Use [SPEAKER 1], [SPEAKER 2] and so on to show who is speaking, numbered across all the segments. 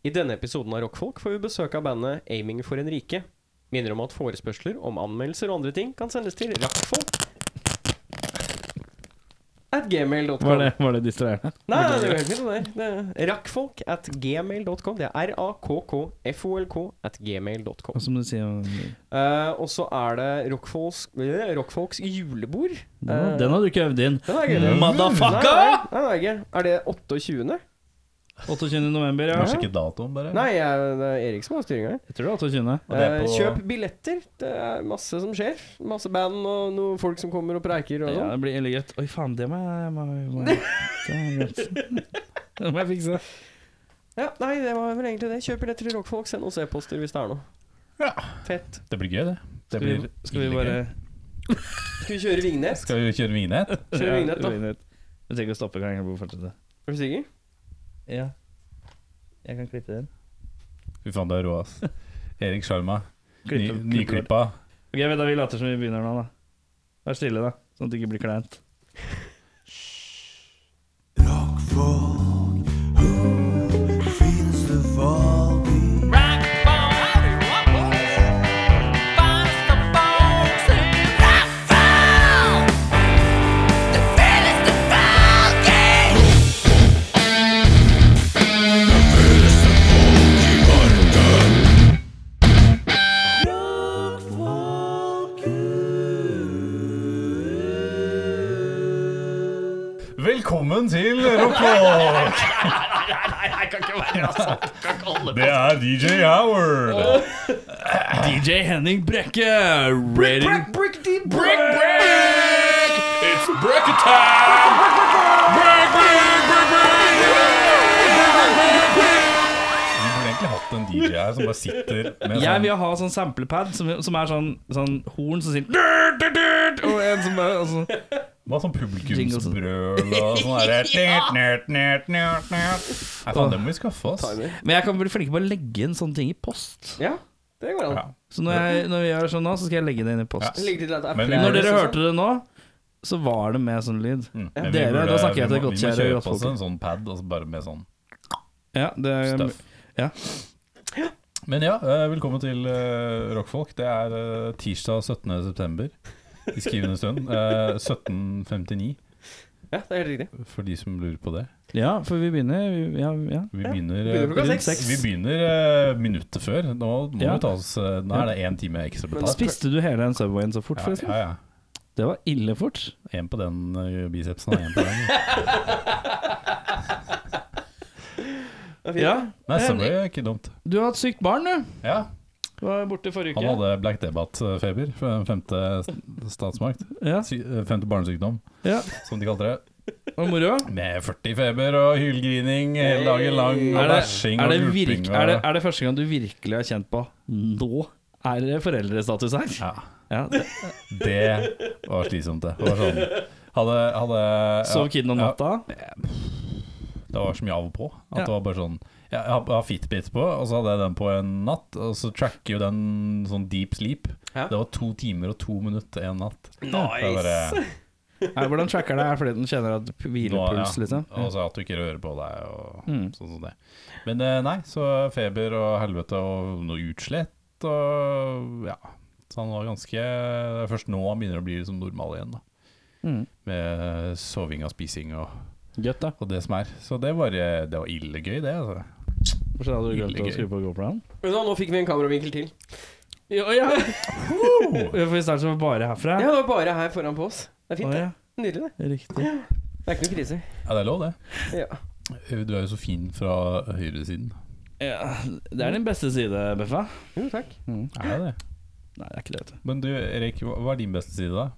[SPEAKER 1] I denne episoden av Rockfolk får vi besøk av bandet Aiming for en rike. Minner om at forespørsler om anmeldelser og andre ting kan sendes til rockfolk. At gmail.com.
[SPEAKER 2] Var det, var det distraherende?
[SPEAKER 1] Nei, det er helt fint, det der. Det er Rakkfolk at gmail.com. Det er r-a-k-k-f-o-l-k at gmail.com.
[SPEAKER 2] Og som du sier Altså-
[SPEAKER 1] Eh, og så er det rockfolks, eh, rockfolks julebord. Eh,
[SPEAKER 2] den, har- den har du ikke øvd inn.
[SPEAKER 1] Den er gøy. Nei,
[SPEAKER 2] Motherfucker!
[SPEAKER 1] nei, nei, det er ikke. Er det 28.?
[SPEAKER 2] 28. november, ja.
[SPEAKER 3] Må sjekke datoen, bare.
[SPEAKER 1] Nei, jeg, det er Erik som har styringa her.
[SPEAKER 2] Jeg tror det er 28.
[SPEAKER 3] Og det er
[SPEAKER 1] Eh,
[SPEAKER 3] på-
[SPEAKER 1] kjøp billetter. Det er masse som skjer. Masse band og noen folk som kommer og preiker. Og
[SPEAKER 2] Ja,
[SPEAKER 1] sånn.
[SPEAKER 2] det blir veldig gøy. Oi, faen, det må jeg må, må, Det er greit. Det må jeg fikse.
[SPEAKER 1] ja, nei, det var vel egentlig det. Kjøp billetter til rockfolk. Send oss e-poster hvis det er noe.
[SPEAKER 3] Ja.
[SPEAKER 1] Fett.
[SPEAKER 3] Det blir gøy, det. det
[SPEAKER 2] Skal vi,
[SPEAKER 3] blir
[SPEAKER 2] skal vi
[SPEAKER 3] ille
[SPEAKER 2] bare
[SPEAKER 3] gøy.
[SPEAKER 1] Skal vi kjøre Vignes?
[SPEAKER 3] Skal vi kjøre vignett?
[SPEAKER 1] Kjøre vignett, da.
[SPEAKER 2] vignett. Vi trenger ikke å stoppe engang. Jeg må fortsette.
[SPEAKER 1] Er du sikker?
[SPEAKER 2] Ja. Jeg kan klippe den.
[SPEAKER 3] Fy faen, du er rå, ass. Erik Sjarma. Ny-
[SPEAKER 2] Klippe, klippe.
[SPEAKER 3] Nyklippa.
[SPEAKER 2] Ok, vent da, Vi later som vi begynner nå, da. Vær stille, da. Sånn at det ikke blir kleint.
[SPEAKER 3] Velkommen til Rockfolk! Det er DJ Howard.
[SPEAKER 2] DJ Henning Brekke! Ready?
[SPEAKER 3] Vi burde egentlig hatt en DJ her som bare sitter med
[SPEAKER 2] Jeg
[SPEAKER 3] sånn
[SPEAKER 2] vil ha sånn samplepad som, som er sånn, sånn horn som sier "Dur, dur, dur", Og en som bare altså,
[SPEAKER 3] Hva sånn publikumsbrøl og sånn derre Nei, faen, det må vi skaffe oss.
[SPEAKER 1] Timer.
[SPEAKER 2] Men jeg kan bli flinkere på å legge inn sånne ting i post.
[SPEAKER 1] Ja, det går an.
[SPEAKER 3] Ja.
[SPEAKER 2] Så når, jeg, når vi gjør sånn nå, så skal jeg legge det inn i post.
[SPEAKER 1] Det ligger til at det er
[SPEAKER 3] Men vi-
[SPEAKER 1] flere
[SPEAKER 2] Når dere
[SPEAKER 1] som-
[SPEAKER 2] hørte det nå, så var det med sånn lyd.
[SPEAKER 3] Mm. Men vi
[SPEAKER 2] Dere,
[SPEAKER 3] burde-
[SPEAKER 2] da snakker jeg
[SPEAKER 3] vi
[SPEAKER 2] til
[SPEAKER 3] må-
[SPEAKER 2] godt kjære
[SPEAKER 3] Vi må kjøpe oss
[SPEAKER 2] Rockfolk.
[SPEAKER 3] en sånn pad, og så bare med sånn
[SPEAKER 2] Ja, det er,
[SPEAKER 3] Stuff.
[SPEAKER 2] Um, ja.
[SPEAKER 3] Men ja, eh, velkommen til eh, Rockfolk. Det er eh, tirsdag 17. september i skrivende stund. Eh, 1759,
[SPEAKER 1] Ja, det er helt riktig.
[SPEAKER 3] for de som lurer på det.
[SPEAKER 2] ja, for vi begynner vi- ja, ja.
[SPEAKER 3] Vi begynner, eh,
[SPEAKER 1] Begynner klokka
[SPEAKER 3] rundt
[SPEAKER 1] seks.
[SPEAKER 3] Vi begynner eh, minuttet før. Nå må
[SPEAKER 2] Ja.
[SPEAKER 3] vi ta oss eh, Nå er det én time ekstra
[SPEAKER 1] Men
[SPEAKER 3] betalt.
[SPEAKER 2] Spiste du hele den Subwayen så fort,
[SPEAKER 3] Ja,
[SPEAKER 2] forresten?
[SPEAKER 3] ja, ja.
[SPEAKER 2] Det var ille fort.
[SPEAKER 3] En på den eh, bicepsen og en på den.
[SPEAKER 1] Det er fint.
[SPEAKER 2] Ja.
[SPEAKER 3] Nei, Subway er ikke dumt.
[SPEAKER 2] Du har hatt sykt barn, du.
[SPEAKER 3] Ja,
[SPEAKER 2] Du var borte forrige
[SPEAKER 3] Han
[SPEAKER 2] uke.
[SPEAKER 3] hadde black debat-feber. Femte st- statsmakt.
[SPEAKER 2] Ja,
[SPEAKER 3] Sy- eh, Femte barnesykdom,
[SPEAKER 2] ja.
[SPEAKER 3] som de kalte det.
[SPEAKER 2] Og moro.
[SPEAKER 3] Med 40 feber og hylgrining hele dagen lang.
[SPEAKER 1] Hey.
[SPEAKER 3] Og
[SPEAKER 2] Er det,
[SPEAKER 3] bæsjing
[SPEAKER 2] er,
[SPEAKER 3] og
[SPEAKER 2] det
[SPEAKER 3] gulping.
[SPEAKER 2] virk,
[SPEAKER 3] og-
[SPEAKER 2] er, det, er det første gang du virkelig har kjent på Nå er det foreldrestatus her?
[SPEAKER 3] Ja,
[SPEAKER 2] Ja, det,
[SPEAKER 3] det var slitsomt, det. det var sånn. hadde, hadde
[SPEAKER 2] Sov
[SPEAKER 3] ja,
[SPEAKER 2] kiden om natta?
[SPEAKER 3] Ja, det var så mye av og på. At
[SPEAKER 2] Ja.
[SPEAKER 3] det var bare sånn Jeg har- jeg har Fitbit på, og så hadde jeg den på en natt. Og så tracker jo den sånn deep sleep.
[SPEAKER 1] Ja.
[SPEAKER 3] Det var to timer og to minutter en natt. Det var
[SPEAKER 1] Nice!
[SPEAKER 3] bare-
[SPEAKER 2] Nei, hvordan tracker det? Er fordi den kjenner at hvilepuls,
[SPEAKER 3] Nå,
[SPEAKER 2] liksom?
[SPEAKER 3] Og så at du ikke rører på deg og
[SPEAKER 2] Mm.
[SPEAKER 3] sånn som det. Men eh, nei, så feber og helvete og noe utslett og ja. Så han var ganske Det er først nå han begynner å bli liksom normal igjen, da.
[SPEAKER 2] Mm.
[SPEAKER 3] Med soving og spising og
[SPEAKER 2] Gøtt, da.
[SPEAKER 3] og det som er. Så det var, eh, det var ille gøy, det. Altså.
[SPEAKER 2] Hvorfor hadde du glemt å
[SPEAKER 3] Ille gøy.
[SPEAKER 2] skru på GoPro-en?
[SPEAKER 1] Vet du hva, nå fikk vi en kameravinkel til.
[SPEAKER 2] Ja, ja. For i starten så var det bare herfra?
[SPEAKER 1] Ja, det var bare her foran på oss. Det er fint,
[SPEAKER 2] Å,
[SPEAKER 1] det.
[SPEAKER 2] ja.
[SPEAKER 1] Nydelig, det.
[SPEAKER 2] Riktig.
[SPEAKER 1] Det er ikke noe krise.
[SPEAKER 3] Ja, det er lov, det.
[SPEAKER 1] Ja.
[SPEAKER 3] Du er jo så fin fra høyresiden.
[SPEAKER 2] Ja, det er din beste side, Beffa.
[SPEAKER 1] Jo, takk.
[SPEAKER 3] Er det det?
[SPEAKER 2] Nei, det er ikke det, vet du.
[SPEAKER 3] Men du, Erik, hva hva er din beste side, da?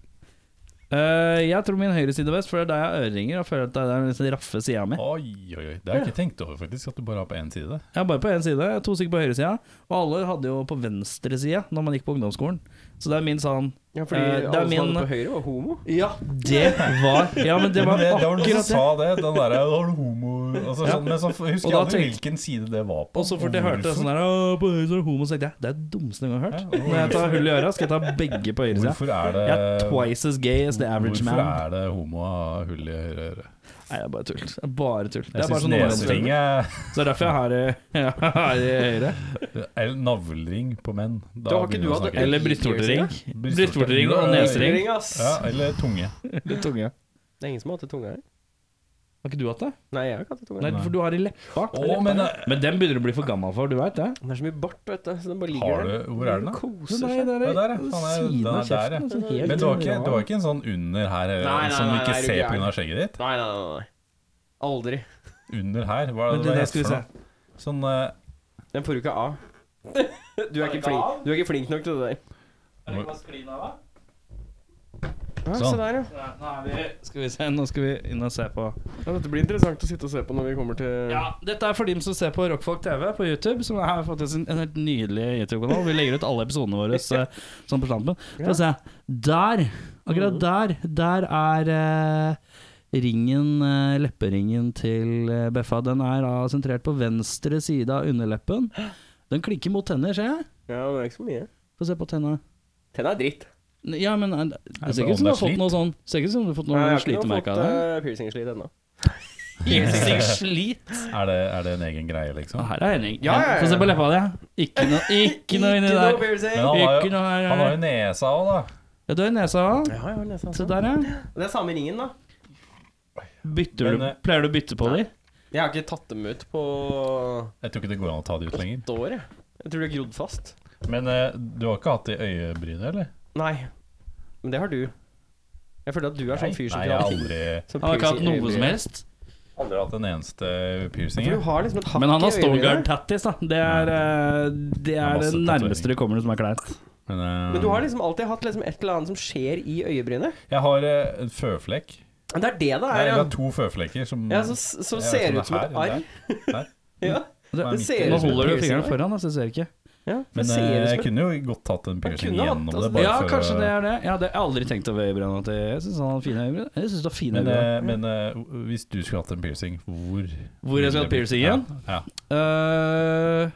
[SPEAKER 2] Eh, jeg tror min høyre side er best, for det er der jeg har øreringer og føler at det er den liksom raffe sida mi.
[SPEAKER 3] Oi, oi, oi. Det har jeg ikke tenkt over, faktisk. At du bare har på én side.
[SPEAKER 2] Jeg er bare på én side, jeg er to stykker på høyre sida, og alle hadde jo på venstre side når man gikk på ungdomsskolen. Så det er min sånn
[SPEAKER 1] Ja, fordi
[SPEAKER 2] Eh, det er
[SPEAKER 1] alle som
[SPEAKER 2] min-
[SPEAKER 1] hadde på høyre, var homo.
[SPEAKER 2] Ja, det var Ja, men det
[SPEAKER 3] Det
[SPEAKER 2] var
[SPEAKER 3] var, det, det var noen som
[SPEAKER 2] akkurat
[SPEAKER 3] sa
[SPEAKER 2] det.
[SPEAKER 3] det. Den derre Da var du homo altså,
[SPEAKER 2] Ja.
[SPEAKER 3] sånn, Men så
[SPEAKER 2] Og
[SPEAKER 3] husker jeg
[SPEAKER 2] da
[SPEAKER 3] aldri
[SPEAKER 2] tenkte-
[SPEAKER 3] hvilken side det var på.
[SPEAKER 2] Og så fort jeg hørte sånn der «Å, På høyre så er det homo, så tenkte jeg det er det dummeste jeg har hørt.
[SPEAKER 3] Ja, og
[SPEAKER 2] Når jeg tar hull i øra, skal jeg ta begge på høyre side.
[SPEAKER 3] eh, Hvorfor er det
[SPEAKER 2] Jeg er twice as gay as the average
[SPEAKER 3] Hvorfor
[SPEAKER 2] man.
[SPEAKER 3] er det homo å ha hull i høyre øre?
[SPEAKER 2] Nei, det er bare tull. Det er bare tull. Det
[SPEAKER 3] Jeg
[SPEAKER 2] er bare
[SPEAKER 3] syns
[SPEAKER 2] sånn
[SPEAKER 3] nesering
[SPEAKER 2] navlestemme.
[SPEAKER 3] er
[SPEAKER 2] Så det er derfor jeg har det jeg har eh, det i høyre.
[SPEAKER 3] Eller navlring på menn. Da
[SPEAKER 1] Da har ikke
[SPEAKER 3] begynner
[SPEAKER 1] du
[SPEAKER 3] å
[SPEAKER 1] hatt
[SPEAKER 3] snakke.
[SPEAKER 2] Eller brystvortering.
[SPEAKER 3] Brystvortering.
[SPEAKER 2] Brystvortering og nesering.
[SPEAKER 1] Nesering, ass.
[SPEAKER 3] Ja, eller tunge.
[SPEAKER 2] Litt tunge.
[SPEAKER 1] Det er ingen som har hatt det tunga her.
[SPEAKER 2] Har ikke du hatt det?
[SPEAKER 1] Nei, jeg har ikke hatt det tunga.
[SPEAKER 2] Nei,
[SPEAKER 3] Nei.
[SPEAKER 2] for du har i leppa.
[SPEAKER 3] Å, men eh,
[SPEAKER 2] Men den begynner du å bli for gammel for, du veit det?
[SPEAKER 1] Det er så mye bart, vet du. Så den bare
[SPEAKER 3] har
[SPEAKER 1] ligger
[SPEAKER 3] du Hvor er den, da?
[SPEAKER 1] Koser
[SPEAKER 2] Nei,
[SPEAKER 1] seg.
[SPEAKER 2] det
[SPEAKER 3] Ja, der, ja.
[SPEAKER 2] er ved
[SPEAKER 3] Faen, det er-
[SPEAKER 2] siden
[SPEAKER 3] den
[SPEAKER 2] av
[SPEAKER 3] er der,
[SPEAKER 2] kjeften. altså, helt
[SPEAKER 3] Men det var, ikke,
[SPEAKER 2] under
[SPEAKER 3] det var ikke en sånn under her eh,
[SPEAKER 1] Nei, nei,
[SPEAKER 3] som du
[SPEAKER 1] nei,
[SPEAKER 3] ikke
[SPEAKER 1] nei,
[SPEAKER 3] ser
[SPEAKER 1] du
[SPEAKER 3] pga.
[SPEAKER 1] gæren.
[SPEAKER 3] skjegget ditt?
[SPEAKER 1] Nei, nei, nei, nei. Aldri.
[SPEAKER 3] Under her? Hva er
[SPEAKER 2] Men
[SPEAKER 3] det
[SPEAKER 2] du,
[SPEAKER 3] det
[SPEAKER 2] det
[SPEAKER 3] heter
[SPEAKER 2] skal vi
[SPEAKER 3] for
[SPEAKER 2] se.
[SPEAKER 3] noe? Sånn eh,
[SPEAKER 1] Den får du ikke av. Du er ikke
[SPEAKER 2] ikke
[SPEAKER 1] flink,
[SPEAKER 2] av?
[SPEAKER 1] du er ikke flink nok til det der.
[SPEAKER 2] Er det ikke bare sklin av, da?
[SPEAKER 1] Ja,
[SPEAKER 3] Sånn.
[SPEAKER 1] Se der, ja.
[SPEAKER 2] Nei, nå er vi Skal vi se, nå skal vi inn og se på
[SPEAKER 1] ja. Dette blir interessant å sitte og se på når vi kommer til
[SPEAKER 2] Ja, dette er for dem som ser på Rockfolk TV på YouTube, som har fått en, en helt nydelig YouTube-kanal. Vi legger ut alle episodene våre eh, sånn på stampen. Få se. Der! Akkurat der. Der er eh, ringen, eh, lepperingen til eh, Beffa. Den er da sentrert på venstre side av underleppen. Den klikker mot tenner, ser jeg.
[SPEAKER 1] Ja, det er ikke så mye.
[SPEAKER 2] Få se på tenna.
[SPEAKER 1] Tenna er dritt.
[SPEAKER 2] Ja, men eh, det ser
[SPEAKER 3] men
[SPEAKER 2] ikke ut som du
[SPEAKER 3] om det er
[SPEAKER 2] har fått noe sånn Ser ikke ut som du har fått noe
[SPEAKER 1] jeg har ikke noe
[SPEAKER 2] slitemerke
[SPEAKER 1] fått
[SPEAKER 2] av det.
[SPEAKER 1] eh, piercingslit ennå.
[SPEAKER 2] Piercing-slit.
[SPEAKER 3] er, det, er det en egen greie,
[SPEAKER 2] Og
[SPEAKER 3] liksom?
[SPEAKER 2] her er Henning.
[SPEAKER 1] Ja, ja, ja.
[SPEAKER 2] Få se på leppa di. Ikke noe ikke noe inni
[SPEAKER 1] noe
[SPEAKER 2] der.
[SPEAKER 1] piercing!
[SPEAKER 3] Men han har
[SPEAKER 2] Ikke
[SPEAKER 3] jo,
[SPEAKER 2] noe her.
[SPEAKER 3] han har jo nesa òg, da.
[SPEAKER 2] Ja, du har nesa òg.
[SPEAKER 1] Ja, jeg har nesa.
[SPEAKER 2] Se der, ja.
[SPEAKER 1] Det er samme ringen, da.
[SPEAKER 2] Bytter du,
[SPEAKER 3] Men, eh,
[SPEAKER 2] pleier du å bytte på de?
[SPEAKER 1] Jeg har ikke tatt dem ut på
[SPEAKER 3] Jeg tror ikke det går an å ta det ut lenger.
[SPEAKER 1] et år, jeg. Jeg tror de har grodd fast.
[SPEAKER 3] Men eh, du har ikke hatt det i øyebrynet, eller?
[SPEAKER 1] Nei. Men det har du. Jeg føler at du er sånn fyr som
[SPEAKER 3] Nei, jeg har
[SPEAKER 1] graver ting.
[SPEAKER 3] aldri,
[SPEAKER 1] Som
[SPEAKER 2] Han har ikke
[SPEAKER 1] piercing
[SPEAKER 2] hatt
[SPEAKER 1] i
[SPEAKER 2] noe
[SPEAKER 1] øyebrynet.
[SPEAKER 2] som helst.
[SPEAKER 3] aldri hatt en eneste piercing.
[SPEAKER 1] For
[SPEAKER 3] jeg.
[SPEAKER 1] du har liksom et hakk
[SPEAKER 2] Men han har
[SPEAKER 1] i øyebrynet.
[SPEAKER 2] Stogard tattis, da. Det er eh, det
[SPEAKER 3] Ja,
[SPEAKER 2] er
[SPEAKER 3] masse
[SPEAKER 2] det nærmeste du kommer som er kleint.
[SPEAKER 3] Men, eh,
[SPEAKER 1] Men du har liksom alltid hatt liksom et eller annet som skjer i øyebrynet.
[SPEAKER 3] Jeg har eh, en føflekk.
[SPEAKER 1] Men det er det det
[SPEAKER 3] Nei,
[SPEAKER 1] er.
[SPEAKER 3] jeg
[SPEAKER 1] ja.
[SPEAKER 3] har to føflekker som
[SPEAKER 1] Ja, som, som
[SPEAKER 3] jeg vet
[SPEAKER 1] ser
[SPEAKER 3] ikke om
[SPEAKER 1] ut som
[SPEAKER 3] det
[SPEAKER 1] et
[SPEAKER 3] er her
[SPEAKER 1] arr.
[SPEAKER 3] eller der.
[SPEAKER 1] Ja,
[SPEAKER 3] Nei,
[SPEAKER 1] det
[SPEAKER 3] midt i
[SPEAKER 1] ser
[SPEAKER 2] Nå
[SPEAKER 1] ut som et
[SPEAKER 2] holder du
[SPEAKER 1] piercing
[SPEAKER 2] fingeren
[SPEAKER 1] der.
[SPEAKER 2] foran, da, så jeg ser ikke.
[SPEAKER 1] Ja, det
[SPEAKER 3] Men
[SPEAKER 1] ser
[SPEAKER 3] eh,
[SPEAKER 1] ut
[SPEAKER 3] jeg
[SPEAKER 1] som et
[SPEAKER 3] kunne jo godt tatt en piercing
[SPEAKER 1] kunne hatt,
[SPEAKER 3] gjennom det.
[SPEAKER 1] altså.
[SPEAKER 3] Bare
[SPEAKER 2] Ja,
[SPEAKER 3] for,
[SPEAKER 2] kanskje
[SPEAKER 3] å-
[SPEAKER 2] det er det. Ja, det jeg har aldri tenkt over øyebrynene til Jeg syns han har fine øyebryn. Jeg synes du har fine
[SPEAKER 3] Men,
[SPEAKER 2] øyebryn.
[SPEAKER 3] eh, men eh, hvis du skulle hatt en piercing, hvor
[SPEAKER 2] Hvor jeg skulle hatt piercing igjen?
[SPEAKER 3] Ja, ja.
[SPEAKER 2] Eh,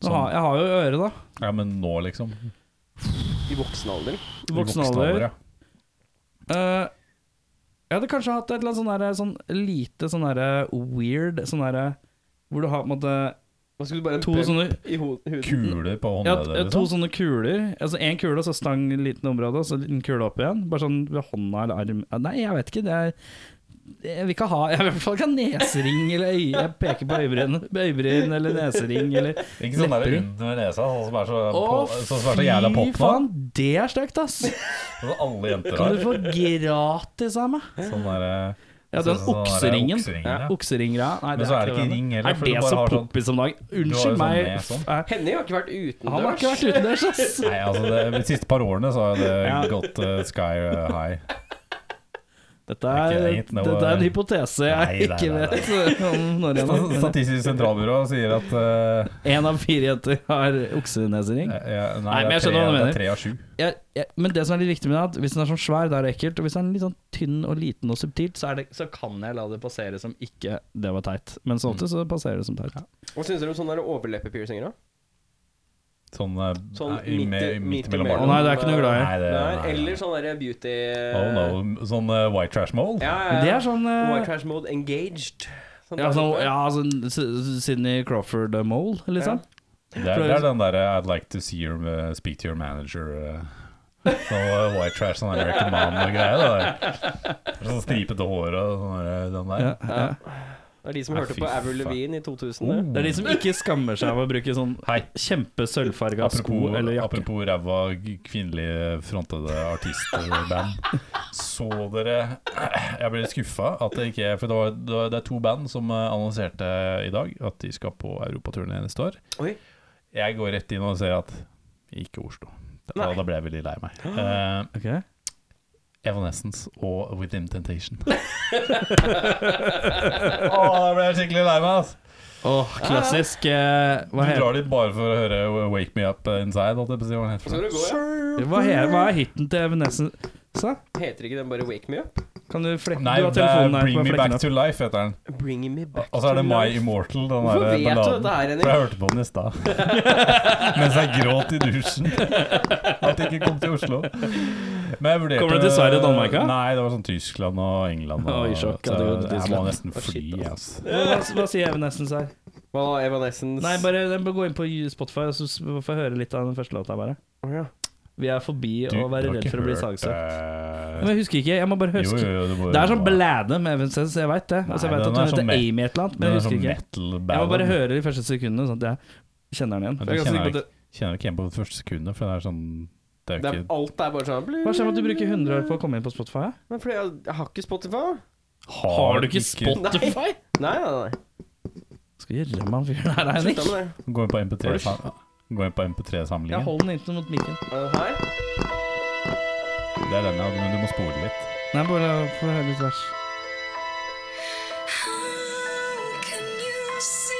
[SPEAKER 2] nå
[SPEAKER 3] sånn.
[SPEAKER 2] har- Jeg har jo øret, da.
[SPEAKER 3] ja, men nå, liksom.
[SPEAKER 1] I voksen alder.
[SPEAKER 3] I
[SPEAKER 2] Voksen alder. Eh, jeg hadde kanskje hatt et eller annet sånn derre- sånn lite sånn derre weird sånn derre Hvor du har på en måte
[SPEAKER 1] Hva skulle du bare
[SPEAKER 2] to
[SPEAKER 1] pøl
[SPEAKER 2] sånne
[SPEAKER 1] i ho- huden?
[SPEAKER 3] Kuler på liksom.
[SPEAKER 2] ja, t- ja,
[SPEAKER 3] håndleddet,
[SPEAKER 2] to sånne kuler. Altså Én kule, og så stang i liten område, og så en liten kule opp igjen. Bare sånn ved hånda eller arm Ja, Nei, jeg vet ikke. Det er jeg vil ikke ha Jeg vil i hvert fall ikke ha nesering eller øye Jeg peker på øyebryn, øyebryn eller nesering eller
[SPEAKER 3] Ikke sånn der
[SPEAKER 2] lepper.
[SPEAKER 3] under nesa, sånn som er så,
[SPEAKER 2] Å,
[SPEAKER 3] på, sånn som er så jævla
[SPEAKER 2] fy
[SPEAKER 3] pop nå.
[SPEAKER 2] faen! Det er stygt, ass!
[SPEAKER 3] Sånn som alle jenter
[SPEAKER 2] Kan
[SPEAKER 3] har.
[SPEAKER 2] du få gratis av meg?
[SPEAKER 3] Sånn der,
[SPEAKER 2] Ja,
[SPEAKER 3] eh, sånn-
[SPEAKER 2] den
[SPEAKER 3] sånn der
[SPEAKER 2] okseringen.
[SPEAKER 3] okseringen,
[SPEAKER 1] Ja,
[SPEAKER 3] ja.
[SPEAKER 2] Okseringra? Nei,
[SPEAKER 3] Men så er det ikke ring heller,
[SPEAKER 2] Er
[SPEAKER 3] for
[SPEAKER 2] det
[SPEAKER 3] du bare
[SPEAKER 2] så
[SPEAKER 3] har sånn
[SPEAKER 2] poppis om dag? Unnskyld
[SPEAKER 3] sånn
[SPEAKER 2] meg.
[SPEAKER 3] med sånn.
[SPEAKER 2] f- eh,
[SPEAKER 1] Henning har ikke vært utendørs.
[SPEAKER 2] Han har ikke vært utendørs, ass.
[SPEAKER 3] Nei, altså det, De siste par årene så har det
[SPEAKER 2] Ja.
[SPEAKER 3] gått eh, sky eh, high.
[SPEAKER 2] Dette
[SPEAKER 3] Det
[SPEAKER 2] er,
[SPEAKER 3] er ikke greit, det var-
[SPEAKER 2] dette er en hypotese jeg
[SPEAKER 3] Nei, nei,
[SPEAKER 2] ikke
[SPEAKER 3] nei, nei.
[SPEAKER 2] vet om når igjen.
[SPEAKER 3] Stat-
[SPEAKER 2] men
[SPEAKER 3] Statistisk sentralbyrå sier at eh,
[SPEAKER 2] Én av fire jenter har oksenesering.
[SPEAKER 3] eh, ja, Nei,
[SPEAKER 2] Nei, men
[SPEAKER 3] det
[SPEAKER 2] jeg
[SPEAKER 3] er
[SPEAKER 2] skjønner
[SPEAKER 3] tre-
[SPEAKER 2] hva du
[SPEAKER 3] det
[SPEAKER 2] mener.
[SPEAKER 3] er tre av sju.
[SPEAKER 2] Jeg, jeg, men det som er litt viktig med det, er at hvis den er sånn svær, da er det ekkelt. Og hvis den er litt sånn tynn og liten og subtilt, så, er det, så kan jeg la det passere som ikke det var teit. Men som alltid
[SPEAKER 3] Mm.
[SPEAKER 2] så passerer det som teit.
[SPEAKER 1] Hva syns dere om sånne der overleppepiercinger, da?
[SPEAKER 3] Sånn, eh,
[SPEAKER 1] Sånn
[SPEAKER 3] nei,
[SPEAKER 1] midt,
[SPEAKER 3] med- midt mellom
[SPEAKER 2] Å
[SPEAKER 3] barna.
[SPEAKER 2] nei, det er ikke noe glad i.
[SPEAKER 3] Nei, det-
[SPEAKER 1] Der,
[SPEAKER 3] nei.
[SPEAKER 1] Eller sånn der beauty
[SPEAKER 3] Oh no, sånn eh, white trash mole?
[SPEAKER 1] Ja, ja,
[SPEAKER 2] Men det
[SPEAKER 1] ja.
[SPEAKER 2] er sånn eh,
[SPEAKER 1] White trash mode engaged. Sånn
[SPEAKER 2] ja,
[SPEAKER 1] der,
[SPEAKER 2] sånn,
[SPEAKER 1] sånn.
[SPEAKER 2] ja, sånn S- Sydney Crawford Mole, liksom.
[SPEAKER 3] Det, er, det er den derre I'd like to see your, eh, speak to your manager eh, Sånn eh, white trash, sånn American mom-greie. da. Sånn stripete hår og sånn der, den der.
[SPEAKER 2] Ja, ja.
[SPEAKER 1] Det er de som
[SPEAKER 3] Nei,
[SPEAKER 1] hørte
[SPEAKER 3] fy
[SPEAKER 1] på Avril
[SPEAKER 3] faen.
[SPEAKER 1] Levine i 2000.
[SPEAKER 3] Oh.
[SPEAKER 1] det.
[SPEAKER 2] Det er de som ikke skammer seg av å bruke sånn
[SPEAKER 3] Hei,
[SPEAKER 2] kjempesølvfarga sko
[SPEAKER 3] apropos,
[SPEAKER 2] eller jakke.
[SPEAKER 3] apropos ræva g- kvinnelige frontede artistband. Så dere Jeg ble litt skuffa. at Det ikke For det, var, det var- det er to band som eh, annonserte i dag at de skal på europaturné neste år.
[SPEAKER 1] Oi.
[SPEAKER 3] Jeg går rett inn og ser at ikke Oslo. Da,
[SPEAKER 1] Nei.
[SPEAKER 3] da ble jeg veldig lei meg. Eh,
[SPEAKER 2] Ok.
[SPEAKER 3] Evanescence og Within Temptation. Å, da ble jeg skikkelig lei meg, ass.
[SPEAKER 2] Åh, klassisk eh,
[SPEAKER 3] Du
[SPEAKER 2] hva, he
[SPEAKER 3] drar dit bare for å høre 'Wake Me Up Inside'. Holdt jeg på å si hva den heter
[SPEAKER 1] Så
[SPEAKER 3] for
[SPEAKER 1] det
[SPEAKER 3] noe.
[SPEAKER 1] går, ja.
[SPEAKER 2] hva, he hva er hiten til Evanescence? Se,
[SPEAKER 1] Heter ikke den bare Wake Me Up?
[SPEAKER 2] Kan du flekke
[SPEAKER 3] Nei,
[SPEAKER 2] Du har
[SPEAKER 3] det er
[SPEAKER 2] telefonen her.
[SPEAKER 3] 'Bring
[SPEAKER 2] kan
[SPEAKER 3] Me
[SPEAKER 2] jeg
[SPEAKER 3] Back
[SPEAKER 2] flekke den opp?
[SPEAKER 3] to Life' heter den.
[SPEAKER 1] Bring me back
[SPEAKER 3] Og så er det
[SPEAKER 1] to
[SPEAKER 3] 'My
[SPEAKER 1] life.
[SPEAKER 3] Immortal', den
[SPEAKER 1] Hvorfor
[SPEAKER 3] der
[SPEAKER 1] vet du
[SPEAKER 3] balladen.
[SPEAKER 1] dette her,
[SPEAKER 3] For jeg
[SPEAKER 1] Henrik?
[SPEAKER 3] hørte på den i stad. Mens jeg gråt i dusjen. At jeg ikke kom til Oslo. Men jeg vurderte-
[SPEAKER 2] Kommer du til Sverige og Danmark, da?
[SPEAKER 3] Nei, det var sånn Tyskland og England. Og,
[SPEAKER 2] Å, i sjokk, ja,
[SPEAKER 3] så
[SPEAKER 2] det går til
[SPEAKER 3] jeg må
[SPEAKER 2] Tyskland.
[SPEAKER 3] nesten
[SPEAKER 1] Å, shit,
[SPEAKER 3] fly. ass.
[SPEAKER 2] Hva, hva sier Evanescence her?
[SPEAKER 1] Hva var Evanescens
[SPEAKER 2] Nei, bare jeg må gå inn på Spotify og så s- få høre litt av den første låta. bare
[SPEAKER 1] Å, ja.
[SPEAKER 2] Vi er forbi
[SPEAKER 3] Du,
[SPEAKER 2] å
[SPEAKER 3] du
[SPEAKER 2] være
[SPEAKER 3] har
[SPEAKER 2] redd
[SPEAKER 3] ikke
[SPEAKER 2] for å bli
[SPEAKER 3] hørt,
[SPEAKER 2] sagsøkt.
[SPEAKER 3] eh,
[SPEAKER 2] Men jeg husker ikke. Jeg må bare
[SPEAKER 3] jo,
[SPEAKER 2] huske.
[SPEAKER 3] jo, jo, det, var-
[SPEAKER 2] Det er sånn blæde med Evanescence, jeg veit det. Altså, jeg
[SPEAKER 3] Nei,
[SPEAKER 2] vet at
[SPEAKER 3] den
[SPEAKER 2] hun
[SPEAKER 3] er sånn
[SPEAKER 2] heter
[SPEAKER 3] me-
[SPEAKER 2] Amy et eller annet,
[SPEAKER 3] det
[SPEAKER 2] men
[SPEAKER 3] er
[SPEAKER 2] jeg husker
[SPEAKER 3] sånn
[SPEAKER 2] ikke.
[SPEAKER 3] metal
[SPEAKER 2] Jeg må bare
[SPEAKER 3] ballad.
[SPEAKER 2] høre de første sekundene, sånn at jeg kjenner den igjen.
[SPEAKER 3] Men
[SPEAKER 2] For jeg er
[SPEAKER 3] det
[SPEAKER 2] ganske
[SPEAKER 3] kjenner
[SPEAKER 2] sikker på
[SPEAKER 3] jeg
[SPEAKER 2] at
[SPEAKER 3] Kjenner ikke igjen på det første sekundet, for det er sånn Det er
[SPEAKER 1] Det
[SPEAKER 3] jo
[SPEAKER 1] er,
[SPEAKER 3] ikke
[SPEAKER 1] alt er bare sånn
[SPEAKER 2] det- Hva skjer med at du bruker 100 år på å komme inn på Spotify? ja?
[SPEAKER 1] Men fordi jeg, jeg har ikke Spotify.
[SPEAKER 2] Har du ikke spot-
[SPEAKER 1] Nei. nei, nei, nei.
[SPEAKER 2] Skal jeg gjøre meg en fyr der, Eirik?
[SPEAKER 1] Slutta med det.
[SPEAKER 3] Gå inn på
[SPEAKER 1] Har du-
[SPEAKER 3] MP3-samlingen. Gå inn på
[SPEAKER 2] Jeg
[SPEAKER 3] MP3-samlingen.
[SPEAKER 2] holder den inntil mot mikken.
[SPEAKER 1] Er det her?
[SPEAKER 3] Det er den, ja, men du må spole litt.
[SPEAKER 2] Nei, bare få høre litt vers.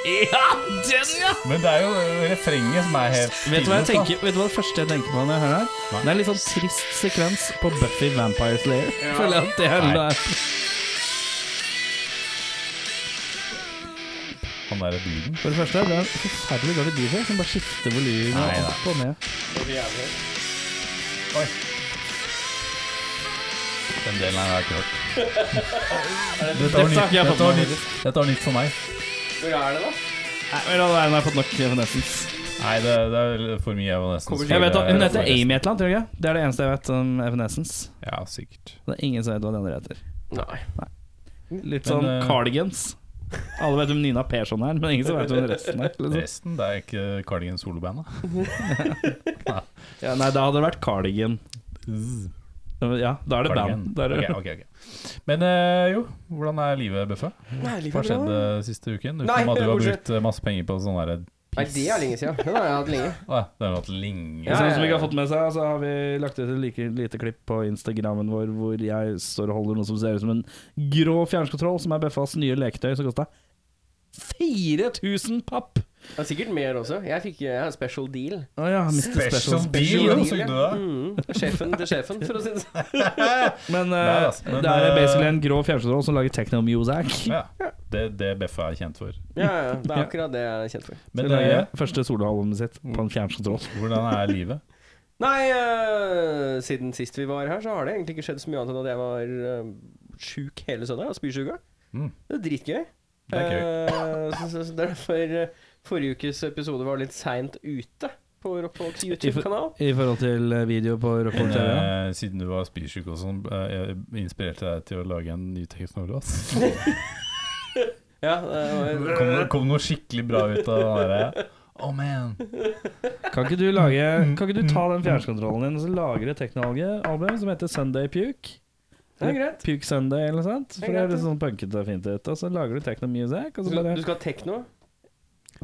[SPEAKER 2] Ja, den, ja!
[SPEAKER 3] Men det er jo eh, refrenget som er helt
[SPEAKER 2] Vet du hva jeg
[SPEAKER 3] tidløst, da.
[SPEAKER 2] tenker Vet du hva det første jeg tenker på når jeg hører det? her?
[SPEAKER 3] Nei.
[SPEAKER 2] Det er en litt sånn trist sekvens på Buffy Vampire Slayer. Føler jeg at det er
[SPEAKER 3] Nei. Han der lyden.
[SPEAKER 2] For det første, det er en forferdelig dårlig DJ som bare skifter
[SPEAKER 3] Nei,
[SPEAKER 2] volumet
[SPEAKER 3] nei.
[SPEAKER 2] opp og ned.
[SPEAKER 3] Oi. Den delen her har jeg ikke hørt. Dette var
[SPEAKER 2] dette har
[SPEAKER 3] nytt-
[SPEAKER 2] ikke jeg fått
[SPEAKER 3] dette var
[SPEAKER 2] med meg,
[SPEAKER 3] nytt- Dette var nytt for meg.
[SPEAKER 1] Hvor er det, da?
[SPEAKER 2] Nei, men da har jeg fått nok Evanescence.
[SPEAKER 3] Nei, det, det er for mye Evanescence.
[SPEAKER 1] Kommer
[SPEAKER 2] Jeg vet at Hun
[SPEAKER 1] det-
[SPEAKER 2] heter Amy et eller annet, tror jeg ikke? Det er det eneste jeg vet om Evanescence.
[SPEAKER 3] Ja, sikkert.
[SPEAKER 2] Det er ingen som vet hva den andre heter.
[SPEAKER 1] Nei.
[SPEAKER 2] Litt
[SPEAKER 3] Men,
[SPEAKER 2] sånn
[SPEAKER 3] eh,
[SPEAKER 2] Cardigans. Alle vet hvem Nina Persson er, men ingen som vet hvem resten er. Liksom.
[SPEAKER 3] Resten, det er ikke Cardigan soloband, da.
[SPEAKER 2] Ja, nei, da hadde det vært Cardigan. Ja, da er det band. Da er det
[SPEAKER 3] Ok, ok, ok. Men eh, jo, hvordan er livet, Bøffe?
[SPEAKER 1] Nei,
[SPEAKER 3] Hva
[SPEAKER 1] livet er
[SPEAKER 3] skjedde
[SPEAKER 1] bra.
[SPEAKER 3] siste uken? Utenom
[SPEAKER 1] Nei,
[SPEAKER 3] at du har
[SPEAKER 1] bortsett-
[SPEAKER 3] brukt eh, masse penger på sånn derre
[SPEAKER 1] Nei, det er lenge siden. Den har jeg hatt lenge.
[SPEAKER 3] Å, Det har vært lenge.
[SPEAKER 1] Ja,
[SPEAKER 2] Sånn
[SPEAKER 1] ja,
[SPEAKER 2] som ikke
[SPEAKER 1] ja.
[SPEAKER 2] har fått med seg, så har vi lagt ut et like lite klipp på Instagrammen vår hvor jeg står og holder noe som ser ut som en grå fjernkontroll, som er Beffas nye leketøy, som kosta 4000 papp!
[SPEAKER 1] Det er sikkert mer også. Jeg fikk jeg har en special deal.
[SPEAKER 2] Å ja, Mr. Special.
[SPEAKER 1] Special
[SPEAKER 3] ja,
[SPEAKER 1] deal,
[SPEAKER 3] så
[SPEAKER 1] ja.
[SPEAKER 3] du det?
[SPEAKER 1] Mm. Sjefen til sjefen, for å si det sånn.
[SPEAKER 2] Men, eh,
[SPEAKER 3] Nei, ass, men,
[SPEAKER 2] det er
[SPEAKER 3] eh,
[SPEAKER 2] basically en grå fjernkontroll som lager techno-music.
[SPEAKER 3] Ja, det, det Beffa er kjent for.
[SPEAKER 1] Ja, ja, det er akkurat det jeg er kjent for.
[SPEAKER 2] Som
[SPEAKER 3] Men
[SPEAKER 2] lager
[SPEAKER 3] eh,
[SPEAKER 2] første soloalbumet sitt på
[SPEAKER 3] Mm.
[SPEAKER 2] en fjernkontroll.
[SPEAKER 3] hvordan er livet?
[SPEAKER 1] Nei, øh, siden sist vi var her, så har det egentlig ikke skjedd så mye annet enn at jeg var øh, sjuk hele søndag. og Spysyka.
[SPEAKER 3] Mm.
[SPEAKER 1] Det er dritgøy.
[SPEAKER 3] Det er gøy.
[SPEAKER 1] Eh, så, så, så derfor øh, forrige ukes episode var litt seint ute på Rockfolks YouTube-kanal.
[SPEAKER 2] I forhold til eh, video på Rockhold
[SPEAKER 3] Men,
[SPEAKER 2] TV.
[SPEAKER 3] eh, siden du var spysyk og sånn, eh, inspirerte jeg deg til å lage en ny teknolog?
[SPEAKER 1] Ja, det var-
[SPEAKER 3] Kom, kom noe skikkelig bra ut av det der? Oh man.
[SPEAKER 2] Kan ikke du lage Kan ikke du ta den fjernkontrollen din og så lage et teknologialbum som heter Sunday Puke?
[SPEAKER 1] det er greit.
[SPEAKER 2] Puke Sunday eller noe sånt.
[SPEAKER 1] Det er
[SPEAKER 2] For det
[SPEAKER 1] greit,
[SPEAKER 2] er litt
[SPEAKER 1] det.
[SPEAKER 2] sånn punkete og fint ut. Og så lager du techno music, og
[SPEAKER 1] Du
[SPEAKER 2] så
[SPEAKER 1] skal,
[SPEAKER 2] bare
[SPEAKER 1] du skal ha tekno?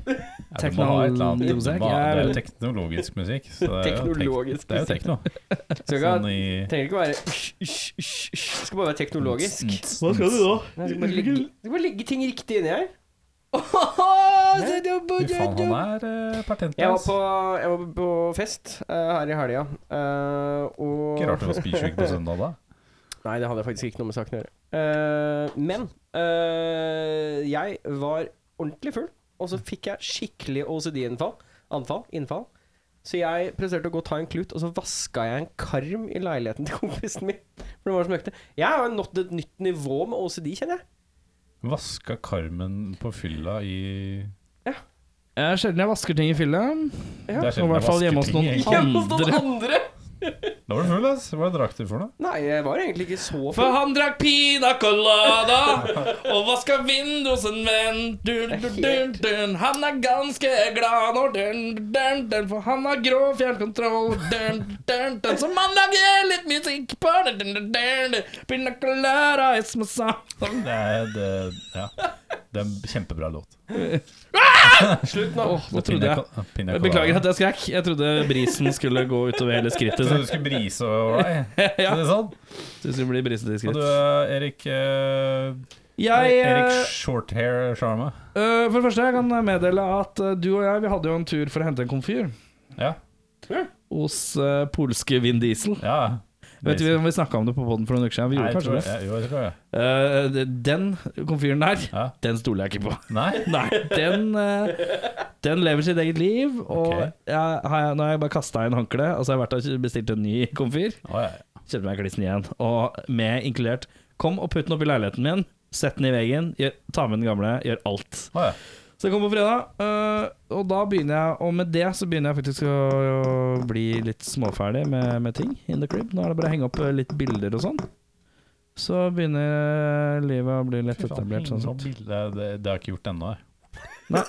[SPEAKER 3] Ja, du må ha et eller annet-
[SPEAKER 2] Teknologisk,
[SPEAKER 3] du
[SPEAKER 2] jeg
[SPEAKER 3] må ha-
[SPEAKER 2] er
[SPEAKER 3] Det er jo
[SPEAKER 2] veldig-
[SPEAKER 3] teknologisk musikk. Så det er jo tek-
[SPEAKER 1] Teknologisk.
[SPEAKER 3] det er jo tekno.
[SPEAKER 1] Du skal ikke ha-
[SPEAKER 3] Sånn i
[SPEAKER 1] trenger ikke være Det skal bare være teknologisk.
[SPEAKER 3] Mm.
[SPEAKER 2] Hva skal du da?
[SPEAKER 1] Jeg skal bare legge, jeg skal bare legge ting riktig inni her.
[SPEAKER 3] Fy faen, han er eh,
[SPEAKER 1] Jeg var
[SPEAKER 3] patentløs.
[SPEAKER 1] på, jeg var på fest eh, her i helga, eh, og
[SPEAKER 3] Ikke rart du
[SPEAKER 2] altså.
[SPEAKER 3] var spysyk på søndag, da.
[SPEAKER 1] Nei, det hadde faktisk ikke noe med saken å gjøre. Eh, men eh, jeg var ordentlig full, og så fikk jeg skikkelig OCD-innfall. Anfall. Innfall. Så jeg presterte å gå og ta en klut, og så vaska jeg en karm i leiligheten til kompisen min. For det var så møkte. Jeg har jo nådd et nytt nivå med OCD, kjenner jeg.
[SPEAKER 3] Vaska Carmen på fylla i
[SPEAKER 2] Det er sjelden jeg vasker ting i fylla.
[SPEAKER 1] Ja,
[SPEAKER 2] Og
[SPEAKER 3] Det er
[SPEAKER 2] i
[SPEAKER 3] sjelden jeg
[SPEAKER 2] hvert fall hjemme hos
[SPEAKER 3] vasker
[SPEAKER 2] noen
[SPEAKER 3] ting, egentlig.
[SPEAKER 1] Hjemme hos noen
[SPEAKER 2] andre.
[SPEAKER 1] andre!
[SPEAKER 3] Da var du full, ass. Hva drakk du for noe?
[SPEAKER 1] Nei, jeg var egentlig ikke så
[SPEAKER 2] For
[SPEAKER 1] full.
[SPEAKER 2] han drakk pina colada og vaska vindusene men dun, dun, dun, dun. Han er ganske glad nå, dun, dun, dun, for han har grå fjernkontroll. Dun, dun, dun, så man lager litt musikk på. Dun, dun, dun, dun. Pina colada is my song.
[SPEAKER 3] Sånn, Det er, det, ja. det er en kjempebra låt.
[SPEAKER 1] Slutt nå.
[SPEAKER 2] Nå trodde jeg jeg Beklager at jeg skrek. Jeg trodde brisen skulle gå utover hele skrittet.
[SPEAKER 3] Så
[SPEAKER 2] Så.
[SPEAKER 3] du skulle brise over deg?
[SPEAKER 2] Ja,
[SPEAKER 3] Er det sånn?
[SPEAKER 2] det skulle bli brisete
[SPEAKER 3] Og
[SPEAKER 2] skritt.
[SPEAKER 3] du, eh, Erik eh,
[SPEAKER 2] Jeg eh,
[SPEAKER 3] Erik Shorthair Sharma.
[SPEAKER 2] eh, For det første, jeg kan meddele at eh, du og jeg vi hadde jo en tur for å hente en komfyr
[SPEAKER 3] Ja.
[SPEAKER 2] hos eh, polske Vin Diesel.
[SPEAKER 3] ja.
[SPEAKER 2] Vet du, Vi snakka om det på poden for noen uker siden. Vi
[SPEAKER 3] Nei,
[SPEAKER 2] gjorde
[SPEAKER 3] jeg tror,
[SPEAKER 2] kanskje det.
[SPEAKER 3] jeg, jo, jeg tror det.
[SPEAKER 2] Eh, det- den komfyren der,
[SPEAKER 3] Ja.
[SPEAKER 2] den stoler jeg ikke på.
[SPEAKER 3] Nei?
[SPEAKER 2] Nei, den, eh, den lever sitt eget liv. Og
[SPEAKER 3] Ok.
[SPEAKER 2] jeg, har jeg, nå har jeg bare kasta inn håndkleet, og så har jeg vært og bestilt en ny komfyr.
[SPEAKER 3] Å, ja.
[SPEAKER 2] Kjøpte meg klissen igjen. Og med inkludert Kom og putt den opp i leiligheten min. Sett den i veggen. Gjør, ta med den gamle. Gjør alt.
[SPEAKER 3] Å ja.
[SPEAKER 2] Så jeg kom på fredag, øh, og da begynner jeg Og med det så begynner jeg faktisk å, å bli litt småferdig med, med ting in the crib. Nå er det bare å henge opp øh, litt bilder og sånn. Så begynner eh, livet å bli lett
[SPEAKER 3] Fy faen,
[SPEAKER 2] etablert. sånn sett.
[SPEAKER 3] bilde- Det, det har jeg ikke gjort ennå. jeg.
[SPEAKER 2] Nei.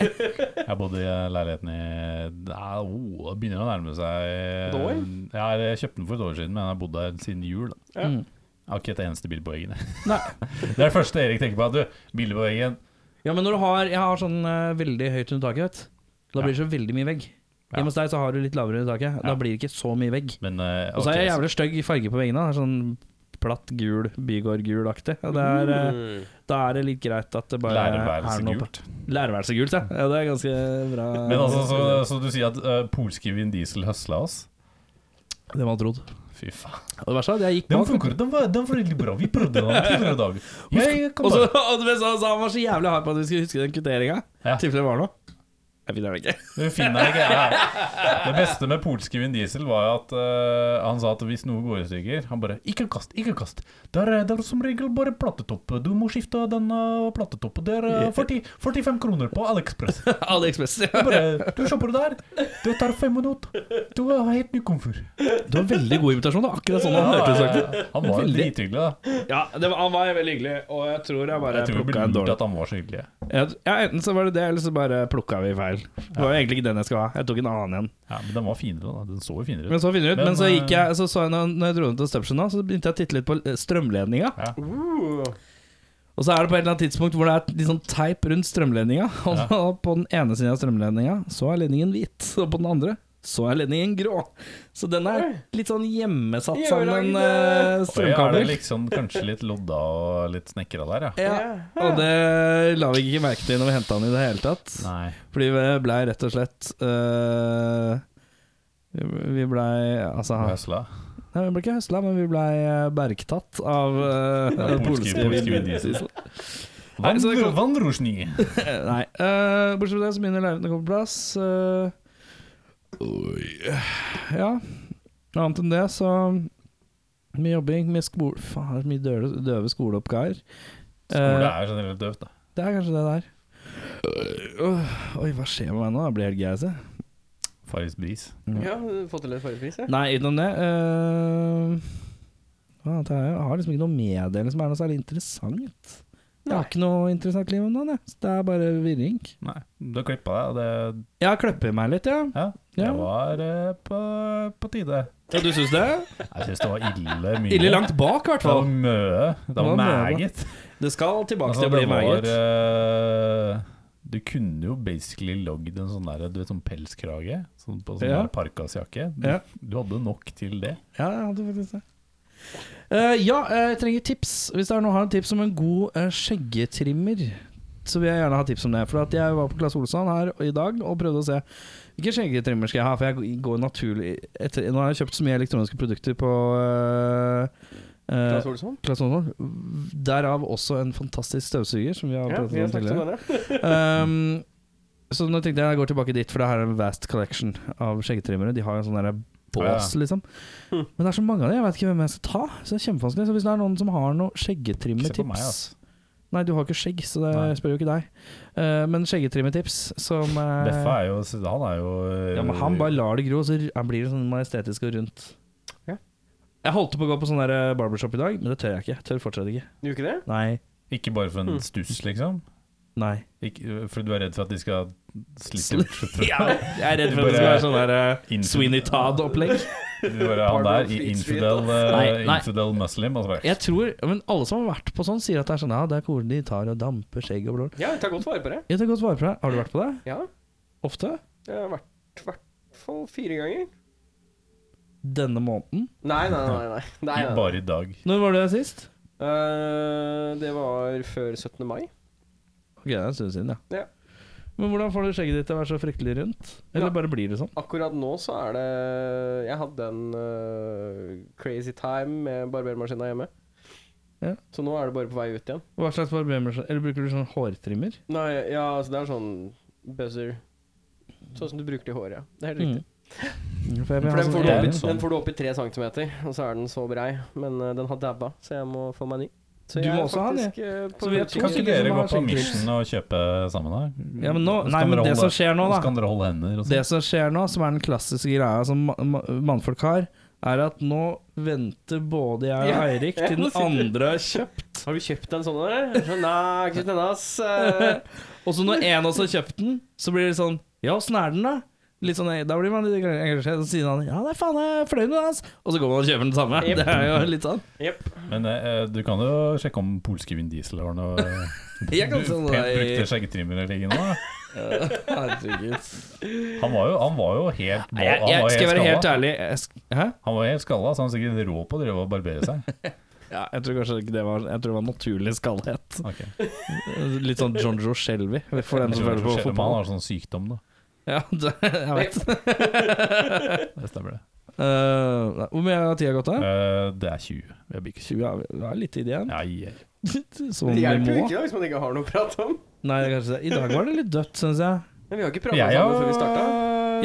[SPEAKER 3] Jeg bodde i leiligheten i Nei, oh, Det begynner å nærme seg
[SPEAKER 1] Et år?
[SPEAKER 3] Ja, jeg kjøpte den for et år siden, men jeg har bodd der siden jul. Da.
[SPEAKER 1] Ja.
[SPEAKER 2] Mm.
[SPEAKER 3] Jeg har ikke et eneste bilde på veggen. jeg.
[SPEAKER 2] Nei.
[SPEAKER 3] Det er det første Erik tenker på. Du, bilde på veggen.
[SPEAKER 2] Ja, men når du har Jeg har sånn øh, veldig høyt under taket, vet du. Da
[SPEAKER 3] Ja.
[SPEAKER 2] blir det så veldig mye vegg.
[SPEAKER 3] Ja.
[SPEAKER 2] Hjemme hos deg så har du litt lavere under taket. Da
[SPEAKER 3] Ja.
[SPEAKER 2] blir det ikke så mye vegg.
[SPEAKER 3] Men eh,
[SPEAKER 2] Og så er jeg
[SPEAKER 3] ok,
[SPEAKER 2] jævlig stygg i farge på veggene. da. Det er Sånn platt gul, bygård-gul-aktig. Og det er, øh,
[SPEAKER 1] Mm.
[SPEAKER 2] Da er det litt greit at det
[SPEAKER 3] så
[SPEAKER 2] bare er noe på-
[SPEAKER 3] Læreværelsegult.
[SPEAKER 2] Lærerværelse gult, ja. ja. Det er ganske bra.
[SPEAKER 3] Men altså, så, så du sier at eh, polske Vin Diesel høsla oss?
[SPEAKER 2] Det man trodd.
[SPEAKER 3] Fy faen.
[SPEAKER 2] Og det verste er at jeg gikk
[SPEAKER 3] Den
[SPEAKER 2] bak
[SPEAKER 3] funker, den var, den var veldig bra. Vi prøvde den tidligere i dag. Jeg kan
[SPEAKER 2] Og så
[SPEAKER 3] bare
[SPEAKER 2] og det beste var at han var så jævlig hard på at vi skulle huske den kvitteringa.
[SPEAKER 3] Ja.
[SPEAKER 2] I tilfelle det var noe. Jeg finner den ikke.
[SPEAKER 3] Du finner ikke ja. Det beste med polske Vin Diesel var jo at eh, han sa at hvis noe går i stykker Han bare 'Ikke kast, ikke kast'. Det er, det er som regel bare platetopp. Du må skifte den eh, platetoppen. Det er eh, 40, 45 kroner på AliExpress.
[SPEAKER 2] AliExpress.
[SPEAKER 3] Du Bare, du shopper der. Det tar fem minutter. Du har helt ny komfyr.
[SPEAKER 2] Du har veldig god invitasjon. Det var akkurat sånn han hørtes
[SPEAKER 3] Ja,
[SPEAKER 2] ut.
[SPEAKER 3] ja, ja. han var jo
[SPEAKER 2] Veldig.
[SPEAKER 3] drithyggelig, da.
[SPEAKER 2] Ja, det var, han var veldig hyggelig, og jeg tror jeg bare
[SPEAKER 3] Jeg tror det
[SPEAKER 2] plukka
[SPEAKER 3] blir
[SPEAKER 2] en
[SPEAKER 3] lurt
[SPEAKER 2] dårlig
[SPEAKER 3] at han var så hyggelig.
[SPEAKER 2] ja, ja, Enten så var det det, eller så bare plukka vi feil. Det var jo egentlig ikke den jeg skulle ha. Jeg tok en annen en.
[SPEAKER 3] Ja, Men den var finere, da. Den så jo finere
[SPEAKER 2] Men
[SPEAKER 3] ut.
[SPEAKER 2] så finner jeg ut.
[SPEAKER 3] Men,
[SPEAKER 2] Men så gikk
[SPEAKER 3] eh,
[SPEAKER 2] jeg Så så jeg når når jeg dro ned til Stubshen, da, så begynte jeg å titte litt på eh, strømledninga.
[SPEAKER 1] Uh.
[SPEAKER 2] Og så er det på et eller annet tidspunkt hvor det er litt sånn teip rundt strømledninga. Og da på den ene siden av strømledninga så er ledningen hvit, og på den andre så er ledningen grå. Så den er litt sånn hjemmesatt
[SPEAKER 1] Gjør
[SPEAKER 2] sammen
[SPEAKER 1] det.
[SPEAKER 2] eh,
[SPEAKER 3] Oi, er det
[SPEAKER 2] strømkabel.
[SPEAKER 3] liksom kanskje litt lodda og litt snekra der, ja?
[SPEAKER 2] Ja, og det la vi ikke merke til når vi henta den i det hele tatt.
[SPEAKER 3] Nei.
[SPEAKER 2] Fordi vi blei rett og slett eh, Vi blei altså
[SPEAKER 3] Høsla.
[SPEAKER 2] Nei, vi ble ikke høsla, men vi blei bergtatt av uh,
[SPEAKER 3] Av polske-
[SPEAKER 2] polske
[SPEAKER 3] polske Vin Diesel.
[SPEAKER 2] Nei, så det kom-
[SPEAKER 3] Vandrosjni.
[SPEAKER 2] Nei. eh, bortsett fra det så begynner leiligheten å komme på plass. eh, Ja. Annet enn det, så Mye jobbing, mye skole Faen, det er så mye døve, døve skoleoppgaver. Eh,
[SPEAKER 3] Hvor det er generelt døvt, da.
[SPEAKER 2] det er kanskje det der. Øh, oi, hva skjer med meg nå? Jeg blir helt gæren.
[SPEAKER 3] Farris bris.
[SPEAKER 1] Ja, fått til en forrige ja.
[SPEAKER 2] Nei, utenom det eh, hva annet har jeg? jeg har liksom ikke noe med det som er noe særlig interessant. Jeg har
[SPEAKER 1] Nei.
[SPEAKER 2] ikke noe interessant liv om dagen, jeg. Så det er bare virring.
[SPEAKER 3] Nei, du har klippa deg, og det
[SPEAKER 2] Jeg klipper meg litt, ja.
[SPEAKER 3] Ja. Det
[SPEAKER 2] Ja.
[SPEAKER 3] var eh, på, på tide.
[SPEAKER 2] ja du syns det?
[SPEAKER 3] Jeg syns det var ille mye.
[SPEAKER 2] Ille langt bak, i hvert
[SPEAKER 3] Det var
[SPEAKER 2] fall.
[SPEAKER 3] møe.
[SPEAKER 2] Det
[SPEAKER 3] Det
[SPEAKER 2] var
[SPEAKER 3] var
[SPEAKER 2] møe, da.
[SPEAKER 3] meget.
[SPEAKER 2] Det skal tilbake
[SPEAKER 3] Altså,
[SPEAKER 2] til å
[SPEAKER 3] det
[SPEAKER 2] bli
[SPEAKER 3] var
[SPEAKER 2] meget.
[SPEAKER 3] eh, Du kunne jo basically lagd en sånn der, du vet, sånn pelskrage sånn på sånn
[SPEAKER 2] Ja.
[SPEAKER 3] der parkasjakke. Du,
[SPEAKER 2] Ja.
[SPEAKER 3] du hadde nok til det.
[SPEAKER 2] Ja, jeg hadde faktisk det. Eh, ja, eh, jeg trenger tips. Hvis det er noen har en tips om en god eh, skjeggetrimmer, så vil jeg gjerne ha tips om det. For at jeg var på Claes Olsson her i dag og prøvde å se hvilken skjeggetrimmer skal jeg ha. For jeg går naturlig etter Nå har jeg kjøpt så mye elektroniske produkter på eh, eh,
[SPEAKER 1] Claes Olsson?
[SPEAKER 2] Claes Olsson. Derav også en fantastisk støvsuger, som vi har
[SPEAKER 1] Ja,
[SPEAKER 2] pratet
[SPEAKER 1] vi har
[SPEAKER 2] om
[SPEAKER 1] snakket om
[SPEAKER 2] tidligere.
[SPEAKER 1] denne.
[SPEAKER 2] Ehm, så nå tenkte jeg jeg går tilbake dit, for det her er en vast collection av skjeggetrimmere. De har jo en sånn der bås, liksom.
[SPEAKER 1] Hm.
[SPEAKER 2] Men det er så mange av dem, jeg vet ikke hvem jeg skal ta. Så det er kjempevanskelig. Så hvis det er noen som har noen
[SPEAKER 3] Ikke se på meg,
[SPEAKER 2] skjeggetrimmertips
[SPEAKER 3] ass.
[SPEAKER 2] Nei, du har ikke skjegg, så det
[SPEAKER 3] Nei.
[SPEAKER 2] jeg spør jo ikke deg. Eh, men skjeggetrimmertips som eh,
[SPEAKER 3] Beffa er jo Han er jo eh,
[SPEAKER 2] ja, men han bare lar det gro, så han blir det sånn majestetisk og rundt.
[SPEAKER 1] Ja.
[SPEAKER 2] Jeg holdt på å gå på sånn der barbershop i dag, men det tør jeg ikke. Jeg tør fortsatt ikke.
[SPEAKER 1] Gjorde ikke det?
[SPEAKER 2] Nei.
[SPEAKER 3] Ikke bare for en
[SPEAKER 2] Hmm.
[SPEAKER 1] Mm.
[SPEAKER 3] stuss, liksom?
[SPEAKER 2] Nei.
[SPEAKER 3] Ikke, for du er redd for at de skal
[SPEAKER 2] Sl-
[SPEAKER 3] slite bort fra
[SPEAKER 2] Ja, jeg er redd for at det skal
[SPEAKER 3] Bare-
[SPEAKER 2] være sånn der eh,
[SPEAKER 3] Innfø-
[SPEAKER 2] Sweeney Todd-opplegg.
[SPEAKER 3] Du bare
[SPEAKER 1] Pardon,
[SPEAKER 3] han der, i
[SPEAKER 1] Fleet Street,
[SPEAKER 3] infidel, eh,
[SPEAKER 2] Nei, nei.
[SPEAKER 3] infidel muslim. altså, Og så bare,
[SPEAKER 2] Jeg tror, men Alle som har vært på sånn, sier at det er sånn Ja, det er hvor de tar og damper skjegg og blå.
[SPEAKER 1] Ja, jeg tar godt vare på det.
[SPEAKER 2] Jeg tar godt vare på deg. Har du vært på det?
[SPEAKER 1] Ja,
[SPEAKER 2] Ofte?
[SPEAKER 1] det har vært i hvert fall fire ganger.
[SPEAKER 2] Denne måneden?
[SPEAKER 1] Nei, nei, nei. nei, nei, nei.
[SPEAKER 3] Bare i dag.
[SPEAKER 2] Når var det sist?
[SPEAKER 1] Eh, det var før 17. mai.
[SPEAKER 2] Ok, det er en stund siden, ja.
[SPEAKER 1] Ja.
[SPEAKER 2] Men hvordan får du skjegget ditt til å være så fryktelig rundt? Eller
[SPEAKER 1] Ja.
[SPEAKER 2] bare blir det sånn?
[SPEAKER 1] Akkurat nå så er det Jeg hadde en eh, crazy time med barbermaskina hjemme.
[SPEAKER 2] Ja.
[SPEAKER 1] Så nå er det bare på vei ut igjen.
[SPEAKER 2] Hva slags barbermaskin Eller bruker du sånn hårtrimmer?
[SPEAKER 1] Nei, ja, altså det er sånn buzzer. Sånn som du bruker til håret, ja. Det er helt riktig.
[SPEAKER 2] Mm. For jeg
[SPEAKER 1] For
[SPEAKER 2] vil ha
[SPEAKER 1] den
[SPEAKER 2] sånn
[SPEAKER 1] får, du opp,
[SPEAKER 2] egen-
[SPEAKER 1] i- den får du opp i tre centimeter, og så er den så brei. Men eh, den har dabba, så jeg må få meg ny. Så
[SPEAKER 2] Du
[SPEAKER 1] jeg
[SPEAKER 2] må
[SPEAKER 1] er
[SPEAKER 2] også ha den,
[SPEAKER 1] faktisk, eh, på
[SPEAKER 2] Så vi er
[SPEAKER 1] utkikk.
[SPEAKER 2] to
[SPEAKER 3] Kan ikke
[SPEAKER 2] stykker
[SPEAKER 3] dere
[SPEAKER 2] som
[SPEAKER 3] gå
[SPEAKER 2] har
[SPEAKER 3] på
[SPEAKER 2] skjenker.
[SPEAKER 3] Mission og kjøpe sammen her?
[SPEAKER 2] Ja, men nå,
[SPEAKER 3] Så
[SPEAKER 2] nei,
[SPEAKER 3] kan
[SPEAKER 2] men
[SPEAKER 3] dere
[SPEAKER 2] det
[SPEAKER 3] holde-
[SPEAKER 2] som skjer nå,
[SPEAKER 3] Så
[SPEAKER 2] da
[SPEAKER 3] kan dere holde hender og
[SPEAKER 2] Det
[SPEAKER 3] sånn.
[SPEAKER 2] som skjer nå, som er den klassiske greia som ma- ma- mannfolk har, er at nå venter både jeg og
[SPEAKER 1] Ja.
[SPEAKER 2] Eirik til den andre har kjøpt.
[SPEAKER 1] Har du kjøpt en sånn, eller? Så, Nei, jeg har ikke kjøpt denne, ass. Eh,
[SPEAKER 2] Og så når en av oss har kjøpt den, så blir det sånn Ja, åssen er den, da? Litt sånn, Da blir man litt engasjert, og så sier han ja, nei, faen, jeg er fornøyd med den, ass. Og så går man og kjøper den samme.
[SPEAKER 1] Jep.
[SPEAKER 2] Det er jo litt sånn.
[SPEAKER 1] Jepp.
[SPEAKER 3] Men eh, du kan jo sjekke om polske Vin Diesel har noe eh,
[SPEAKER 2] Jeg kan
[SPEAKER 3] Du-
[SPEAKER 2] sånn,
[SPEAKER 3] pent brukte
[SPEAKER 2] nei.
[SPEAKER 3] skjeggetrimmer eller lignende.
[SPEAKER 2] Herregud.
[SPEAKER 3] Han var jo, han var jo helt
[SPEAKER 2] Nei, jeg,
[SPEAKER 3] han var
[SPEAKER 2] jeg, skal jeg være helt
[SPEAKER 3] skalla.
[SPEAKER 2] ærlig jeg sk- Hæ?
[SPEAKER 3] Han var helt skalla, så han var sikkert rå på å drive og barbere seg.
[SPEAKER 2] Ja, jeg tror kanskje ikke det var Jeg tror det var naturlig skallhet.
[SPEAKER 3] Ok.
[SPEAKER 2] Litt sånn John Joe Shelby, for den som
[SPEAKER 3] Jeg tror
[SPEAKER 2] følger på
[SPEAKER 3] kanskje
[SPEAKER 2] fotball.
[SPEAKER 3] Han har sånn sykdom, da.
[SPEAKER 2] Ja, det, jeg vet
[SPEAKER 3] Det stemmer det.
[SPEAKER 2] Eh, nei, Hvor mye har tida gått da?
[SPEAKER 3] Eh, det er 20. Vi har bikket 20.
[SPEAKER 2] 20 er, det er litt tid igjen
[SPEAKER 3] Ja, yeah.
[SPEAKER 2] Som
[SPEAKER 1] Det
[SPEAKER 2] vi
[SPEAKER 1] hjelper jo
[SPEAKER 2] må
[SPEAKER 1] ikke da, hvis man ikke har noe å prate om.
[SPEAKER 2] Nei, kanskje det I dag var det litt dødt, synes jeg
[SPEAKER 1] Men vi har ikke prata
[SPEAKER 3] Jeg
[SPEAKER 1] sammen
[SPEAKER 3] har
[SPEAKER 1] før vi starta.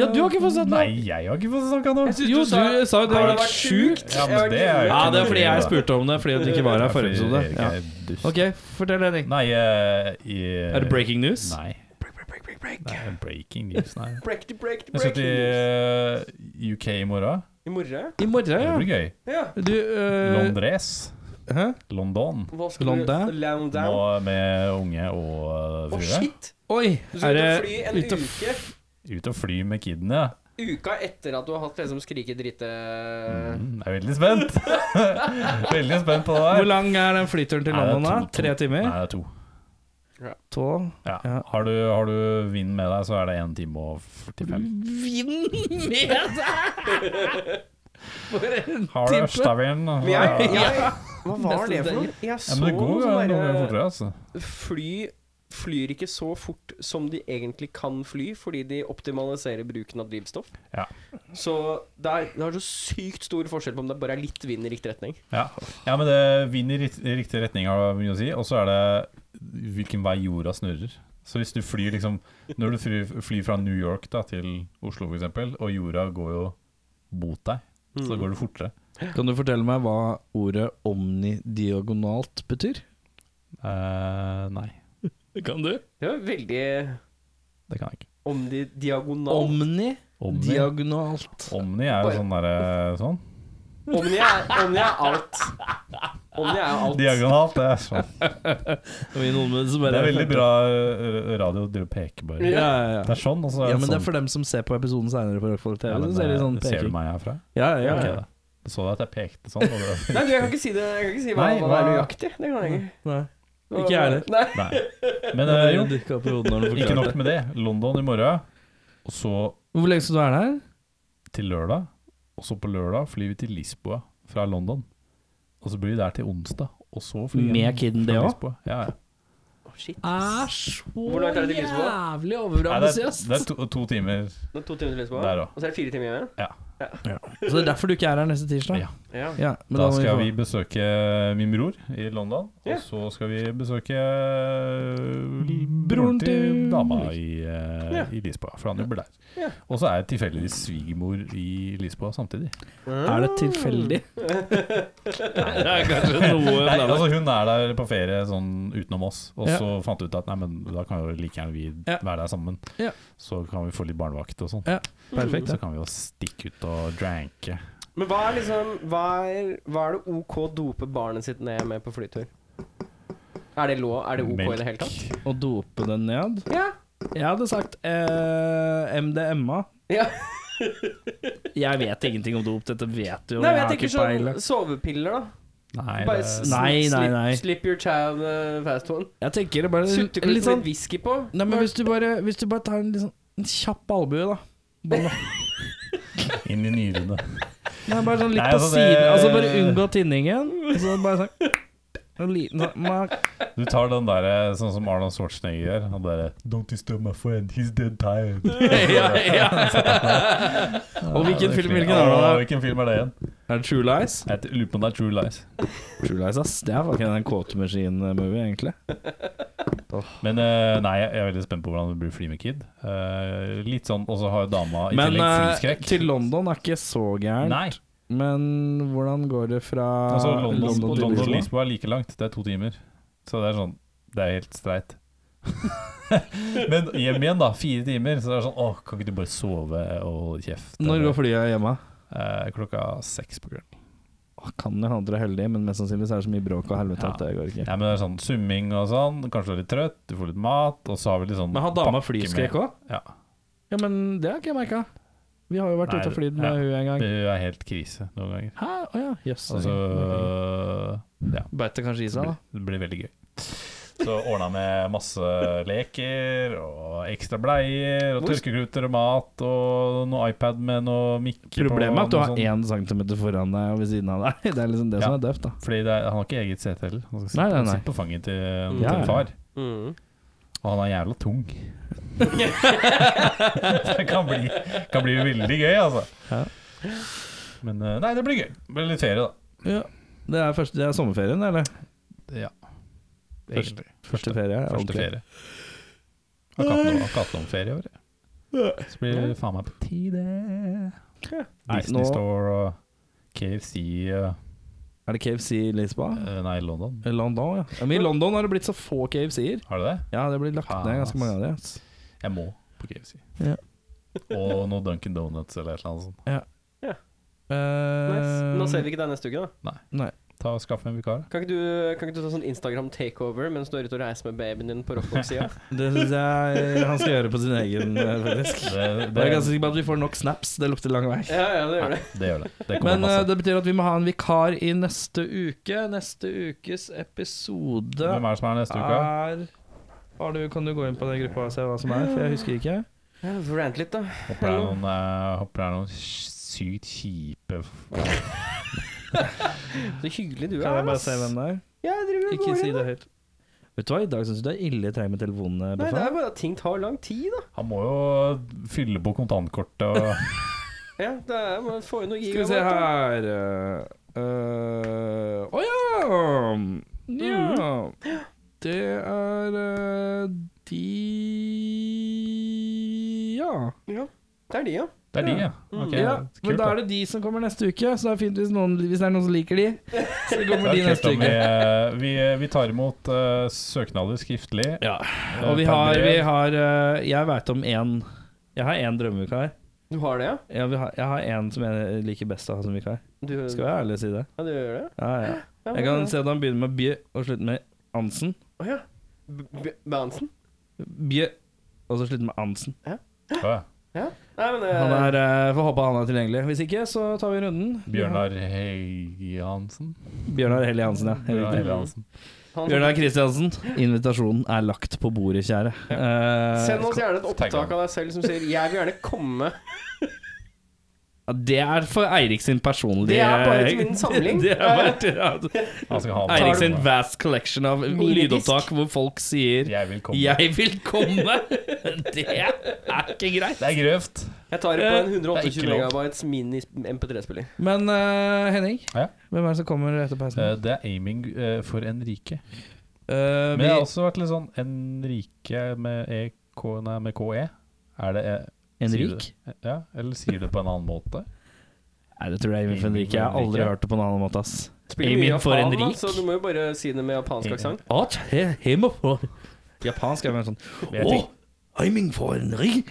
[SPEAKER 2] Ja, du har ikke fått sett noe.
[SPEAKER 3] Nei, jeg har ikke fått snakka nå.
[SPEAKER 1] Jeg synes
[SPEAKER 2] Jo,
[SPEAKER 1] du sa-
[SPEAKER 2] du sa jo det
[SPEAKER 1] Nei,
[SPEAKER 2] var
[SPEAKER 1] det
[SPEAKER 2] helt sjukt
[SPEAKER 3] Ja, men det er jo
[SPEAKER 2] Ja,
[SPEAKER 3] ikke
[SPEAKER 2] det er fordi
[SPEAKER 3] noe-
[SPEAKER 2] jeg spurte om det Fordi du ikke var her i forrige episode
[SPEAKER 3] Erik
[SPEAKER 2] ja.
[SPEAKER 3] er dust.
[SPEAKER 2] Ok, fortell Henrik
[SPEAKER 3] Nei eh, i,
[SPEAKER 2] Er det breaking news?
[SPEAKER 3] Nei.
[SPEAKER 1] Break, break, break, break, break.
[SPEAKER 3] Det er breaking news, nei.
[SPEAKER 1] Break the break the
[SPEAKER 3] Jeg skal
[SPEAKER 1] break.
[SPEAKER 3] til eh, UK i morgen.
[SPEAKER 1] I morgen?
[SPEAKER 2] I morgen,
[SPEAKER 3] Det
[SPEAKER 2] ja
[SPEAKER 3] blir gøy.
[SPEAKER 1] Ja.
[SPEAKER 2] Du, eh,
[SPEAKER 3] Londres.
[SPEAKER 2] Hæ?
[SPEAKER 3] London.
[SPEAKER 1] Hva skal
[SPEAKER 2] London?
[SPEAKER 1] du London?
[SPEAKER 3] Nå
[SPEAKER 1] Å, med
[SPEAKER 3] med unge og eh, frue.
[SPEAKER 1] shit!
[SPEAKER 2] Oi,
[SPEAKER 1] Du
[SPEAKER 2] er
[SPEAKER 1] skal
[SPEAKER 2] det
[SPEAKER 1] ut og fly en
[SPEAKER 2] ut og f-
[SPEAKER 1] uke
[SPEAKER 3] Ut og fly med kidene. ja.
[SPEAKER 1] Uka etter at du har hatt liksom eh, skrike drite...
[SPEAKER 3] Mm, jeg er veldig spent. veldig spent på det
[SPEAKER 2] Hvor
[SPEAKER 3] der.
[SPEAKER 2] lang er den flyturen til
[SPEAKER 3] Nei, det er
[SPEAKER 2] London da?
[SPEAKER 3] to- to-
[SPEAKER 2] Tre timer?
[SPEAKER 3] Nei, det er to.
[SPEAKER 2] To?
[SPEAKER 3] Ja.
[SPEAKER 2] Ja.
[SPEAKER 3] Har, du, har du vind med deg, så er det 1 time og 45.
[SPEAKER 1] Mm,
[SPEAKER 2] Vinn med deg! For en
[SPEAKER 3] Har du
[SPEAKER 2] tippe.
[SPEAKER 3] Østavind?
[SPEAKER 1] Men jeg,
[SPEAKER 3] Ja,
[SPEAKER 1] jeg, hva var det for noe? Jeg så
[SPEAKER 3] men det går jo
[SPEAKER 1] sånn
[SPEAKER 3] noe
[SPEAKER 1] derre-
[SPEAKER 3] fortere, altså.
[SPEAKER 1] Fly flyr ikke så fort som de egentlig kan fly, fordi de optimaliserer bruken av drivstoff.
[SPEAKER 3] Ja.
[SPEAKER 1] Så det er, det er så sykt stor forskjell på om det bare er litt vind i riktig retning.
[SPEAKER 3] Ja. ja, men det vind i rikt- i riktig retning har mye å si. Og så er det hvilken vei jorda snurrer. Så hvis du flyr liksom Når du flyr, flyr fra New York da, til Oslo f.eks., og jorda går jo mot deg,
[SPEAKER 1] Mm.
[SPEAKER 3] så
[SPEAKER 2] Mm.
[SPEAKER 3] da går det fortere.
[SPEAKER 2] Kan du fortelle meg hva ordet omnidiagonalt betyr?
[SPEAKER 3] Eh, nei,
[SPEAKER 2] Kan du?
[SPEAKER 1] Det var veldig
[SPEAKER 3] det kan jeg ikke.
[SPEAKER 1] om de diagonal...
[SPEAKER 2] Omnidiagonalt.
[SPEAKER 3] Omni, Omni er jo sånn derre sånn.
[SPEAKER 1] Omni er, omni er alt. Omni er alt.
[SPEAKER 3] Diagonalt, det er sånn. Det er veldig bra eh, radio å drive og peke bare.
[SPEAKER 2] Ja, ja,
[SPEAKER 3] Det
[SPEAKER 2] ja.
[SPEAKER 3] er sånn, og så er
[SPEAKER 2] ja,
[SPEAKER 3] det
[SPEAKER 2] men
[SPEAKER 3] sånn.
[SPEAKER 2] det er for dem som ser på episoden seinere på Rockfolk TV.
[SPEAKER 3] Ja, men,
[SPEAKER 2] så ser de
[SPEAKER 3] eh,
[SPEAKER 2] sånn
[SPEAKER 3] ser du
[SPEAKER 2] peking.
[SPEAKER 3] meg herfra?
[SPEAKER 2] Ja, ja,
[SPEAKER 3] Ok,
[SPEAKER 2] ja.
[SPEAKER 3] da. Du så at jeg pekte sånn? Og det
[SPEAKER 1] Nei, du, jeg kan ikke si det Jeg kan ikke si hva,
[SPEAKER 3] Nei,
[SPEAKER 1] hva det er
[SPEAKER 3] hva-
[SPEAKER 1] nøyaktig. Det kan jeg ikke.
[SPEAKER 2] Nei. Ikke jeg heller.
[SPEAKER 1] Nei.
[SPEAKER 3] Nei. Men
[SPEAKER 2] Det
[SPEAKER 3] eh, jo,
[SPEAKER 2] dukket opp i hodet når du
[SPEAKER 3] ikke
[SPEAKER 2] forklarte
[SPEAKER 3] nok
[SPEAKER 2] det.
[SPEAKER 3] med det. London i morgen, og så
[SPEAKER 2] Hvor lenge skal du være der?
[SPEAKER 3] til lørdag. Og så på lørdag flyr vi til Lisboa fra London. Og så blir vi der til onsdag, og så flyr vi
[SPEAKER 2] Med kiden,
[SPEAKER 3] fra
[SPEAKER 2] det også?
[SPEAKER 3] Lisboa. Ja, ja.
[SPEAKER 1] Å, shit.
[SPEAKER 2] Er så
[SPEAKER 1] Hvor langt er det til Lisboa?
[SPEAKER 3] Nei, det er, det er to, to timer.
[SPEAKER 1] Nå er det to timer til Lisboa,
[SPEAKER 3] Der også.
[SPEAKER 1] og så er det fire timer igjen?
[SPEAKER 2] Så det er derfor du ikke er her neste tirsdag?
[SPEAKER 3] Ja.
[SPEAKER 1] Ja.
[SPEAKER 2] Ja, men
[SPEAKER 3] Da
[SPEAKER 2] må
[SPEAKER 3] skal
[SPEAKER 2] få-
[SPEAKER 3] vi besøke min bror i London.
[SPEAKER 1] Ja.
[SPEAKER 3] Og så skal vi besøke eh,
[SPEAKER 2] Broren
[SPEAKER 3] broren til
[SPEAKER 2] til
[SPEAKER 3] dama i, eh,
[SPEAKER 1] Ja.
[SPEAKER 3] i Lisboa, for han jobber der.
[SPEAKER 1] Ja.
[SPEAKER 3] Og så er jeg tilfeldigvis svigermor i Lisboa samtidig.
[SPEAKER 2] Er det tilfeldig? det er kanskje noe
[SPEAKER 3] Nei, altså Hun er der på ferie sånn utenom oss, og
[SPEAKER 2] Ja.
[SPEAKER 3] så fant vi ut at nei, men da kan jo like gjerne vi
[SPEAKER 2] Ja.
[SPEAKER 3] være der sammen.
[SPEAKER 2] Ja.
[SPEAKER 3] Så kan vi få litt barnevakt og sånn.
[SPEAKER 2] Ja, perfekt,
[SPEAKER 3] Så kan vi jo stikke ut og dranke.
[SPEAKER 1] Men hva er liksom hva er, hva er det OK å dope barnet sitt ned med på flytur? Er det lov? Er det OK i det hele tatt?
[SPEAKER 2] Å dope den ned?
[SPEAKER 1] Ja.
[SPEAKER 2] Jeg hadde sagt eh, MDMA.
[SPEAKER 1] ja.
[SPEAKER 2] Jeg vet ingenting om dop, dette vet du jo.
[SPEAKER 1] Nei, men jeg
[SPEAKER 2] jeg har
[SPEAKER 1] tenker
[SPEAKER 2] ikke
[SPEAKER 1] sånn
[SPEAKER 2] peiling.
[SPEAKER 1] sovepiller, da.
[SPEAKER 3] Nei,
[SPEAKER 1] Bare
[SPEAKER 3] det,
[SPEAKER 1] s-
[SPEAKER 2] Nei, nei, nei.
[SPEAKER 1] Slip, slip your child uh, fast one.
[SPEAKER 2] Jeg tenker det bare
[SPEAKER 1] Sutteklut med
[SPEAKER 2] litt
[SPEAKER 1] sånn.
[SPEAKER 2] sånn
[SPEAKER 1] whisky på.
[SPEAKER 2] Nei, men hvis du bare, hvis du bare tar en, litt sånn, en kjapp albue, da. Bare,
[SPEAKER 3] inn i nyrene.
[SPEAKER 2] nei, bare sånn litt
[SPEAKER 3] Nei,
[SPEAKER 2] på
[SPEAKER 3] altså, det-
[SPEAKER 2] siden. Altså bare unngå tinningen. Og så bare sånn en liten sånn mak-
[SPEAKER 3] Du tar den der sånn som Arnold Schwarzenegger gjør. Han derre Don't disturb my friend, he's dead tired.
[SPEAKER 2] ja, ja. Og hvilken film- hvilken er det?
[SPEAKER 3] Åh, hvilken film er det igjen?
[SPEAKER 2] Er det True Lies?
[SPEAKER 3] Jeg t- lurer på om det er True Lies.
[SPEAKER 2] True Lies, ass. Det er faktisk en quote machine-movie, egentlig.
[SPEAKER 3] Men eh, nei, jeg er veldig spent på hvordan det blir Fly med Kid. Eh, litt sånn, Og så har dama i
[SPEAKER 2] Men
[SPEAKER 3] tillegg
[SPEAKER 2] eh,
[SPEAKER 3] flyskrekk.
[SPEAKER 2] til London er ikke så gærent.
[SPEAKER 3] Nei,
[SPEAKER 2] Men hvordan går det fra
[SPEAKER 3] altså London, London,
[SPEAKER 2] til
[SPEAKER 3] og
[SPEAKER 2] Lisboa?
[SPEAKER 3] Lisboa er like langt. Det er to timer. Så det er sånn Det er helt streit. Men hjem igjen, da. Fire timer. Så det er sånn Åh, kan ikke du bare sove og holde kjeft?
[SPEAKER 2] Når
[SPEAKER 3] Eller,
[SPEAKER 2] går flyet hjemme?
[SPEAKER 3] eh, klokka seks på kvelden.
[SPEAKER 2] Å, Kan jo hende dere er heldige, men mest sannsynlig så er det så mye bråk og helvete
[SPEAKER 3] Ja.
[SPEAKER 2] at det går ikke.
[SPEAKER 3] Ja, men det er sånn summing og sånn. Kanskje du er litt trøtt, du får litt mat, og så har vi litt sånn
[SPEAKER 2] Men har dama
[SPEAKER 3] pakke med-
[SPEAKER 2] flyskrekk òg?
[SPEAKER 3] Ja.
[SPEAKER 2] ja, men det har ikke jeg merka. Vi har jo vært
[SPEAKER 3] Nei,
[SPEAKER 2] ute og flydd med
[SPEAKER 3] ja.
[SPEAKER 2] hun en gang.
[SPEAKER 3] Det er helt krise noen ganger.
[SPEAKER 2] Hæ? Å ja, jøss.
[SPEAKER 3] Altså Ja.
[SPEAKER 2] Beit det kanskje i
[SPEAKER 3] Det
[SPEAKER 2] seg, da?
[SPEAKER 3] blir, det blir veldig gøy. Så ordna med masse leker og ekstra bleier og
[SPEAKER 1] Hvor-
[SPEAKER 3] tørkekluter og mat og noe iPad med noe mikke på.
[SPEAKER 2] Problemet er at du
[SPEAKER 3] noe
[SPEAKER 2] har én
[SPEAKER 3] sånn.
[SPEAKER 2] centimeter foran deg og ved siden av deg. Det er liksom det
[SPEAKER 3] Ja.
[SPEAKER 2] som er døvt, da.
[SPEAKER 3] Fordi det er, han har ikke eget sete heller. Han skal sitte,
[SPEAKER 2] Nei, nei, nei.
[SPEAKER 3] sitte på fanget til,
[SPEAKER 1] Ja,
[SPEAKER 3] til
[SPEAKER 2] ja.
[SPEAKER 3] far.
[SPEAKER 1] Mm.
[SPEAKER 3] Og han er jævla tung. det kan bli, kan bli veldig gøy, altså.
[SPEAKER 2] Ja.
[SPEAKER 3] Men eh, nei, det blir gøy. Det blir litt ferie, da.
[SPEAKER 2] Ja. Det er, første, det er sommerferien, eller?
[SPEAKER 3] Ja.
[SPEAKER 2] Første-
[SPEAKER 3] Egentlig.
[SPEAKER 2] Første ferie? ja,
[SPEAKER 3] Første
[SPEAKER 2] ok.
[SPEAKER 3] ferie. Har ikke hatt noe- har ikke hatt noen ferie i år. jeg. Så blir det faen meg på tide.
[SPEAKER 2] Nei,
[SPEAKER 3] Disney
[SPEAKER 2] nå-
[SPEAKER 3] Store og KFC eh,
[SPEAKER 2] Er det KFC i Lisboa?
[SPEAKER 3] Nei, London.
[SPEAKER 2] Eh, London, ja. ja. Men i London har det blitt så få KFC-er.
[SPEAKER 3] Har du det?
[SPEAKER 2] Ja, det blir lagt ned ganske mange av de. ass.
[SPEAKER 3] Jeg må på KFC.
[SPEAKER 2] Ja.
[SPEAKER 3] og noe Duncan Donuts eller et eller annet sånt.
[SPEAKER 1] Nice. Nå
[SPEAKER 2] Eh,
[SPEAKER 1] ser vi ikke deg neste uke, da.
[SPEAKER 2] Nei.
[SPEAKER 3] Ta og Skaff en vikar.
[SPEAKER 1] Kan ikke du, kan ikke du ta sånn Instagram takeover mens du er ute og reiser med babyen din på rockebox-sida?
[SPEAKER 2] Det syns jeg han skal gjøre på sin egen, eh, faktisk.
[SPEAKER 3] Det, det,
[SPEAKER 2] Jeg er ganske sikker på at vi får nok snaps. Det lukter lang vei.
[SPEAKER 1] ja, ja, det gjør det.
[SPEAKER 3] det gjør det. Det kommer
[SPEAKER 2] Men eh,
[SPEAKER 3] masse.
[SPEAKER 2] det betyr at vi må ha en vikar i neste uke. Neste ukes episode
[SPEAKER 3] Hvem er det som er neste uke?
[SPEAKER 2] er har du, Kan du gå inn på den gruppa og se hva som er? For jeg husker ikke.
[SPEAKER 1] Ja, vi får Rant litt, da.
[SPEAKER 3] Håper det er noen, eh, håper det er noen sykt kjipe
[SPEAKER 1] Så hyggelig du er.
[SPEAKER 2] Kan jeg bare
[SPEAKER 1] ass.
[SPEAKER 2] se hvem det er?
[SPEAKER 1] Ja, jeg driver og
[SPEAKER 2] Ikke
[SPEAKER 1] går
[SPEAKER 2] si
[SPEAKER 1] inn,
[SPEAKER 2] det høyt. Vet du hva, i dag syns du det er ille treig med eh, telefonene,
[SPEAKER 1] da. Nei, det
[SPEAKER 2] Beffa.
[SPEAKER 1] er bare at ting tar lang tid, da.
[SPEAKER 3] Han må jo fylle på kontantkortet og
[SPEAKER 1] Ja, det er, man får jo noe
[SPEAKER 2] Skal vi se her eh, eh, Å
[SPEAKER 1] Mm.
[SPEAKER 2] ja! Ja. Det er eh, de Ja.
[SPEAKER 1] Ja, det er de, ja.
[SPEAKER 3] Det er de, ja.
[SPEAKER 1] Mm.
[SPEAKER 3] Ok,
[SPEAKER 2] ja.
[SPEAKER 3] kult,
[SPEAKER 2] Men da er det de som kommer neste uke, så det er fint hvis, noen, hvis det er noen som liker de. Så
[SPEAKER 3] Det
[SPEAKER 2] kommer
[SPEAKER 3] er
[SPEAKER 2] de
[SPEAKER 3] kult
[SPEAKER 2] neste
[SPEAKER 3] om
[SPEAKER 2] uke.
[SPEAKER 3] Vi, vi, vi tar imot eh, søknader skriftlig.
[SPEAKER 2] Ja.
[SPEAKER 3] eh,
[SPEAKER 2] Og vi
[SPEAKER 3] per
[SPEAKER 2] har, vi
[SPEAKER 3] brev.
[SPEAKER 2] har eh, Jeg veit om én Jeg har én drømmevikar.
[SPEAKER 1] Du har det, ja?
[SPEAKER 2] Jeg, vil ha- jeg har én som jeg liker best å ha som vikar.
[SPEAKER 1] Du,
[SPEAKER 2] Skal jeg være ærlig og si det?
[SPEAKER 1] Ja, du gjør det?
[SPEAKER 2] Ja, ja.
[SPEAKER 1] Ja, men-
[SPEAKER 2] Jeg kan se at han begynner med Bjø og slutter med Ansen.
[SPEAKER 1] Å ja. B- B- Bansen?
[SPEAKER 2] Bjø Og så slutter med Ansen.
[SPEAKER 3] Å, ja.
[SPEAKER 1] Ja. Nei, men eh,
[SPEAKER 2] Han er, eh, Får håpe han er tilgjengelig. Hvis ikke, så tar vi runden.
[SPEAKER 3] Bjørnar Heiansen.
[SPEAKER 2] Bjørnar Helly Hansen, ja. Helt
[SPEAKER 3] Bjørnar
[SPEAKER 2] riktig.
[SPEAKER 3] Heiansen.
[SPEAKER 1] han-
[SPEAKER 2] Bjørnar Kristiansen, invitasjonen er lagt på bordet, kjære. Eh,
[SPEAKER 1] Send oss gjerne et
[SPEAKER 3] Tagg
[SPEAKER 1] opptak
[SPEAKER 3] han.
[SPEAKER 1] av deg selv som sier 'jeg vil gjerne komme'.
[SPEAKER 2] ja, det er for Eirik sin personlige
[SPEAKER 1] Det er bare til min samling.
[SPEAKER 2] Det er bare til, ja.
[SPEAKER 3] Han skal ha
[SPEAKER 2] Eirik sin vast collection av
[SPEAKER 1] Minidisk.
[SPEAKER 2] lydopptak hvor folk sier
[SPEAKER 3] Jeg vil komme.
[SPEAKER 2] 'jeg vil komme'. Det er ikke greit.
[SPEAKER 3] Det er grøvt.
[SPEAKER 1] Jeg tar det på
[SPEAKER 2] Eh,
[SPEAKER 1] en 128
[SPEAKER 3] Det er ikke lov.
[SPEAKER 1] megabytes mini-MP3-spiller.
[SPEAKER 2] Men eh, Henning,
[SPEAKER 3] Ja.
[SPEAKER 2] hvem er det som kommer etter pausen?
[SPEAKER 3] Eh, Det er aiming eh, for Enrique.
[SPEAKER 2] Eh,
[SPEAKER 3] Men
[SPEAKER 2] vi,
[SPEAKER 3] det har også vært litt sånn Enrique med EK, nei, med KE. Er det eh, sier
[SPEAKER 2] Henrik?
[SPEAKER 3] du det? Ja, eller sier du det på en annen måte?
[SPEAKER 2] Nei, det tror jeg Eivind Henrik. Jeg har aldri hørt det på en annen måte, ass.
[SPEAKER 1] Spiller
[SPEAKER 2] Aim
[SPEAKER 1] mye
[SPEAKER 2] in for
[SPEAKER 1] japan, da,
[SPEAKER 2] Henrik.
[SPEAKER 1] så du må jo bare si det med japansk
[SPEAKER 3] Aim-
[SPEAKER 1] aksent.
[SPEAKER 2] At he, hemo for Japansk er vel sånn
[SPEAKER 3] Vet
[SPEAKER 2] Åh,
[SPEAKER 3] ikke.
[SPEAKER 2] aiming for en ring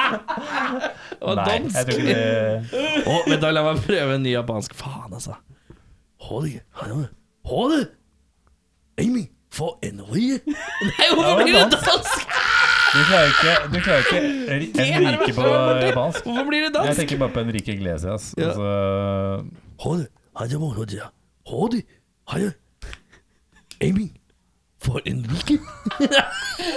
[SPEAKER 2] Og
[SPEAKER 3] Nei, jeg
[SPEAKER 2] dansk
[SPEAKER 3] tror ikke det
[SPEAKER 2] Åh, vent da, la meg prøve en ny japansk Faen altså Håde, håde, håde Aiming for en ring Nei, hvorfor
[SPEAKER 3] var
[SPEAKER 2] blir det dansk?
[SPEAKER 3] Du klarer ikke, du klarer ikke ri- Enrique på japansk.
[SPEAKER 2] Hvorfor blir det
[SPEAKER 3] Jeg
[SPEAKER 2] dansk?
[SPEAKER 3] tenker bare på Enrique Iglesias.
[SPEAKER 2] Ja.
[SPEAKER 3] Altså,
[SPEAKER 4] 허드 하자모 허드야 허드 하여 에이밍 for en week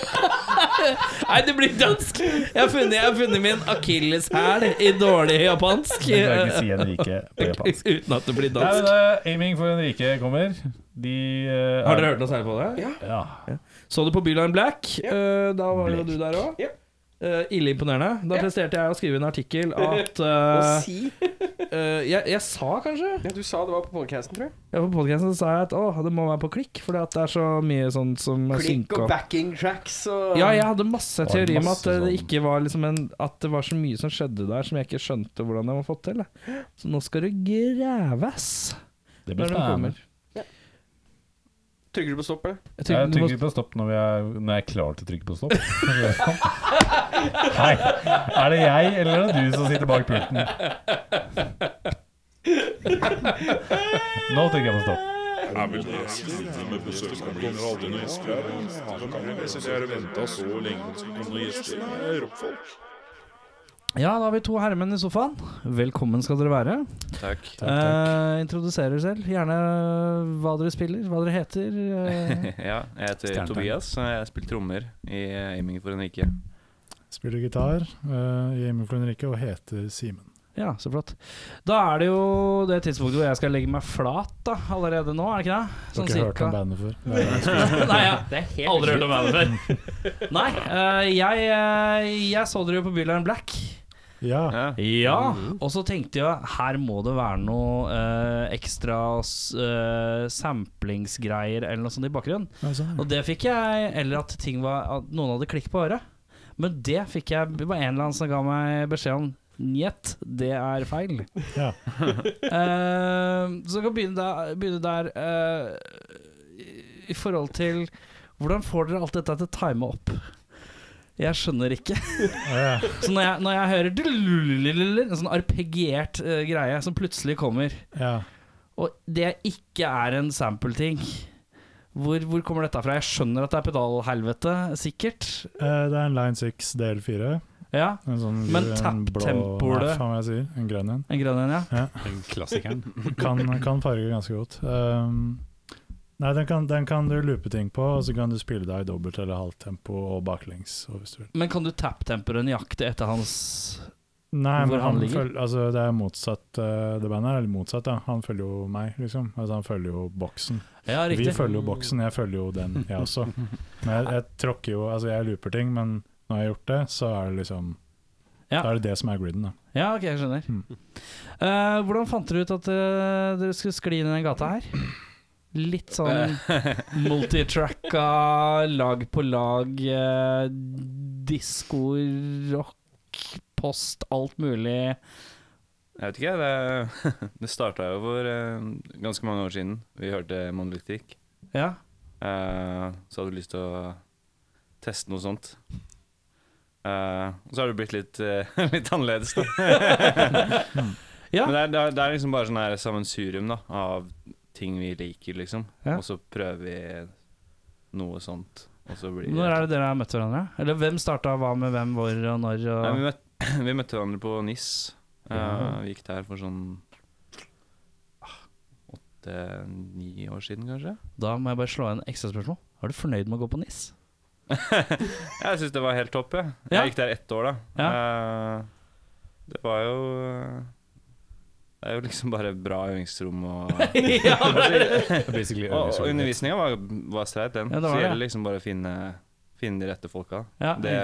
[SPEAKER 2] Nei, det blir dansk Jeg har funnet, jeg har funnet min akilleshæl I dårlig japansk
[SPEAKER 3] jeg klarer ikke å si Enrique på japansk.
[SPEAKER 2] Uten at det blir
[SPEAKER 3] Nei, men,
[SPEAKER 2] dansk
[SPEAKER 3] eh, aiming for Enrique kommer. De eh,
[SPEAKER 2] Har
[SPEAKER 3] er-
[SPEAKER 2] dere hørt noe særlig på det?
[SPEAKER 3] Ja.
[SPEAKER 2] Så du på Byline Black?
[SPEAKER 1] Ja.
[SPEAKER 2] eh, da var jo
[SPEAKER 3] Black.
[SPEAKER 2] du der òg.
[SPEAKER 1] Ja.
[SPEAKER 2] ille imponerende. Da
[SPEAKER 1] Ja.
[SPEAKER 2] presterte jeg å skrive en artikkel at
[SPEAKER 1] Og
[SPEAKER 2] eh,
[SPEAKER 1] si
[SPEAKER 2] eh, jeg, jeg sa kanskje
[SPEAKER 1] Ja, du sa det var på podcasten, tror jeg.
[SPEAKER 2] Ja, på podcasten så sa jeg at åh, det må være på klikk, fordi at det er så mye sånt som er
[SPEAKER 1] Klikk
[SPEAKER 2] synka.
[SPEAKER 1] og backing tracks og
[SPEAKER 2] Ja, jeg hadde masse
[SPEAKER 3] Var det
[SPEAKER 2] teori om at
[SPEAKER 3] masse
[SPEAKER 2] eh, det
[SPEAKER 3] sånn-
[SPEAKER 2] ikke var liksom en At det var så mye som skjedde der som jeg ikke skjønte hvordan jeg var fått til. da. Så nå skal det graves
[SPEAKER 3] Det
[SPEAKER 2] når
[SPEAKER 3] blir
[SPEAKER 2] de
[SPEAKER 3] spennende.
[SPEAKER 2] kommer.
[SPEAKER 1] Trykker du på stopp, eller?
[SPEAKER 2] Jeg
[SPEAKER 3] Jeg
[SPEAKER 2] trodde
[SPEAKER 3] trykker på stopp når jeg, når jeg er klar til å trykke på stopp. Hei, er det jeg eller er det du som sitter bak pulten? Nå trykker jeg på stopp.
[SPEAKER 2] Ja, da har vi to herremenn i sofaen. Velkommen skal dere være.
[SPEAKER 5] Takk.
[SPEAKER 2] Eh, introduser dere selv. Gjerne eh, hva dere spiller, hva dere heter. eh.
[SPEAKER 5] Ja, jeg heter
[SPEAKER 2] Stjernetegn.
[SPEAKER 5] Tobias, og jeg spiller trommer i Aiming for Henrike.
[SPEAKER 6] Spiller gitar eh, i Hjemme for Henrikke og heter Simen.
[SPEAKER 2] ja, så flott. Da er det jo det tidspunktet hvor jeg skal legge meg flat da, allerede nå, er det ikke det?
[SPEAKER 6] Har ikke hørt om bandet før.
[SPEAKER 2] Nei, ja. Aldri hørt om bandet før. Nei, eh, jeg, eh, jeg så dere jo på Bylarm Black.
[SPEAKER 6] Ja,
[SPEAKER 3] Ah.
[SPEAKER 5] Ja.
[SPEAKER 2] Ja, og så tenkte jeg her må det være noe eh, ekstra s- eh, samplingsgreier eller noe sånt i bakgrunnen.
[SPEAKER 6] det er sånn,
[SPEAKER 2] Og det fikk jeg, eller at, ting var, at noen hadde klikk på øret. Men det fikk jeg, det var en eller annen som ga meg beskjed om Njet, det er feil.
[SPEAKER 6] ja.
[SPEAKER 2] Eh, så kan vi begynne der, begynne der eh, i- i forhold til Hvordan får dere alt dette til å time opp? Jeg skjønner ikke.
[SPEAKER 6] Ja, ja.
[SPEAKER 2] Så når jeg, når jeg hører dululululul, en sånn arpegiert eh, greie som plutselig kommer,
[SPEAKER 6] ja.
[SPEAKER 2] og det ikke er en sample-ting hvor, hvor kommer dette fra? Jeg skjønner at det er pedalhelvete, sikkert.
[SPEAKER 6] Eh, det er en Line 6 del 4.
[SPEAKER 2] Ja,
[SPEAKER 6] En sånn
[SPEAKER 2] Men
[SPEAKER 6] en blå-
[SPEAKER 2] tapptempoet-
[SPEAKER 6] Nei, faen hva jeg sier. En grønn en.
[SPEAKER 2] en grønn en, ja.
[SPEAKER 5] Klassikeren.
[SPEAKER 6] Kan, kan farge ganske godt. Um, nei, den kan, den kan du loope ting på, og så kan du spille deg i dobbelt eller halvt tempo og baklengs. Og hvis du vil.
[SPEAKER 2] Men kan du tapptempere nøyaktig etter hans
[SPEAKER 6] Nei,
[SPEAKER 2] Hvor
[SPEAKER 6] men
[SPEAKER 2] han
[SPEAKER 6] han
[SPEAKER 2] ligger?
[SPEAKER 6] følger, altså, det er motsatt, eh, det bandet er eller motsatt, da. Han følger jo meg, liksom. Altså, han følger jo boksen.
[SPEAKER 2] Ja,
[SPEAKER 6] Vi
[SPEAKER 2] riktig.
[SPEAKER 6] følger jo boksen, jeg følger jo den, jeg også. Men jeg, jeg tråkker jo Altså, jeg looper ting, men når jeg har gjort det, så er det liksom
[SPEAKER 2] Ja.
[SPEAKER 6] Da er det det som er griden, da.
[SPEAKER 2] Ja, ok, jeg skjønner.
[SPEAKER 6] Mm.
[SPEAKER 2] Eh, hvordan fant dere ut at eh, dere skulle skli inn i den gata her? Litt sånn multitracka, lag på lag, uh, disko, rock, post, alt mulig.
[SPEAKER 5] Jeg vet ikke, det, det starta jo for eh, ganske mange år siden. Vi hørte Monolithic.
[SPEAKER 2] Ja.
[SPEAKER 5] Eh, så hadde vi lyst til å teste noe sånt. Eh, og så har det blitt litt, eh, litt annerledes, da.
[SPEAKER 2] Ja.
[SPEAKER 5] Men det er, det, er, det er liksom bare sånn her sammensurium da, av ting vi liker, liksom.
[SPEAKER 2] Ja.
[SPEAKER 5] Og så prøver vi noe sånt, og så blir
[SPEAKER 2] Når er det dere har møtt hverandre? Eller hvem starta hva med hvem, hvor og når? Og...
[SPEAKER 5] Nei, vi, møtte, vi møtte hverandre på NIS. Eh, vi gikk der for sånn åtte-ni år siden, kanskje.
[SPEAKER 2] Da må jeg bare slå inn ekstra spørsmål. Er du fornøyd med å gå på NIS?
[SPEAKER 5] Jeg syns det var helt topp, jeg. Jeg
[SPEAKER 2] Ja.
[SPEAKER 5] gikk der ett år, da. Eh, det var jo eh, Det er jo liksom bare bra øvingsrom og
[SPEAKER 2] ja,
[SPEAKER 3] Basically,
[SPEAKER 5] Og, og undervisninga var, var streit, den.
[SPEAKER 2] Ja, det
[SPEAKER 5] så
[SPEAKER 2] var
[SPEAKER 5] det
[SPEAKER 2] det.
[SPEAKER 5] gjelder liksom bare å finne, finne de rette folka.
[SPEAKER 2] ja.
[SPEAKER 5] Det,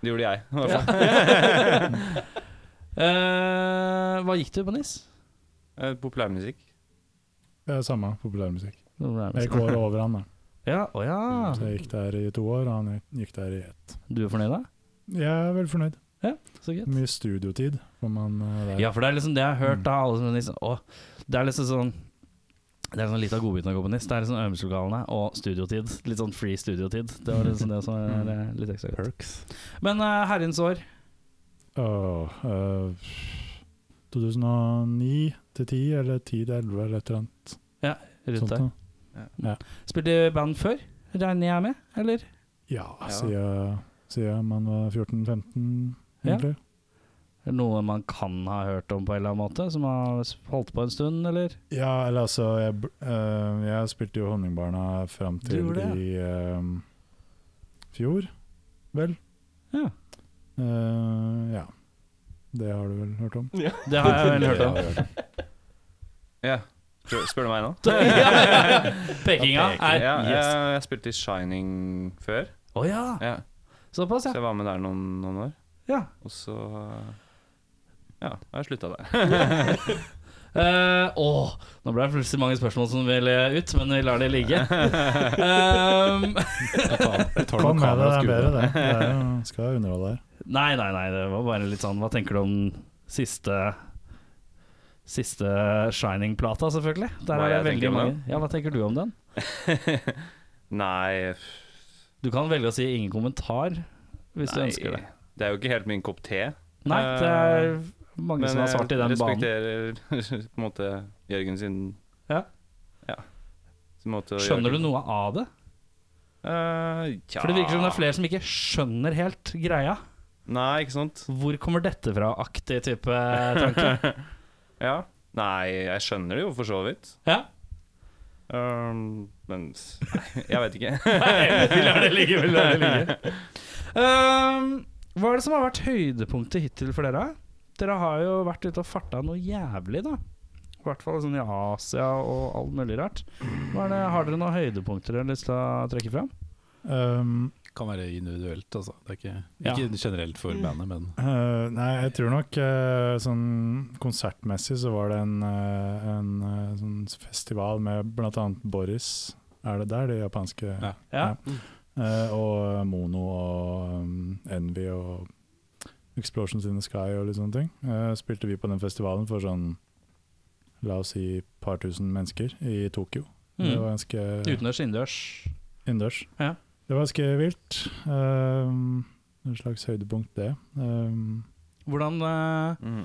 [SPEAKER 5] det gjorde jeg, i hvert fall.
[SPEAKER 2] Eh, hva gikk du på NIS?
[SPEAKER 5] Eh, Populærmusikk.
[SPEAKER 6] Det er samme populærmusikk.
[SPEAKER 2] Jeg
[SPEAKER 6] Jeg går over han, da.
[SPEAKER 2] Ja, å ja.
[SPEAKER 6] Så jeg gikk der i to år, og han gikk der i ett.
[SPEAKER 2] Du er fornøyd da?
[SPEAKER 6] Jeg er veldig fornøyd.
[SPEAKER 2] Så gøy.
[SPEAKER 6] Mye studiotid får man eh, der.
[SPEAKER 2] Ja, for det er liksom det jeg har hørt da alle som liksom, å, Det er liksom sånn Det er sånn litt av godbiten å gå på NIS. Det er liksom øvelseslokalene og studiotid. Litt sånn free studiotid. Det var liksom det som er eh, litt ekstra godt.
[SPEAKER 3] Perks.
[SPEAKER 2] Men eh, herrens år
[SPEAKER 6] Åh, eh, 2009 til 10, eller 10 til 11, eller et eller annet
[SPEAKER 2] rundt
[SPEAKER 6] sånt.
[SPEAKER 2] der.
[SPEAKER 6] da.
[SPEAKER 2] Spilte du band før? Regner jeg med, eller?
[SPEAKER 6] Ja, siden, siden man var 14-15,
[SPEAKER 2] Ja.
[SPEAKER 6] egentlig.
[SPEAKER 2] Er det Noe man kan ha hørt om på en eller annen måte? Som har holdt på en stund, eller?
[SPEAKER 6] Ja, eller altså Jeg, bl- eh, jeg spilte jo Honningbarna fram
[SPEAKER 2] Du
[SPEAKER 6] til
[SPEAKER 2] gjorde det,
[SPEAKER 6] i eh, fjor, vel.
[SPEAKER 2] Ja.
[SPEAKER 6] Eh, ja. Det har du vel hørt om?
[SPEAKER 2] Det har jeg vel hørt om.
[SPEAKER 5] Ja. Spør spør du meg nå?
[SPEAKER 2] Ja, ja, ja. Pekinga er
[SPEAKER 5] ja, jeg,
[SPEAKER 2] yes.
[SPEAKER 5] jeg spilte i Shining før.
[SPEAKER 2] Å ja,
[SPEAKER 5] Ja.
[SPEAKER 2] såpass,
[SPEAKER 5] Så
[SPEAKER 2] ja.
[SPEAKER 5] jeg var med der noen, noen år.
[SPEAKER 2] ja.
[SPEAKER 5] Og så Ja, jeg slutta der.
[SPEAKER 2] Eh, åh, nå ble det plutselig mange spørsmål som ville ut, men vi lar det ligge. Ehm,
[SPEAKER 6] Kom med det, det er bedre, det. det er jo, skal underholde her.
[SPEAKER 2] nei, nei, nei, det var bare litt sånn Hva tenker du om siste Siste Shining-plata, selvfølgelig? Der
[SPEAKER 5] Hva
[SPEAKER 2] er det
[SPEAKER 5] jeg tenker
[SPEAKER 2] veldig
[SPEAKER 5] om
[SPEAKER 2] mange
[SPEAKER 5] den?
[SPEAKER 2] Ja, Hva tenker du om den?
[SPEAKER 5] Nei,
[SPEAKER 2] Du kan velge å si ingen kommentar hvis du
[SPEAKER 5] nei,
[SPEAKER 2] ønsker det.
[SPEAKER 5] Det er jo ikke helt min kopp te.
[SPEAKER 2] Nei, det er mange som har
[SPEAKER 5] Eh, jeg
[SPEAKER 2] svart i den banen.
[SPEAKER 5] respekterer på en måte Jørgen sin
[SPEAKER 2] Ja.
[SPEAKER 5] ja. Sin måte å
[SPEAKER 2] Skjønner
[SPEAKER 5] gjøre
[SPEAKER 2] du noe av det?
[SPEAKER 5] Eh, tja.
[SPEAKER 2] For det virker som det er flere som ikke skjønner helt greia.
[SPEAKER 5] Nei, ikke sant?
[SPEAKER 2] Hvor kommer dette fra-aktig type tanke.
[SPEAKER 5] Ja. Nei, jeg skjønner det jo for så vidt.
[SPEAKER 2] Ja.
[SPEAKER 5] Um, men s- nei, jeg vet ikke.
[SPEAKER 2] Nei, vi lar det ligge, vi lar det ligge. Ehm, hva er det som har vært høydepunktet hittil for dere? Dere har jo vært ute og farta noe jævlig, da. I hvert fall sånn i Asia og alt mulig rart. Hva er det, har dere noen høydepunkter dere har lyst til å trekke fram?
[SPEAKER 6] Um,
[SPEAKER 3] Kan være individuelt, altså. Det er ikke,
[SPEAKER 2] Ja.
[SPEAKER 3] ikke generelt for bandet, men
[SPEAKER 6] eh, nei, jeg tror nok eh, sånn konsertmessig så var det en, eh, en eh, sånn festival med bl.a. Boris. Er det der, de japanske
[SPEAKER 3] Ja.
[SPEAKER 2] Ja.
[SPEAKER 6] Eh, og Mono og um, Envy og Explosions in the Sky og litt sånne ting. Eh, spilte vi på den festivalen for sånn La oss si et par tusen mennesker i Tokyo. Det
[SPEAKER 2] Mm.
[SPEAKER 6] var ganske
[SPEAKER 2] Utendørs, innendørs.
[SPEAKER 6] innendørs.
[SPEAKER 2] Ja.
[SPEAKER 6] Det var ganske vilt. Um, en slags høydepunkt, det. Um,
[SPEAKER 2] Hvordan, eh,
[SPEAKER 5] Mm.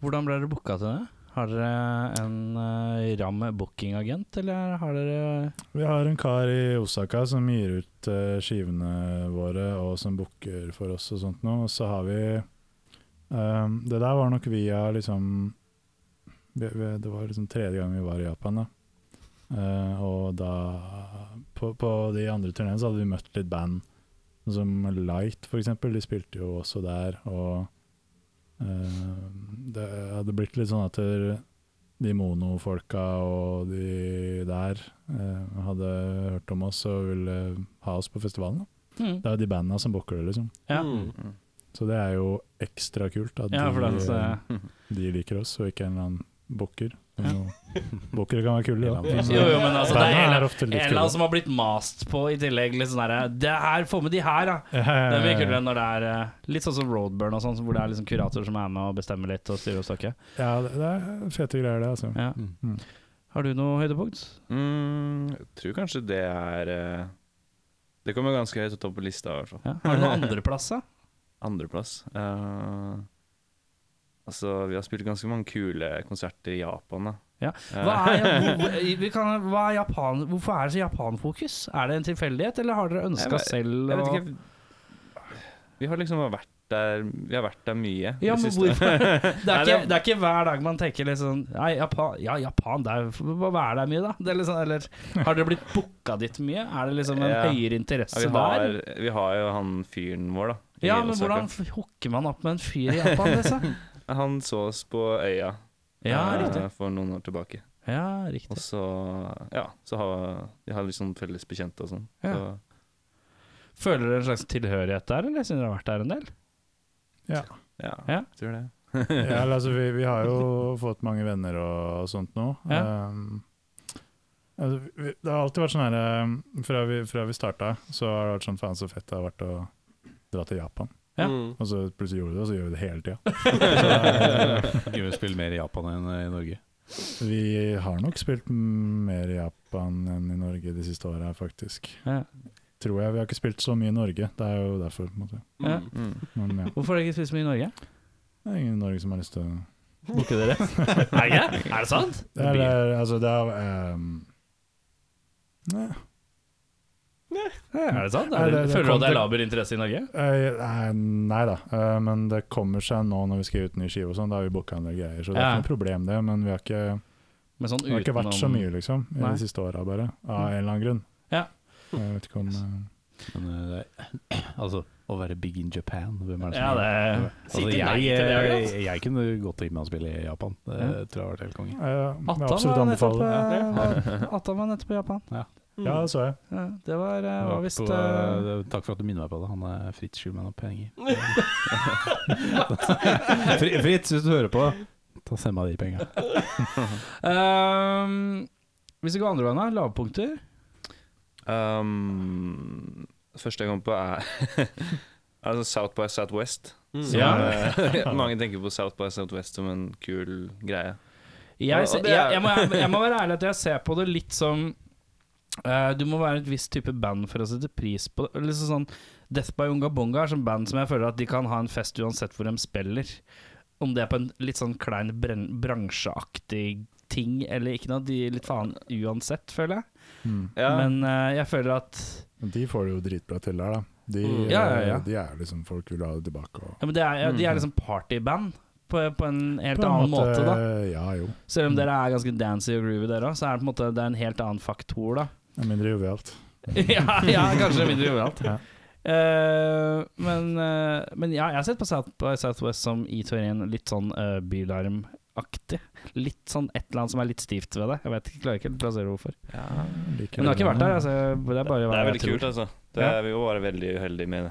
[SPEAKER 2] hvordan ble dere booka til det? Har dere en eh, ram bookingagent, eller har dere
[SPEAKER 6] vi har en kar i Osaka som gir ut eh, skivene våre, og som booker for oss og sånt noe. Og så har vi um, Det der var nok via liksom vi, vi, Det var liksom tredje gang vi var i Japan, da. Eh, og da På, på de andre turneene så hadde vi møtt litt band. Som Light, for eksempel. De spilte jo også der, og eh, Det hadde blitt litt sånn at der, de mono-folka og de der eh, hadde hørt om oss og ville ha oss på festivalen. Da.
[SPEAKER 2] Mm.
[SPEAKER 6] Det er jo de banda som booker det, liksom.
[SPEAKER 2] Ja.
[SPEAKER 1] Mm.
[SPEAKER 5] Mm.
[SPEAKER 6] Så det er jo ekstra kult at
[SPEAKER 2] ja, for eh,
[SPEAKER 6] de, eh,
[SPEAKER 2] det, er-
[SPEAKER 6] de liker oss, og ikke en eller annen booker. Bookere kan være kule, da. Men,
[SPEAKER 2] Jo, jo, men altså, det er
[SPEAKER 6] banda
[SPEAKER 2] hele-
[SPEAKER 6] ofte
[SPEAKER 2] En
[SPEAKER 6] litt
[SPEAKER 2] eller annen
[SPEAKER 6] kule.
[SPEAKER 2] som har blitt mast på i tillegg. Litt sånn derre, det her, Få med de her, da!
[SPEAKER 6] Ja,
[SPEAKER 2] Det
[SPEAKER 6] ja,
[SPEAKER 2] er mye kulere
[SPEAKER 6] ja,
[SPEAKER 2] enn når det er eh, litt sånn som roadburn og sånn, hvor det er liksom kurator som er med og bestemmer litt og styrer og stakker.
[SPEAKER 6] ja, det det er fete greier, det, altså.
[SPEAKER 2] Ja.
[SPEAKER 6] Mm.
[SPEAKER 2] Har du noe høydepunkt?
[SPEAKER 5] Mm, jeg tror kanskje det er eh, Det kommer ganske høyt opp på lista, i hvert fall.
[SPEAKER 2] Ja. Har du noen andreplass, da?
[SPEAKER 5] Andreplass. Eh, altså, vi har spilt ganske mange kule konserter i Japan, da.
[SPEAKER 2] Ja.
[SPEAKER 5] Eh,
[SPEAKER 2] Hva er, hvor- vi kan, hva er Japan, hvorfor er det så Japan-fokus? Er det en tilfeldighet, eller har dere
[SPEAKER 5] Jeg
[SPEAKER 2] ønska
[SPEAKER 5] vet-
[SPEAKER 2] selv?
[SPEAKER 5] jeg vet
[SPEAKER 2] og-
[SPEAKER 5] ikke Vi har liksom vært der Vi har vært der mye. i
[SPEAKER 2] Ja,
[SPEAKER 5] det
[SPEAKER 2] men
[SPEAKER 5] siste.
[SPEAKER 2] hvorfor? Det
[SPEAKER 5] Nei,
[SPEAKER 2] er,
[SPEAKER 5] det
[SPEAKER 2] ikke, det er ikke hver dag man tenker litt sånn Nei, Japan, ja, Japan det er, hva hva er det mye, da? Det er litt sånn, eller har dere blitt booka dit mye? Er det liksom en
[SPEAKER 5] Ja.
[SPEAKER 2] høyere interesse
[SPEAKER 5] Ja, vi,
[SPEAKER 2] der?
[SPEAKER 5] har, vi har jo han fyren vår, da. i
[SPEAKER 2] Ja, men
[SPEAKER 5] Osaka.
[SPEAKER 2] hvordan f- hooker man opp med en fyr i Japan, liksom?
[SPEAKER 5] Han så oss på øya
[SPEAKER 2] Ja,
[SPEAKER 5] eh,
[SPEAKER 2] riktig.
[SPEAKER 5] for noen år tilbake.
[SPEAKER 2] Ja,
[SPEAKER 5] Og
[SPEAKER 2] riktig.
[SPEAKER 5] så ja, så har vi har liksom felles bekjente og sånn.
[SPEAKER 2] Ja.
[SPEAKER 5] Så-
[SPEAKER 2] Føler dere en slags tilhørighet der, eller siden dere har vært der en del?
[SPEAKER 5] Ja,
[SPEAKER 2] Ja.
[SPEAKER 5] jeg tror det.
[SPEAKER 6] Ja, eller, altså, vi, vi har jo fått mange venner og, og sånt nå. Um, altså, vi, det har alltid vært sånn her um, Fra vi, fra vi starta, så har det vært sånn faen så fett det har vært å dra til Japan.
[SPEAKER 2] Ja.
[SPEAKER 1] Mm.
[SPEAKER 6] Og så plutselig gjorde vi det, og så gjør vi det hele tida.
[SPEAKER 3] Gud, eh, vi spiller mer i Japan enn i Norge.
[SPEAKER 6] Vi har nok spilt mer i Japan enn i Norge de siste åra, faktisk.
[SPEAKER 2] Ja.
[SPEAKER 6] Tror jeg. Vi har ikke spilt så mye i Norge, det er jo derfor. på en måte.
[SPEAKER 2] Ja.
[SPEAKER 5] Mm.
[SPEAKER 6] Men ja,
[SPEAKER 2] Hvorfor har dere ikke spist mye i Norge?
[SPEAKER 6] det er ingen i Norge som har lyst til å
[SPEAKER 2] Booker dere? er, det? ikke? er det sant?
[SPEAKER 6] Det er, det er- altså, det er um, Nei.
[SPEAKER 2] Er det sant?
[SPEAKER 6] Nei,
[SPEAKER 2] Er det,
[SPEAKER 6] det- det
[SPEAKER 2] føler du
[SPEAKER 6] kom-
[SPEAKER 2] at det er
[SPEAKER 6] det-
[SPEAKER 2] laber interesse i Norge?
[SPEAKER 6] Eh, nei, nei da, Eh, men det kommer seg nå når vi skal gi ut ny skive og sånn. Da har vi booka en del greier, så det er
[SPEAKER 2] Ja.
[SPEAKER 6] ikke noe problem det. Men vi har ikke,
[SPEAKER 2] Men sånn
[SPEAKER 6] det har ikke vært så mye, liksom, i
[SPEAKER 2] Nei. Mm.
[SPEAKER 6] de siste åra bare. Av en eller annen grunn.
[SPEAKER 2] Ja.
[SPEAKER 6] Jeg vet ikke om eh,
[SPEAKER 3] Men eh, det er, altså, å være big in Japan, hvem er det
[SPEAKER 2] Ja,
[SPEAKER 3] som
[SPEAKER 2] det
[SPEAKER 3] Altså,
[SPEAKER 1] Sitter
[SPEAKER 3] jeg,
[SPEAKER 1] nei til det,
[SPEAKER 3] jeg,
[SPEAKER 1] altså.
[SPEAKER 3] jeg kunne godt tenkt meg å spille i Japan. Det
[SPEAKER 2] Ja.
[SPEAKER 3] tror jeg har vært helt konge.
[SPEAKER 6] eh, Jeg vil
[SPEAKER 2] Attan
[SPEAKER 6] absolutt
[SPEAKER 2] var nettopp,
[SPEAKER 6] anbefale det.
[SPEAKER 2] eh, Attan var nettopp i Japan.
[SPEAKER 3] Ja.
[SPEAKER 6] Ja, det så jeg.
[SPEAKER 2] Ja, det var, eh, var visst
[SPEAKER 3] På,
[SPEAKER 2] eh,
[SPEAKER 3] eh, takk for at du minner meg på det. Han er Fritz Schulman og penger. Fri- Fritz, hvis du hører på, ta send meg de penga.
[SPEAKER 2] ehm, Hvis vi går andre veien her, lavpunkter.
[SPEAKER 5] Um, første jeg kom på, er altså South by Southwest.
[SPEAKER 1] Mm.
[SPEAKER 5] Som,
[SPEAKER 2] Ja.
[SPEAKER 5] eh, mange tenker på South by Southwest som en kul greie. Ja,
[SPEAKER 2] Jeg,
[SPEAKER 5] og
[SPEAKER 2] se-
[SPEAKER 5] det
[SPEAKER 2] jeg,
[SPEAKER 5] er-
[SPEAKER 2] jeg, må, jeg, må være ærlig at jeg ser på det litt som eh, Du må være et visst type band for å sette pris på det. Liksom sånn, Death by Unga Bonga er sånn band som jeg føler at de kan ha en fest uansett hvor de spiller. Om det er på en litt sånn klein bren bransjeaktig ting eller ikke noe. De gir litt faen uansett, føler jeg.
[SPEAKER 6] Mm.
[SPEAKER 5] Ja,
[SPEAKER 2] Men eh, jeg føler at
[SPEAKER 6] Men De får det jo dritbra til der, da. De,
[SPEAKER 1] Mm.
[SPEAKER 2] Ja, ja, ja.
[SPEAKER 6] de er liksom folk vil ha det tilbake. Og
[SPEAKER 2] ja, men det er, ja,
[SPEAKER 5] Mhm.
[SPEAKER 2] De er liksom partyband på, på en helt
[SPEAKER 6] På en
[SPEAKER 2] annen måte, da.
[SPEAKER 6] Ja Mm. jo.
[SPEAKER 2] Selv om dere er ganske dancy og groovy, dere òg, så er det på en måte det er en helt annen faktor, da.
[SPEAKER 6] Det er Mindre jovialt.
[SPEAKER 2] ja, ja, kanskje mindre overalt.
[SPEAKER 6] Ja.
[SPEAKER 2] Eh, men, eh, men ja, jeg har sett på South by Southwest som i teorien litt sånn uh, bylarmaktig. Litt sånn et eller annet som er litt stivt ved det. Jeg vet ikke, klarer ikke helt å plassere hvorfor.
[SPEAKER 6] Liker
[SPEAKER 2] Men jeg har ikke
[SPEAKER 6] det.
[SPEAKER 2] vært der, altså. Det er bare
[SPEAKER 5] det
[SPEAKER 2] hva
[SPEAKER 5] er
[SPEAKER 2] jeg
[SPEAKER 5] veldig
[SPEAKER 2] tror.
[SPEAKER 5] kult, altså. Det
[SPEAKER 2] Ja.
[SPEAKER 5] er, vi var bare veldig uheldige med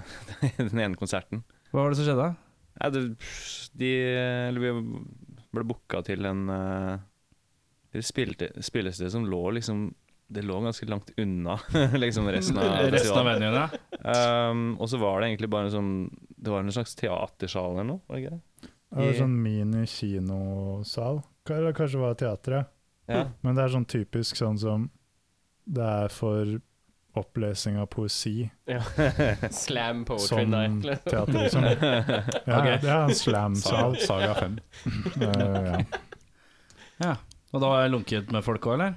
[SPEAKER 5] den ene konserten.
[SPEAKER 2] Hva var det som skjedde?
[SPEAKER 5] Nei, det, de eller vi ble booka til en eh, Til et spilte, spillested som lå liksom Det lå ganske langt unna liksom
[SPEAKER 3] eh,
[SPEAKER 5] resten av
[SPEAKER 2] Resten av
[SPEAKER 5] festivalen.
[SPEAKER 2] venuene?
[SPEAKER 5] Ehm, og så var det egentlig bare en sånn Det var en slags teatersal eller noe? Var det ikke det?
[SPEAKER 6] Det er sånn mini-kinosal. Ka- Eller kanskje det var teatret.
[SPEAKER 5] Ja.
[SPEAKER 6] Men det er sånn typisk sånn som det er for opplesning av poesi.
[SPEAKER 1] Slam poetry
[SPEAKER 6] Som
[SPEAKER 1] night. eller?
[SPEAKER 6] teater, liksom. Ja,
[SPEAKER 2] Ok.
[SPEAKER 6] Det er en slam-sal.
[SPEAKER 3] Saga 5.
[SPEAKER 6] Eh, ja.
[SPEAKER 2] Ja. Og da var jeg lunket med folk òg, eller?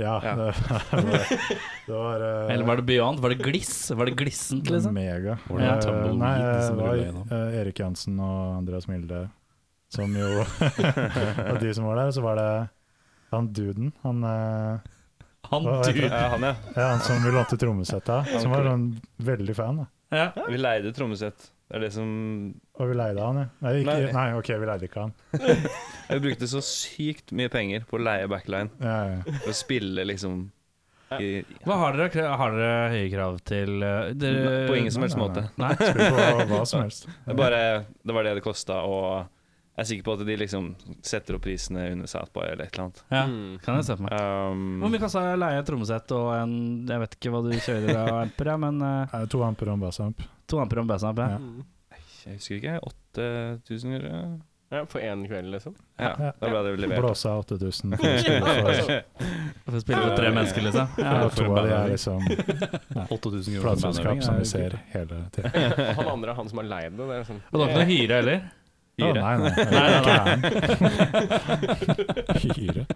[SPEAKER 6] Ja,
[SPEAKER 5] Ja.
[SPEAKER 6] det var, det var eh,
[SPEAKER 2] Eller var det beyond? Var det gliss? Var det glissent, liksom?
[SPEAKER 6] Mega.
[SPEAKER 3] Var det
[SPEAKER 2] Ja.
[SPEAKER 6] Eh,
[SPEAKER 3] tumbleweed
[SPEAKER 6] Nei, det
[SPEAKER 3] som
[SPEAKER 6] var
[SPEAKER 3] rullet gjennom?
[SPEAKER 6] eh, Erik Jansen og Andreas Milde som jo Av de som var der, så var det han duden. Han, eh,
[SPEAKER 2] Han
[SPEAKER 6] Hva heter
[SPEAKER 2] du
[SPEAKER 5] ja, han, ja.
[SPEAKER 6] ja, han som vi lånte trommesettet av, som var
[SPEAKER 5] kul.
[SPEAKER 6] sånn veldig fan. da.
[SPEAKER 2] ja.
[SPEAKER 5] Vi leide trommesett. Det er det som
[SPEAKER 6] Og vi leide han, ja. Nei,
[SPEAKER 5] Nei.
[SPEAKER 6] ikke, nei OK, vi leide ikke han.
[SPEAKER 5] Jeg brukte så sykt mye penger på å leie backline
[SPEAKER 6] Ja, ja.
[SPEAKER 5] for å spille liksom i,
[SPEAKER 2] Hva har dere? Har dere høye krav til eh, dere,
[SPEAKER 5] på ingen som helst
[SPEAKER 6] nei, nei.
[SPEAKER 5] måte.
[SPEAKER 2] Nei?
[SPEAKER 6] Skulle på hva som helst.
[SPEAKER 5] Det, er bare, det var det det kosta, og jeg er sikker på at de liksom setter opp prisene under Southby eller et eller annet.
[SPEAKER 2] Ja,
[SPEAKER 1] Mm.
[SPEAKER 2] kan jeg se for meg.
[SPEAKER 5] Um,
[SPEAKER 2] Hvor mye kosta det å leie et trommesett og en Jeg vet ikke hva du kjører av amper, ja, men eh,
[SPEAKER 6] Eh, To amper og en bassamp.
[SPEAKER 2] to amper og en bassamp. Ja.
[SPEAKER 6] Ja.
[SPEAKER 1] Mm.
[SPEAKER 5] jeg husker ikke. 8000 euro?
[SPEAKER 1] Ja, på én kveld, liksom.
[SPEAKER 5] Ja,
[SPEAKER 6] Ja.
[SPEAKER 5] da ble det levert.
[SPEAKER 6] Blåsa 8000. for å spille for-
[SPEAKER 2] For å spille for tre mennesker, liksom. Ja.
[SPEAKER 6] Ja, to av de er liksom
[SPEAKER 3] 8000 kroner for
[SPEAKER 6] plateselskap
[SPEAKER 3] bandøving,
[SPEAKER 6] som
[SPEAKER 3] er kult,
[SPEAKER 6] vi ser
[SPEAKER 3] da.
[SPEAKER 6] hele tiden.
[SPEAKER 1] Han andre, han som har leid det, det er sånn
[SPEAKER 2] Og det var ikke noe hyre heller?
[SPEAKER 6] Å,
[SPEAKER 5] Hyre.
[SPEAKER 6] nei, nei.
[SPEAKER 2] Nei, nei,
[SPEAKER 4] Hyre.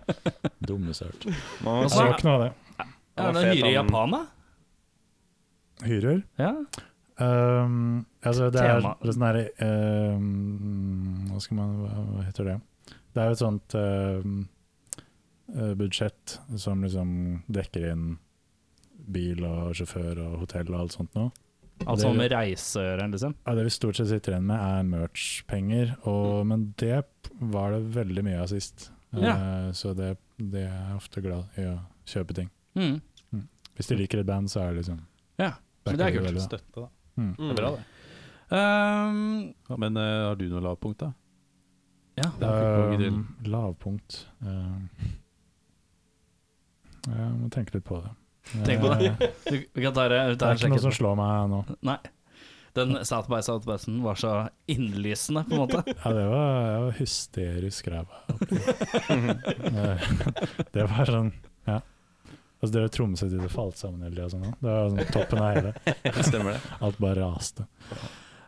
[SPEAKER 4] Dumme sørt.
[SPEAKER 5] Man
[SPEAKER 6] Jeg
[SPEAKER 5] må
[SPEAKER 6] så ikke noe av det.
[SPEAKER 2] Er det noe hyre i Japan, da?
[SPEAKER 6] Hyrer?
[SPEAKER 2] Ja.
[SPEAKER 6] Um, altså det er
[SPEAKER 2] Tema.
[SPEAKER 6] litt sånn her um, Hva skal man hva, hva heter det? Det er jo et sånt um, eh, budsjett som liksom dekker inn bil og sjåfør og hotell og alt sånt noe.
[SPEAKER 2] Altså med reiseøren, liksom?
[SPEAKER 6] Ja, det vi stort sett sitter igjen med, er merch-penger,
[SPEAKER 2] Mm.
[SPEAKER 6] og- men det p- var det veldig mye av sist. Eh,
[SPEAKER 2] Ja.
[SPEAKER 6] så det, det er jeg ofte glad i å kjøpe ting.
[SPEAKER 2] Mm.
[SPEAKER 6] Hvis de liker et band, så er det liksom
[SPEAKER 2] Ja, men det er
[SPEAKER 6] backer
[SPEAKER 2] kult.
[SPEAKER 6] veldig, da.
[SPEAKER 3] Støtte, da.
[SPEAKER 6] Mm.
[SPEAKER 3] Det er bra, det.
[SPEAKER 2] Ehm,
[SPEAKER 3] Ja, men eh, har du noe lavpunkt, da?
[SPEAKER 2] ja.
[SPEAKER 3] Det er ikke
[SPEAKER 6] Um, lavpunkt um, Jeg må tenke litt på det.
[SPEAKER 2] Tenk på det.
[SPEAKER 6] Eh,
[SPEAKER 2] Du, vi kan ta det, vi
[SPEAKER 6] Det
[SPEAKER 2] tar
[SPEAKER 6] er
[SPEAKER 2] en
[SPEAKER 6] ikke noe som
[SPEAKER 2] sjekk.
[SPEAKER 6] slår meg nå.
[SPEAKER 2] Nei. Den South by Southwesten var så innlysende, på en måte.
[SPEAKER 6] Ja, det var, jeg var hysterisk ræva. oppi. Eh, det var sånn Ja. Altså, det var trommesettet ditt falt sammen hele tida. Sånn, da. det var sånn toppen av hele.
[SPEAKER 5] Stemmer det.
[SPEAKER 6] Alt bare raste.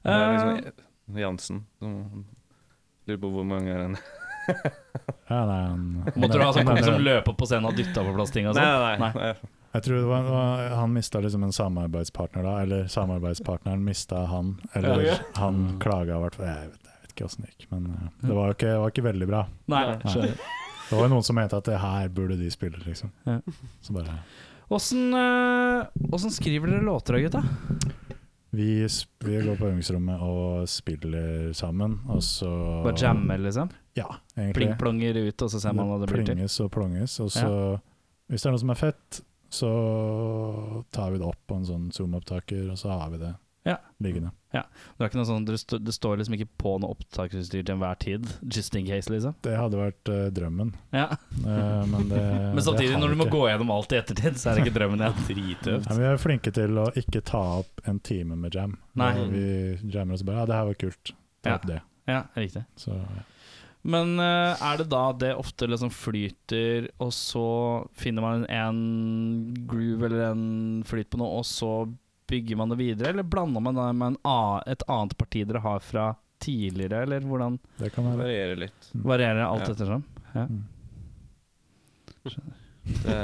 [SPEAKER 5] det er liksom Jansen som lurer på hvor mange er den
[SPEAKER 6] Ja, nei, han,
[SPEAKER 2] Måtte du ha sånn kompis som løp opp på scenen og dytta på plass ting og
[SPEAKER 5] Nei,
[SPEAKER 2] sånn?
[SPEAKER 5] nei, nei.
[SPEAKER 6] Jeg tror det var, det var, han mista liksom en samarbeidspartner da, eller samarbeidspartneren mista han, eller
[SPEAKER 1] Ja.
[SPEAKER 6] han klaga i hvert fall. Jeg vet, jeg vet ikke åssen det gikk, men eh, det var jo ikke, det var ikke veldig bra.
[SPEAKER 2] Nei.
[SPEAKER 6] Nei. Det var jo noen som mente at det her burde de spille, liksom.
[SPEAKER 2] Ja.
[SPEAKER 6] Så bare
[SPEAKER 2] Åssen eh, åssen skriver dere låter da, gutta?
[SPEAKER 6] vi, sp- vi går på øvingsrommet og spiller sammen, og så
[SPEAKER 2] Bare jammer, liksom?
[SPEAKER 6] Ja, egentlig.
[SPEAKER 2] Pling-plonger ut, og så ser man hva det blir til?
[SPEAKER 6] plinges og plonges, og så Hvis det er noe som er fett, så tar vi det opp på en sånn Zoom-opptaker, og så har vi det
[SPEAKER 2] Ja.
[SPEAKER 6] liggende.
[SPEAKER 2] Det, er ikke noe sånn, det, står, det står liksom ikke på noe opptaksutstyr til enhver tid, just in case, liksom.
[SPEAKER 6] Det hadde vært eh, drømmen,
[SPEAKER 2] Ja.
[SPEAKER 6] eh, men det
[SPEAKER 2] Men
[SPEAKER 6] det
[SPEAKER 2] samtidig,
[SPEAKER 6] har
[SPEAKER 2] når
[SPEAKER 6] vi
[SPEAKER 2] du må
[SPEAKER 6] ikke.
[SPEAKER 2] gå gjennom alt i ettertid, så er det ikke drømmen igjen.
[SPEAKER 6] ja, men Vi er flinke til å ikke ta opp en time med jam.
[SPEAKER 2] Nei.
[SPEAKER 6] Vi jammer oss bare Ja, det her var kult. Ta
[SPEAKER 2] Ja.
[SPEAKER 6] opp det.
[SPEAKER 2] Ja, riktig.
[SPEAKER 6] Så, ja.
[SPEAKER 2] Men eh, er det da det ofte liksom flyter, og så finner man en groove eller en flyt på noe, og så bygger man det videre, eller blander man det med en a et annet parti dere har fra tidligere, eller hvordan
[SPEAKER 6] det kan være
[SPEAKER 5] Varierer litt.
[SPEAKER 2] varierer det alt
[SPEAKER 5] Ja.
[SPEAKER 2] ettersom? Mm.
[SPEAKER 5] Det,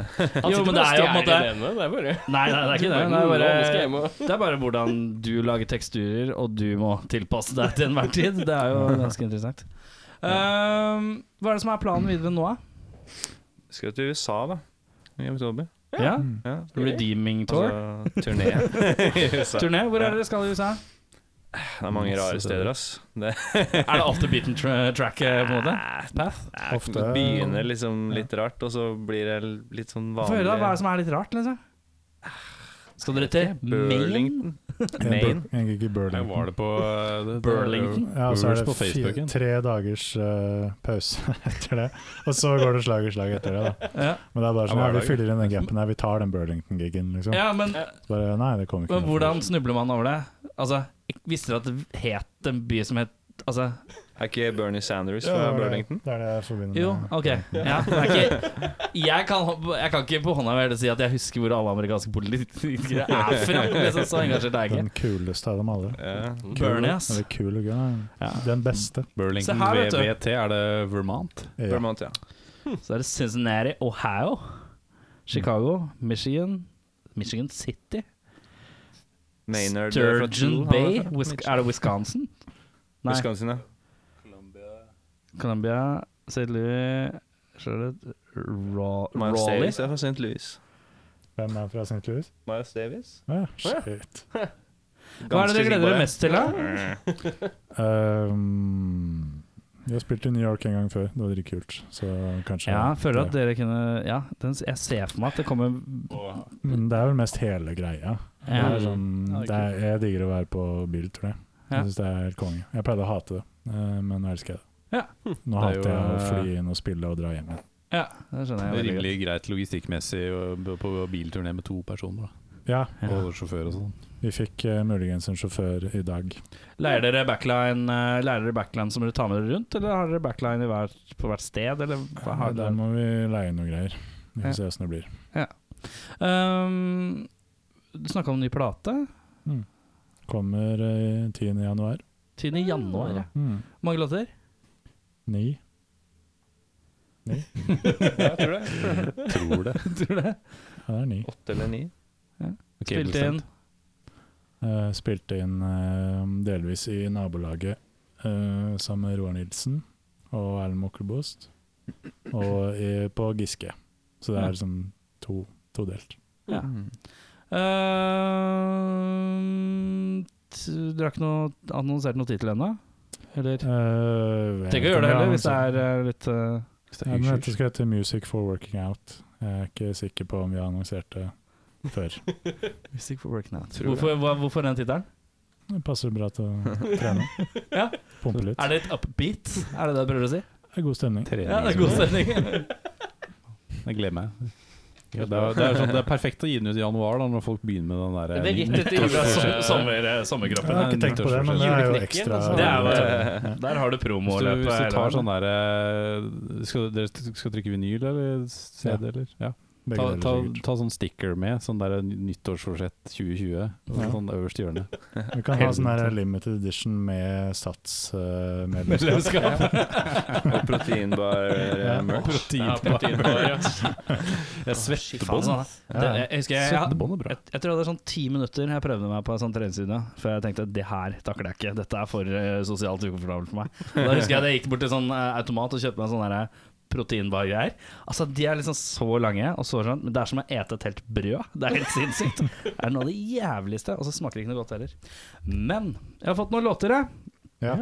[SPEAKER 2] Jo, men det er jo på en måte
[SPEAKER 1] Det er bare
[SPEAKER 2] Nei, nei, det er ikke det. Det
[SPEAKER 1] Nå
[SPEAKER 2] er
[SPEAKER 1] skal jeg
[SPEAKER 2] bare,
[SPEAKER 1] hjem og
[SPEAKER 2] det er bare hvordan du lager teksturer, og du må tilpasse deg til enhver tid. Det er jo ganske interessant. Ehm, hva er det som er planen videre nå, da?
[SPEAKER 5] skal til USA, da. I oktober.
[SPEAKER 2] Ja.
[SPEAKER 5] Ja.
[SPEAKER 2] Redeeming tour?
[SPEAKER 5] Altså turné i USA.
[SPEAKER 2] Turné? Hvor er dere skal i USA?
[SPEAKER 5] Det er mange rare steder, ass. Det
[SPEAKER 2] Er det ofte beaten tra track, eh, på en måte? Path?
[SPEAKER 6] ofte
[SPEAKER 5] begynner liksom litt rart, og så blir det litt sånn
[SPEAKER 2] Få
[SPEAKER 5] vanlig
[SPEAKER 2] høre, da. Hva er det som er litt rart, liksom? Skal dere til Maine?
[SPEAKER 5] Burlington?
[SPEAKER 6] en,
[SPEAKER 5] Maine?
[SPEAKER 6] bur- en gig i
[SPEAKER 3] Jeg
[SPEAKER 6] Burlington.
[SPEAKER 3] var det på eh, det- det-
[SPEAKER 2] Burlington?
[SPEAKER 6] Ja, og så er
[SPEAKER 3] Øverst
[SPEAKER 6] det
[SPEAKER 3] på
[SPEAKER 6] fire,
[SPEAKER 3] Facebooken.
[SPEAKER 6] tre dagers eh, pause etter det. Og så går det slag i slag etter det. da
[SPEAKER 2] Ja.
[SPEAKER 6] Men det er bare sånn,
[SPEAKER 3] Ja,
[SPEAKER 6] ja,
[SPEAKER 3] hver
[SPEAKER 6] vi
[SPEAKER 3] dag.
[SPEAKER 6] fyller inn den gapen her, vi tar den Burlington-gigen. liksom
[SPEAKER 2] ja, men,
[SPEAKER 6] Bare, nei, det kommer ikke
[SPEAKER 2] men
[SPEAKER 6] noe
[SPEAKER 2] hvordan snubler man over det? Altså, jeg visste dere at det het en by som het Altså,
[SPEAKER 5] Er ikke Bernie Sanders
[SPEAKER 6] Ja, det
[SPEAKER 5] fra
[SPEAKER 6] var det-
[SPEAKER 5] Burlington?
[SPEAKER 6] Det er det jeg forbinder
[SPEAKER 2] jo,
[SPEAKER 6] med
[SPEAKER 2] OK. Ja, men det er ikke, jeg, kan, jeg kan ikke på hånda mi heller si at jeg husker hvor alle amerikanske politikere er fra. Liksom, så engasjert er jeg
[SPEAKER 6] den
[SPEAKER 2] ikke.
[SPEAKER 6] kuleste av dem alle.
[SPEAKER 5] Ja.
[SPEAKER 2] Bernie, ass.
[SPEAKER 6] Eller kul og gøy.
[SPEAKER 2] Ja.
[SPEAKER 6] Den beste.
[SPEAKER 3] Burlington
[SPEAKER 2] Se her, vet du.
[SPEAKER 3] VVT, er det Vermont?
[SPEAKER 6] Ja.
[SPEAKER 5] Vermont, ja.
[SPEAKER 2] Så er det Cincinnati, Ohio, Chicago, Michigan, Michigan City,
[SPEAKER 5] Maynard eh, fra
[SPEAKER 2] Sturgeon
[SPEAKER 5] Tool,
[SPEAKER 2] Bay
[SPEAKER 5] han var fra
[SPEAKER 2] Wis- Er det Wisconsin? Nei.
[SPEAKER 5] Wisconsin, ja.
[SPEAKER 2] Colombia, St. Louis Charlotte, Ra-
[SPEAKER 5] Miles
[SPEAKER 2] Raleigh
[SPEAKER 5] Davis er fra St. Louis.
[SPEAKER 6] Hvem er fra St. Louis?
[SPEAKER 5] Miles Davis?
[SPEAKER 6] Ja, shit.
[SPEAKER 2] Hva er det
[SPEAKER 5] Ganske
[SPEAKER 2] dere gleder
[SPEAKER 5] sikker på
[SPEAKER 2] dere mest til, da?
[SPEAKER 6] Um, vi har spilt i New York en gang før, det var dritkult. Så kanskje
[SPEAKER 2] Ja, jeg føler at dere kunne Ja, den, jeg ser for meg at det kommer
[SPEAKER 6] Men det er vel mest hele greia. Det
[SPEAKER 2] Ja.
[SPEAKER 6] er sånn, det er, jeg digger å være på biltur, jeg.
[SPEAKER 2] Ja.
[SPEAKER 6] Jeg syns det er helt konge. Jeg pleide å hate det, eh, men nå elsker jeg det.
[SPEAKER 2] Ja.
[SPEAKER 6] Nå
[SPEAKER 3] Det er
[SPEAKER 6] hater
[SPEAKER 3] jo,
[SPEAKER 6] jeg å
[SPEAKER 3] eh,
[SPEAKER 6] fly inn og spille og dra hjem igjen.
[SPEAKER 2] Ja, det skjønner jeg veldig godt.
[SPEAKER 3] Rimelig greit logistikkmessig og- på bilturné med to personer. da.
[SPEAKER 6] Ja,
[SPEAKER 3] Og sjåfør og sånn.
[SPEAKER 6] vi fikk eh, muligens en sjåfør i dag.
[SPEAKER 2] Lærer dere backline eh, Lærer dere backline som dere tar med dere rundt, eller har dere backline i hver, på hvert sted, eller hva har
[SPEAKER 6] Der
[SPEAKER 2] dere?
[SPEAKER 6] må vi leie noen greier. Vi
[SPEAKER 2] Ja.
[SPEAKER 6] får se åssen det blir.
[SPEAKER 2] Um, du snakka om ny plate.
[SPEAKER 6] Kommer eh, 10. januar.
[SPEAKER 2] 10. januar. ja.
[SPEAKER 6] Mm.
[SPEAKER 2] Hvor mange låter?
[SPEAKER 6] Ni.
[SPEAKER 3] Tror det.
[SPEAKER 2] Tror du det?
[SPEAKER 6] Ja, det er ni.
[SPEAKER 5] Åtte eller ni?
[SPEAKER 2] Spilt inn.
[SPEAKER 6] Eh, spilte inn eh, delvis i nabolaget eh, sammen med Roar Nilsen og Erlend Mokkelbost. Og i, på Giske. Så det
[SPEAKER 2] Ja.
[SPEAKER 6] er liksom to, todelt.
[SPEAKER 2] Ja.
[SPEAKER 3] Mm.
[SPEAKER 2] Um, t- dere har ikke noe, annonsert noe tittel ennå? Eller?
[SPEAKER 6] Uh,
[SPEAKER 2] Tenk å gjøre det heller, hvis det er eh, litt eh,
[SPEAKER 6] ja, men Dette skal hete Music for Working Out. Jeg er ikke sikker på om vi har annonsert det før.
[SPEAKER 2] Music for working out. Hvorfor, hva, hvorfor den tittelen?
[SPEAKER 6] Det passer bra til å trene.
[SPEAKER 2] Ja.
[SPEAKER 6] Pumpe litt.
[SPEAKER 2] Er det et upbeat? Er det det jeg prøver å si?
[SPEAKER 6] Det er god stemning.
[SPEAKER 2] Ja, det er god stemning.
[SPEAKER 3] Jeg gleder meg. Ja, det, er, det, er sånn, det er perfekt å gi den ut i januar, da, når folk begynner med den der eh,
[SPEAKER 1] Det er rett etter jula.
[SPEAKER 2] eh,
[SPEAKER 6] Jeg har ikke sånn- tenkt på det, men eh, det er jo ekstra.
[SPEAKER 1] Juleknekken, altså.
[SPEAKER 2] Det er jo, der har du
[SPEAKER 3] Hvis du,
[SPEAKER 2] promoløpet.
[SPEAKER 3] hvis du
[SPEAKER 2] eller-
[SPEAKER 3] tar sånn der eh, Skal dere skal trykke vinyl eller CD,
[SPEAKER 6] Ja.
[SPEAKER 3] eller? Ja.
[SPEAKER 6] Begge
[SPEAKER 3] Ta,
[SPEAKER 6] deler
[SPEAKER 3] ta,
[SPEAKER 6] sikkert.
[SPEAKER 3] ta sånn sticker med, sånn der nyttårsforsett 2020. og
[SPEAKER 6] Ja.
[SPEAKER 3] Sånn øverst i hjørnet.
[SPEAKER 6] Vi kan ha sånn her
[SPEAKER 3] Helvete.
[SPEAKER 6] limited edition med sats eh, medlemskap.
[SPEAKER 3] sånn,
[SPEAKER 2] Medlemskap.
[SPEAKER 5] Og proteinbar eh, merch.
[SPEAKER 3] Protein. Jeg svetter på
[SPEAKER 2] Faen,
[SPEAKER 3] den.
[SPEAKER 2] sånn. Det, jeg, jeg husker jeg, jeg, jeg,
[SPEAKER 3] Svettebånd er bra.
[SPEAKER 2] jeg, jeg tror jeg hadde sånn ti minutter jeg prøvde meg på en sånn treningsvideo. For jeg tenkte det her takler jeg ikke. Dette er for eh, sosialt ukomfortabelt for meg. Og da husker jeg det gikk bort til sånn eh, automat og kjøpte meg sånne der, eh, proteinbar-greier. Altså, de er liksom så lange og så sånn, men det er som å ete et helt brød. Det er helt sinnssykt. Det er noe av det jævligste, og så smaker det ikke noe godt heller. Men jeg har fått noen låter, jeg.
[SPEAKER 6] Ja.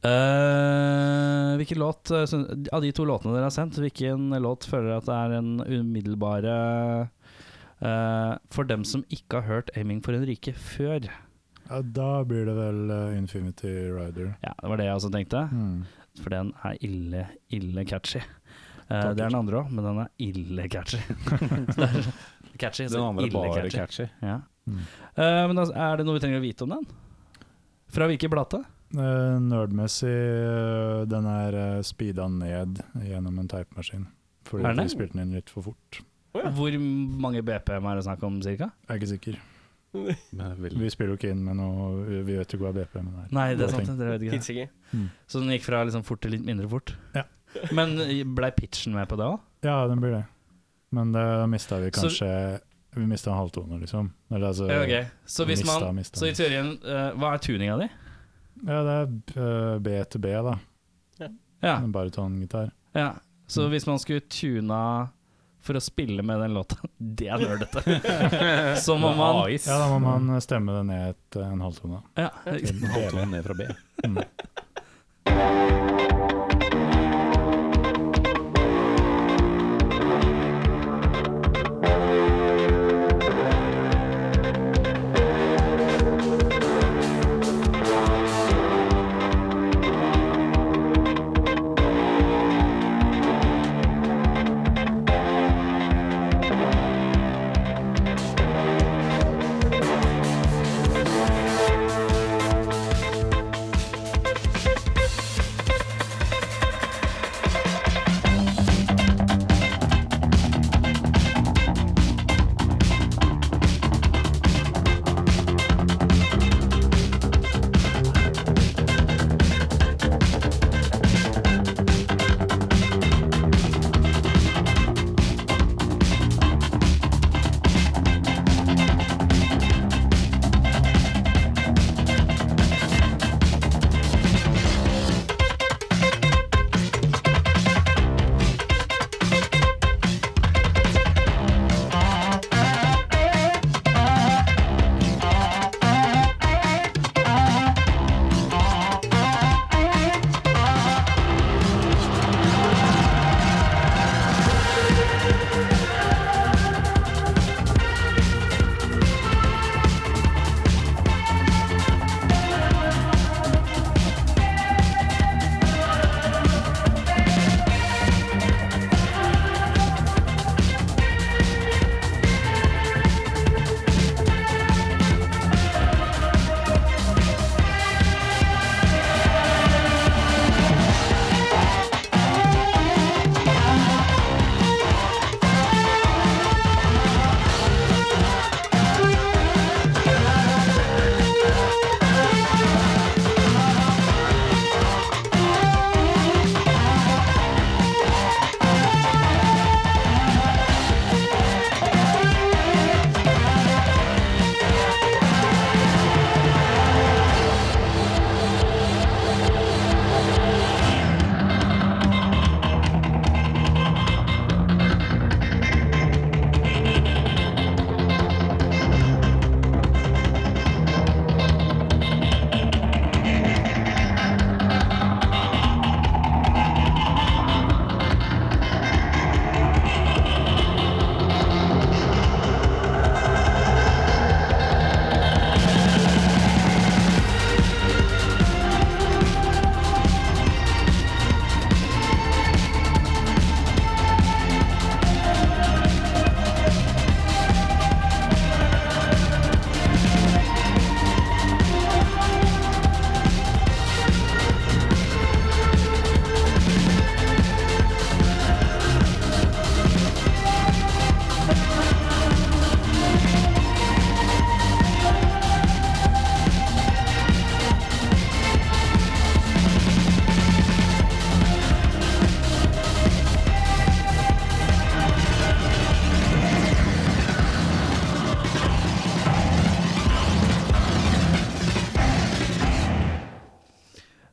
[SPEAKER 2] Eh, hvilken låt eh, syn- Av de to låtene dere har sendt, hvilken låt føler dere at det er en umiddelbare eh, for dem som ikke har hørt 'Aiming for en rike' før.
[SPEAKER 6] Ja, da blir det vel eh, Infinity Rider.
[SPEAKER 2] Ja, Det var det jeg også tenkte,
[SPEAKER 6] Hmm.
[SPEAKER 2] for den er ille, ille catchy. Eh,
[SPEAKER 6] Takk.
[SPEAKER 2] det er den andre òg, men den er ille catchy. Så det er catchy så
[SPEAKER 3] Den andre
[SPEAKER 2] ille
[SPEAKER 3] bare
[SPEAKER 2] catchy.
[SPEAKER 3] catchy.
[SPEAKER 2] Ja.
[SPEAKER 6] Mm.
[SPEAKER 2] Eh, men altså, er det noe vi trenger å vite om den? Fra hvilken plate?
[SPEAKER 6] Eh, Nerdmessig, eh, den er eh, speeda ned gjennom en teipemaskin. Fordi
[SPEAKER 2] Er den
[SPEAKER 6] de
[SPEAKER 2] det?
[SPEAKER 6] spilte den inn litt for fort.
[SPEAKER 1] Ja.
[SPEAKER 2] Hvor mange BPM er det snakk om, cirka?
[SPEAKER 6] Jeg er ikke sikker.
[SPEAKER 3] Men
[SPEAKER 6] Vi spiller jo ikke inn med noe Vi vi vet jo ikke hva BPM-en er.
[SPEAKER 2] Nei, det er
[SPEAKER 6] Noe
[SPEAKER 2] sant.
[SPEAKER 6] ting.
[SPEAKER 2] Dere vet ikke det.
[SPEAKER 1] Tidsikker.
[SPEAKER 2] Så den gikk fra liksom fort til litt mindre fort.
[SPEAKER 6] Ja.
[SPEAKER 2] Men blei pitchen med på det òg?
[SPEAKER 6] Ja, den blir det. Men det mista vi
[SPEAKER 2] Så-
[SPEAKER 6] kanskje Vi mista en halvtone, liksom. Eller altså
[SPEAKER 2] Eh, Så, hvis
[SPEAKER 6] mista,
[SPEAKER 2] man,
[SPEAKER 6] mista.
[SPEAKER 2] så i teorien, eh, hva er tuninga di?
[SPEAKER 6] Ja, det er eh, B til B, da.
[SPEAKER 2] Ja,
[SPEAKER 6] En Barytongitar.
[SPEAKER 2] ja.
[SPEAKER 6] Mm.
[SPEAKER 2] Så hvis man skulle tuna for å spille med den låta Det er nerdete! Så må man
[SPEAKER 6] Ja, da må man eh, stemme det ned et, eh, en halvtone.
[SPEAKER 2] ja,
[SPEAKER 6] Til B.
[SPEAKER 3] ned fra B.
[SPEAKER 6] Mm.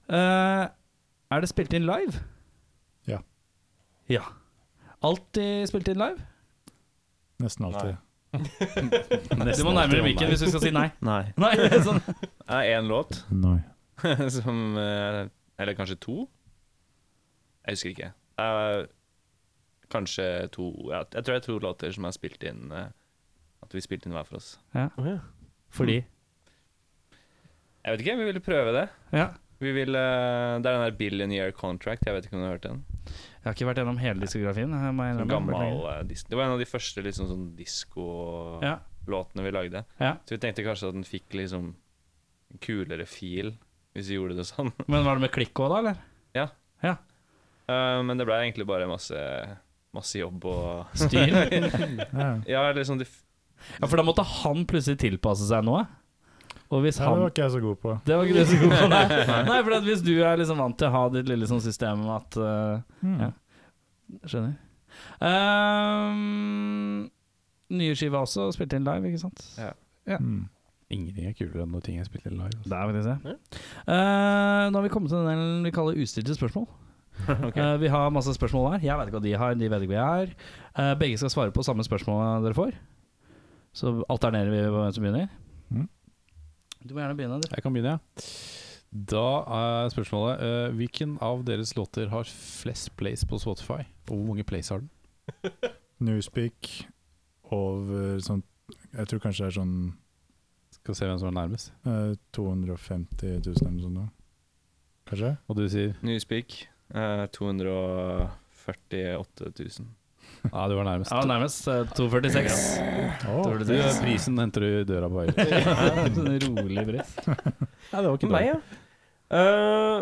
[SPEAKER 2] Eh, Er det spilt inn live?
[SPEAKER 6] Ja.
[SPEAKER 2] Ja. Alltid spilt inn live?
[SPEAKER 6] Nesten alltid.
[SPEAKER 2] Du må nærmere mikken hvis du skal si nei.
[SPEAKER 5] Nei.
[SPEAKER 2] Nei, sånn.
[SPEAKER 5] Det er én låt
[SPEAKER 6] Noi.
[SPEAKER 5] som eh, Eller kanskje to? Jeg husker ikke. Eh, kanskje to ja, Jeg tror det er to låter som er spilt inn eh, At vi spilte inn hver for oss.
[SPEAKER 1] Åja.
[SPEAKER 2] Fordi
[SPEAKER 5] Jeg vet ikke, vi ville prøve det.
[SPEAKER 6] Mm.
[SPEAKER 2] Ja.
[SPEAKER 5] Vi vil, eh, det er den der Billion Year Contract, jeg vet ikke om du har hørt den?
[SPEAKER 2] Jeg har ikke vært gjennom hele diskografien. jeg må
[SPEAKER 5] Sånn
[SPEAKER 2] innrømme.
[SPEAKER 5] gammel eh, dis Det var en av de første liksom, sånn diskolåtene
[SPEAKER 2] Ja.
[SPEAKER 5] vi lagde.
[SPEAKER 2] Ja.
[SPEAKER 5] Så vi tenkte kanskje at den fikk liksom en kulere fil hvis vi gjorde det sånn.
[SPEAKER 2] Men var det med klikk òg, da? eller?
[SPEAKER 5] Eh, men det ble egentlig bare masse, masse jobb og
[SPEAKER 2] Styr?
[SPEAKER 6] Ja.
[SPEAKER 5] Ja, liksom det f-
[SPEAKER 2] Ja, For da måtte han plutselig tilpasse seg noe. Og hvis
[SPEAKER 6] Ja, det
[SPEAKER 2] han
[SPEAKER 6] var ikke jeg så god på.
[SPEAKER 2] Det var ikke du så god på, nei. nei for at hvis du er liksom vant til å ha ditt lille sånn system med at eh,
[SPEAKER 6] Mm.
[SPEAKER 2] Ja. Skjønner. Ehm, nye skiva også, spilt inn live, ikke sant?
[SPEAKER 5] Ja.
[SPEAKER 6] Mm.
[SPEAKER 3] Ingenting er kulere enn når ting er spilt live. altså.
[SPEAKER 2] Der vil jeg se. Eh, nå har vi kommet til den delen vi kaller ustilte spørsmål. Eh, vi har masse spørsmål her. Jeg vet ikke hva de har, de vet ikke hva jeg har. Eh, begge skal svare på samme spørsmål dere får. Så alternerer vi på hvem som begynner.
[SPEAKER 6] Mm.
[SPEAKER 2] Du må gjerne begynne. Du.
[SPEAKER 3] Jeg kan begynne, ja. Da er spørsmålet eh, Hvilken av deres låter har flest plays på Spotify? Og hvor mange plays har den?
[SPEAKER 6] Newspeak over sånn Jeg tror kanskje det er sånn
[SPEAKER 3] Skal se hvem som er nærmest.
[SPEAKER 6] eh, 250 000 eller noe sånt. nå. Kanskje?
[SPEAKER 3] Og du sier
[SPEAKER 5] Newspeak. eh, 248 000.
[SPEAKER 3] Ja, du var nærmest.
[SPEAKER 2] Ja, nærmest. eh, 246.
[SPEAKER 6] Åh,
[SPEAKER 3] Du, prisen henter du i døra på vei ut.
[SPEAKER 2] Sånn rolig pris.
[SPEAKER 1] Ja, det var ikke meg, ja. Eh,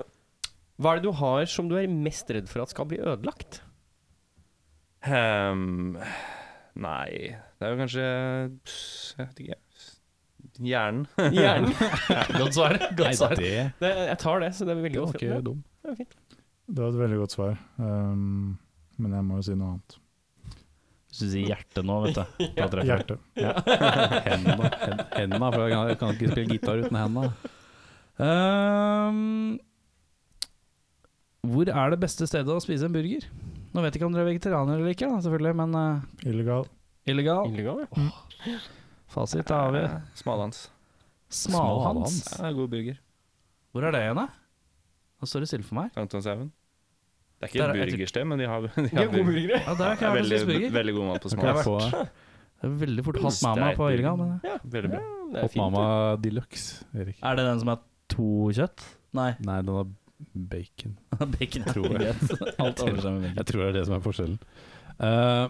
[SPEAKER 1] hva er det du har som du er mest redd for at skal bli ødelagt?
[SPEAKER 5] Ehm, nei Det er jo kanskje pss, Jeg vet ikke. Hjernen.
[SPEAKER 1] Hjernen.
[SPEAKER 2] Godt svar.
[SPEAKER 3] Nei,
[SPEAKER 2] Godt svar.
[SPEAKER 3] det,
[SPEAKER 1] Det, jeg tar det, så det er veldig
[SPEAKER 3] det var
[SPEAKER 1] godt.
[SPEAKER 3] ikke dum.
[SPEAKER 1] Det er fint.
[SPEAKER 6] Det var et veldig godt svar, um, men jeg må jo si noe annet.
[SPEAKER 2] Hvis du sier hjerte nå, vet du. Da treffer jeg.
[SPEAKER 6] Hjerte.
[SPEAKER 3] Hendene, hen- hendene, for jeg kan, jeg kan ikke spille gitar uten hendene.
[SPEAKER 2] Ehm, hvor er det beste stedet å spise en burger? Nå vet jeg ikke om dere er vegetarianer eller ikke, da, selvfølgelig, men eh,
[SPEAKER 6] Illegal.
[SPEAKER 2] illegal.
[SPEAKER 1] Illegal, ja.
[SPEAKER 2] Fasit da har vi
[SPEAKER 5] Eh, Smalhans.
[SPEAKER 2] Smalhans.
[SPEAKER 5] Ja, god burger.
[SPEAKER 2] Hvor er det igjen, da? Nå står det stille for meg.
[SPEAKER 5] Sankthanshaugen. Det er ikke
[SPEAKER 2] Der er-
[SPEAKER 5] et
[SPEAKER 2] jeg tror-
[SPEAKER 5] burgersted, men de har, de har
[SPEAKER 1] De er gode
[SPEAKER 5] burger.
[SPEAKER 1] burgere.
[SPEAKER 2] Ja, der har ikke jeg vært
[SPEAKER 5] Ja,
[SPEAKER 2] og
[SPEAKER 5] veldig,
[SPEAKER 2] spist burger.
[SPEAKER 5] veldig god mat på
[SPEAKER 3] Da kan jeg
[SPEAKER 5] smalhans.
[SPEAKER 3] få
[SPEAKER 2] Det er veldig fort hot mama på illegal. Men eh.
[SPEAKER 5] Veldig bra.
[SPEAKER 1] Det er
[SPEAKER 3] Hot
[SPEAKER 1] fint.
[SPEAKER 3] Mama
[SPEAKER 1] det.
[SPEAKER 3] de luxe, Erik.
[SPEAKER 2] er det den som er to kjøtt? Nei.
[SPEAKER 3] Nei, den har bacon.
[SPEAKER 2] Bacon.
[SPEAKER 3] Tror jeg.
[SPEAKER 2] Alt overstemmer bacon.
[SPEAKER 3] Jeg tror det er det som er forskjellen. Eh,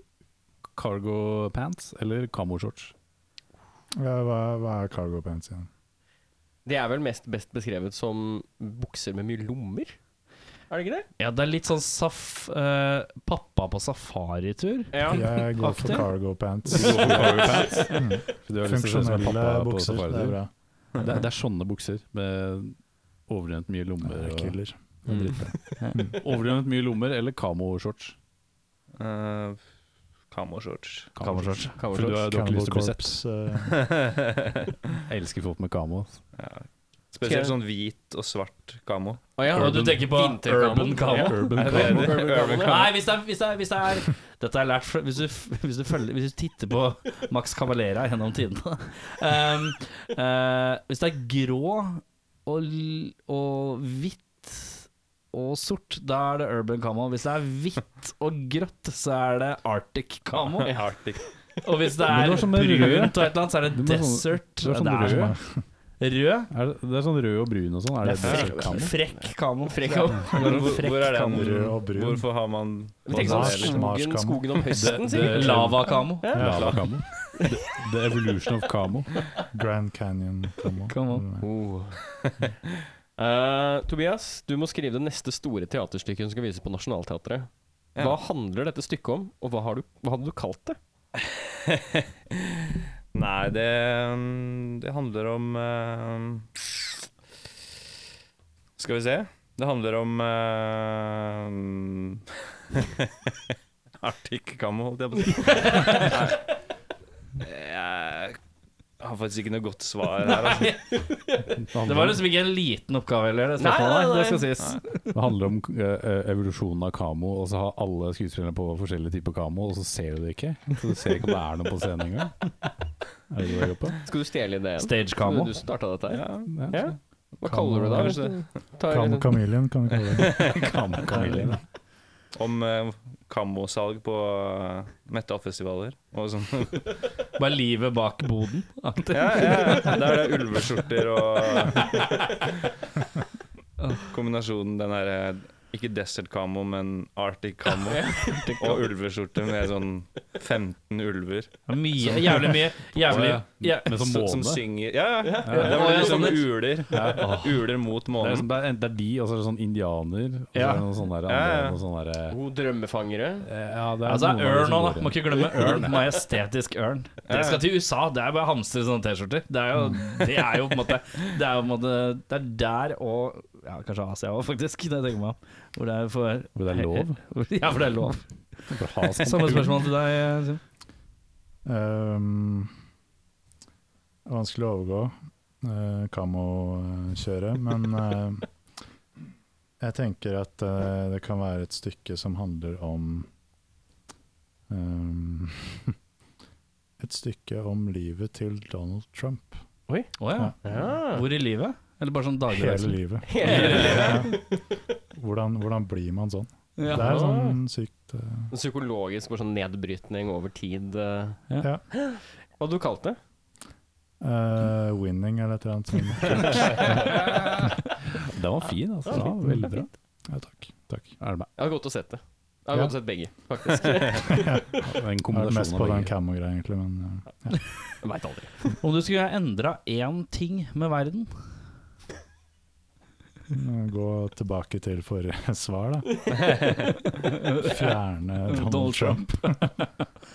[SPEAKER 3] cargo pants eller kamoshorts?
[SPEAKER 6] Ja, hva, hva er cargo pants igjen?
[SPEAKER 1] Det er vel mest best beskrevet som bukser med mye lommer? Er det ikke det?
[SPEAKER 2] Ja, det er litt sånn saf... eh, pappa på safaritur.
[SPEAKER 6] Jeg går for
[SPEAKER 2] Aktiv.
[SPEAKER 6] cargo pants. Mm.
[SPEAKER 3] Du har lyst til å se som en
[SPEAKER 6] Funksjonelle
[SPEAKER 3] pappa på
[SPEAKER 6] bukser,
[SPEAKER 3] safari.
[SPEAKER 6] det er bra.
[SPEAKER 3] Det, er- det er sånne bukser med overdrevent mye
[SPEAKER 6] Det
[SPEAKER 3] lommer.
[SPEAKER 6] er
[SPEAKER 3] og-
[SPEAKER 6] killer.
[SPEAKER 3] Overdrevent mye lommer eller kamoshorts?
[SPEAKER 5] Eh, Kamoshorts.
[SPEAKER 2] Kammershorts.
[SPEAKER 3] For du, har- du har ikke lyst til å bli sett.
[SPEAKER 6] eh,
[SPEAKER 3] Jeg elsker folk med kamo.
[SPEAKER 5] Spesielt sånn hvit og svart kamo.
[SPEAKER 1] Å ja,
[SPEAKER 2] Og du tenker på urban
[SPEAKER 1] Ja.
[SPEAKER 2] camo?
[SPEAKER 3] Urban
[SPEAKER 5] Det er
[SPEAKER 3] kamo.
[SPEAKER 1] Urban
[SPEAKER 5] det- det er urban
[SPEAKER 1] camo.
[SPEAKER 5] camo.
[SPEAKER 2] Nei, hvis det, er, hvis, det er, hvis det er Dette er lært fra- hvis du, f- hvis du, følger, hvis du titter på Max Cavalera gjennom tidene um, eh, Hvis det er grå og, l- og hvitt og sort, da er det urban camo. Hvis det er hvitt og grønt, så er det arctic camo.
[SPEAKER 5] Arctic.
[SPEAKER 2] Og hvis det
[SPEAKER 3] Men
[SPEAKER 2] er
[SPEAKER 3] du har
[SPEAKER 2] brunt
[SPEAKER 3] sånne
[SPEAKER 2] og et
[SPEAKER 3] røde.
[SPEAKER 2] eller annet, så er
[SPEAKER 3] Du
[SPEAKER 2] det
[SPEAKER 3] må ha sånne-
[SPEAKER 2] desert.
[SPEAKER 3] sånn du har sånne
[SPEAKER 2] det er
[SPEAKER 3] røde.
[SPEAKER 2] rød.
[SPEAKER 3] Er det, det er sånn rød og brun og sånn. Er det
[SPEAKER 2] Det er
[SPEAKER 3] det? Kamo?
[SPEAKER 2] Frekk kamo.
[SPEAKER 1] Frekk av
[SPEAKER 5] Hvor, hvor er den?
[SPEAKER 6] Rød og brun.
[SPEAKER 5] Hvorfor har man
[SPEAKER 1] Vi tenker sånn
[SPEAKER 6] Mars-
[SPEAKER 1] skogen,
[SPEAKER 6] Mars-kamo.
[SPEAKER 1] skogen om høsten,
[SPEAKER 3] Det-
[SPEAKER 1] sikkert.
[SPEAKER 3] det-
[SPEAKER 2] Lava kamo.
[SPEAKER 3] Ja. Lava kamo. The, the evolution of kamo.
[SPEAKER 6] Grand Canyon. Come on.
[SPEAKER 2] Come on.
[SPEAKER 6] Mm.
[SPEAKER 1] Oh. Eh, Tobias, du må skrive det neste store teaterstykket hun skal vise på Nationaltheatret.
[SPEAKER 5] Ja.
[SPEAKER 1] Hva handler dette stykket om, og hva, har du, hva hadde du kalt det?
[SPEAKER 5] Nei, det, mm, det handler om eh, Skal vi se. Det handler om uh, Arctic eh, Camo, holdt jeg på å si. Nei. Jeg har faktisk ikke noe godt svar her. Altså.
[SPEAKER 2] Det var liksom ikke en liten oppgave heller, det
[SPEAKER 1] Nei, nei,
[SPEAKER 2] spørsmålet.
[SPEAKER 1] nei.
[SPEAKER 2] Det skal sies.
[SPEAKER 3] Det handler om eh, eh, evolusjonen av kamo, og så har alle skuespillerne på forskjellige typer kamo, og så ser du det ikke. Så du ser ikke om det er noe på scenen engang. Er det det du er på?
[SPEAKER 1] Skal du stjele ideen?
[SPEAKER 2] Stage camo.
[SPEAKER 1] Du starta dette her.
[SPEAKER 5] Ja.
[SPEAKER 1] Ja. Hva
[SPEAKER 6] Kamo-
[SPEAKER 1] kaller du det?
[SPEAKER 5] Kanskje
[SPEAKER 1] da? Tar-
[SPEAKER 6] Camo Chameleon kan du kalle det.
[SPEAKER 3] Kamo-kamelen.
[SPEAKER 5] om eh, kammosalg på eh, metal-festivaler og sånn.
[SPEAKER 2] Bare livet bak boden. aktig.
[SPEAKER 5] Ja, ja, ja. Der er det ulveskjorter og Kombinasjonen den derre ikke desert camo, men Arctic camo. Og ulveskjorte med sånn 15 ulver
[SPEAKER 2] Mye, jævlig mye. Jævlig ja.
[SPEAKER 3] Med sånn
[SPEAKER 5] som, som
[SPEAKER 3] måne.
[SPEAKER 5] synger Ja, ja.
[SPEAKER 3] Ja.
[SPEAKER 5] Det var
[SPEAKER 2] Ja,
[SPEAKER 5] liksom
[SPEAKER 2] sånn
[SPEAKER 5] uler.
[SPEAKER 3] Ja.
[SPEAKER 5] Uler mot
[SPEAKER 3] Det er,
[SPEAKER 5] månen.
[SPEAKER 3] sånn, det, er, det er de, og så er det sånn indianer. Og så
[SPEAKER 2] Ja.
[SPEAKER 3] er det noen sånne der,
[SPEAKER 5] Ja,
[SPEAKER 3] andre,
[SPEAKER 5] ja.
[SPEAKER 3] noen sånne der, eh,
[SPEAKER 1] God drømmefangere.
[SPEAKER 3] ja, det er
[SPEAKER 2] Altså,
[SPEAKER 3] noen av de
[SPEAKER 2] ørn
[SPEAKER 3] som
[SPEAKER 2] òg,
[SPEAKER 3] går
[SPEAKER 2] da.
[SPEAKER 3] i.
[SPEAKER 2] Må ikke glemme ørn. Majestetisk ørn. Det skal til USA. Det er bare å hamstre sånne T-skjorter. Det er jo Det er jo på en måte Det er jo på en måte Det er der og ja, kanskje Asia òg, faktisk. Det tenker jeg meg om. Hvor det er for
[SPEAKER 3] Hvor det er lov?
[SPEAKER 2] Ja, for det er lov.
[SPEAKER 3] For å ha sånn
[SPEAKER 2] Samme spørsmål til deg, Sim.
[SPEAKER 6] Ehm, vanskelig å overgå uh, kamokjøret, men eh, jeg tenker at eh, det kan være et stykke som handler om ehm, Et stykke om livet til Donald Trump.
[SPEAKER 2] Å ja.
[SPEAKER 1] Ja.
[SPEAKER 2] Hvor i livet? Eller bare sånn
[SPEAKER 6] Hele
[SPEAKER 2] dagligdags?
[SPEAKER 6] livet. Ja. Hvordan, hvordan blir man sånn?
[SPEAKER 2] Ja.
[SPEAKER 6] Det er sånn sykt eh,
[SPEAKER 1] En Psykologisk bare sånn nedbrytning over tid. eh.
[SPEAKER 2] Ja.
[SPEAKER 1] Hva hadde du kalt det?
[SPEAKER 6] eh, winning eller et eller annet sånt.
[SPEAKER 3] Den var fin, altså. Ja, veldig bra.
[SPEAKER 6] Ja, takk. takk.
[SPEAKER 3] Er det,
[SPEAKER 1] Jeg har godt å sett det. Jeg har
[SPEAKER 6] Ja.
[SPEAKER 1] godt sett begge, faktisk.
[SPEAKER 3] det er en
[SPEAKER 6] Jeg har vært mest
[SPEAKER 3] kombinasjon
[SPEAKER 6] på
[SPEAKER 3] av
[SPEAKER 6] den
[SPEAKER 3] begge.
[SPEAKER 6] camo-greia, egentlig, men eh,
[SPEAKER 1] Jeg vet aldri.
[SPEAKER 2] Om du skulle endra én ting med verden
[SPEAKER 6] Gå tilbake til forrige svar, da. Fjerne Donald,
[SPEAKER 2] Donald
[SPEAKER 6] Trump.
[SPEAKER 2] Trump.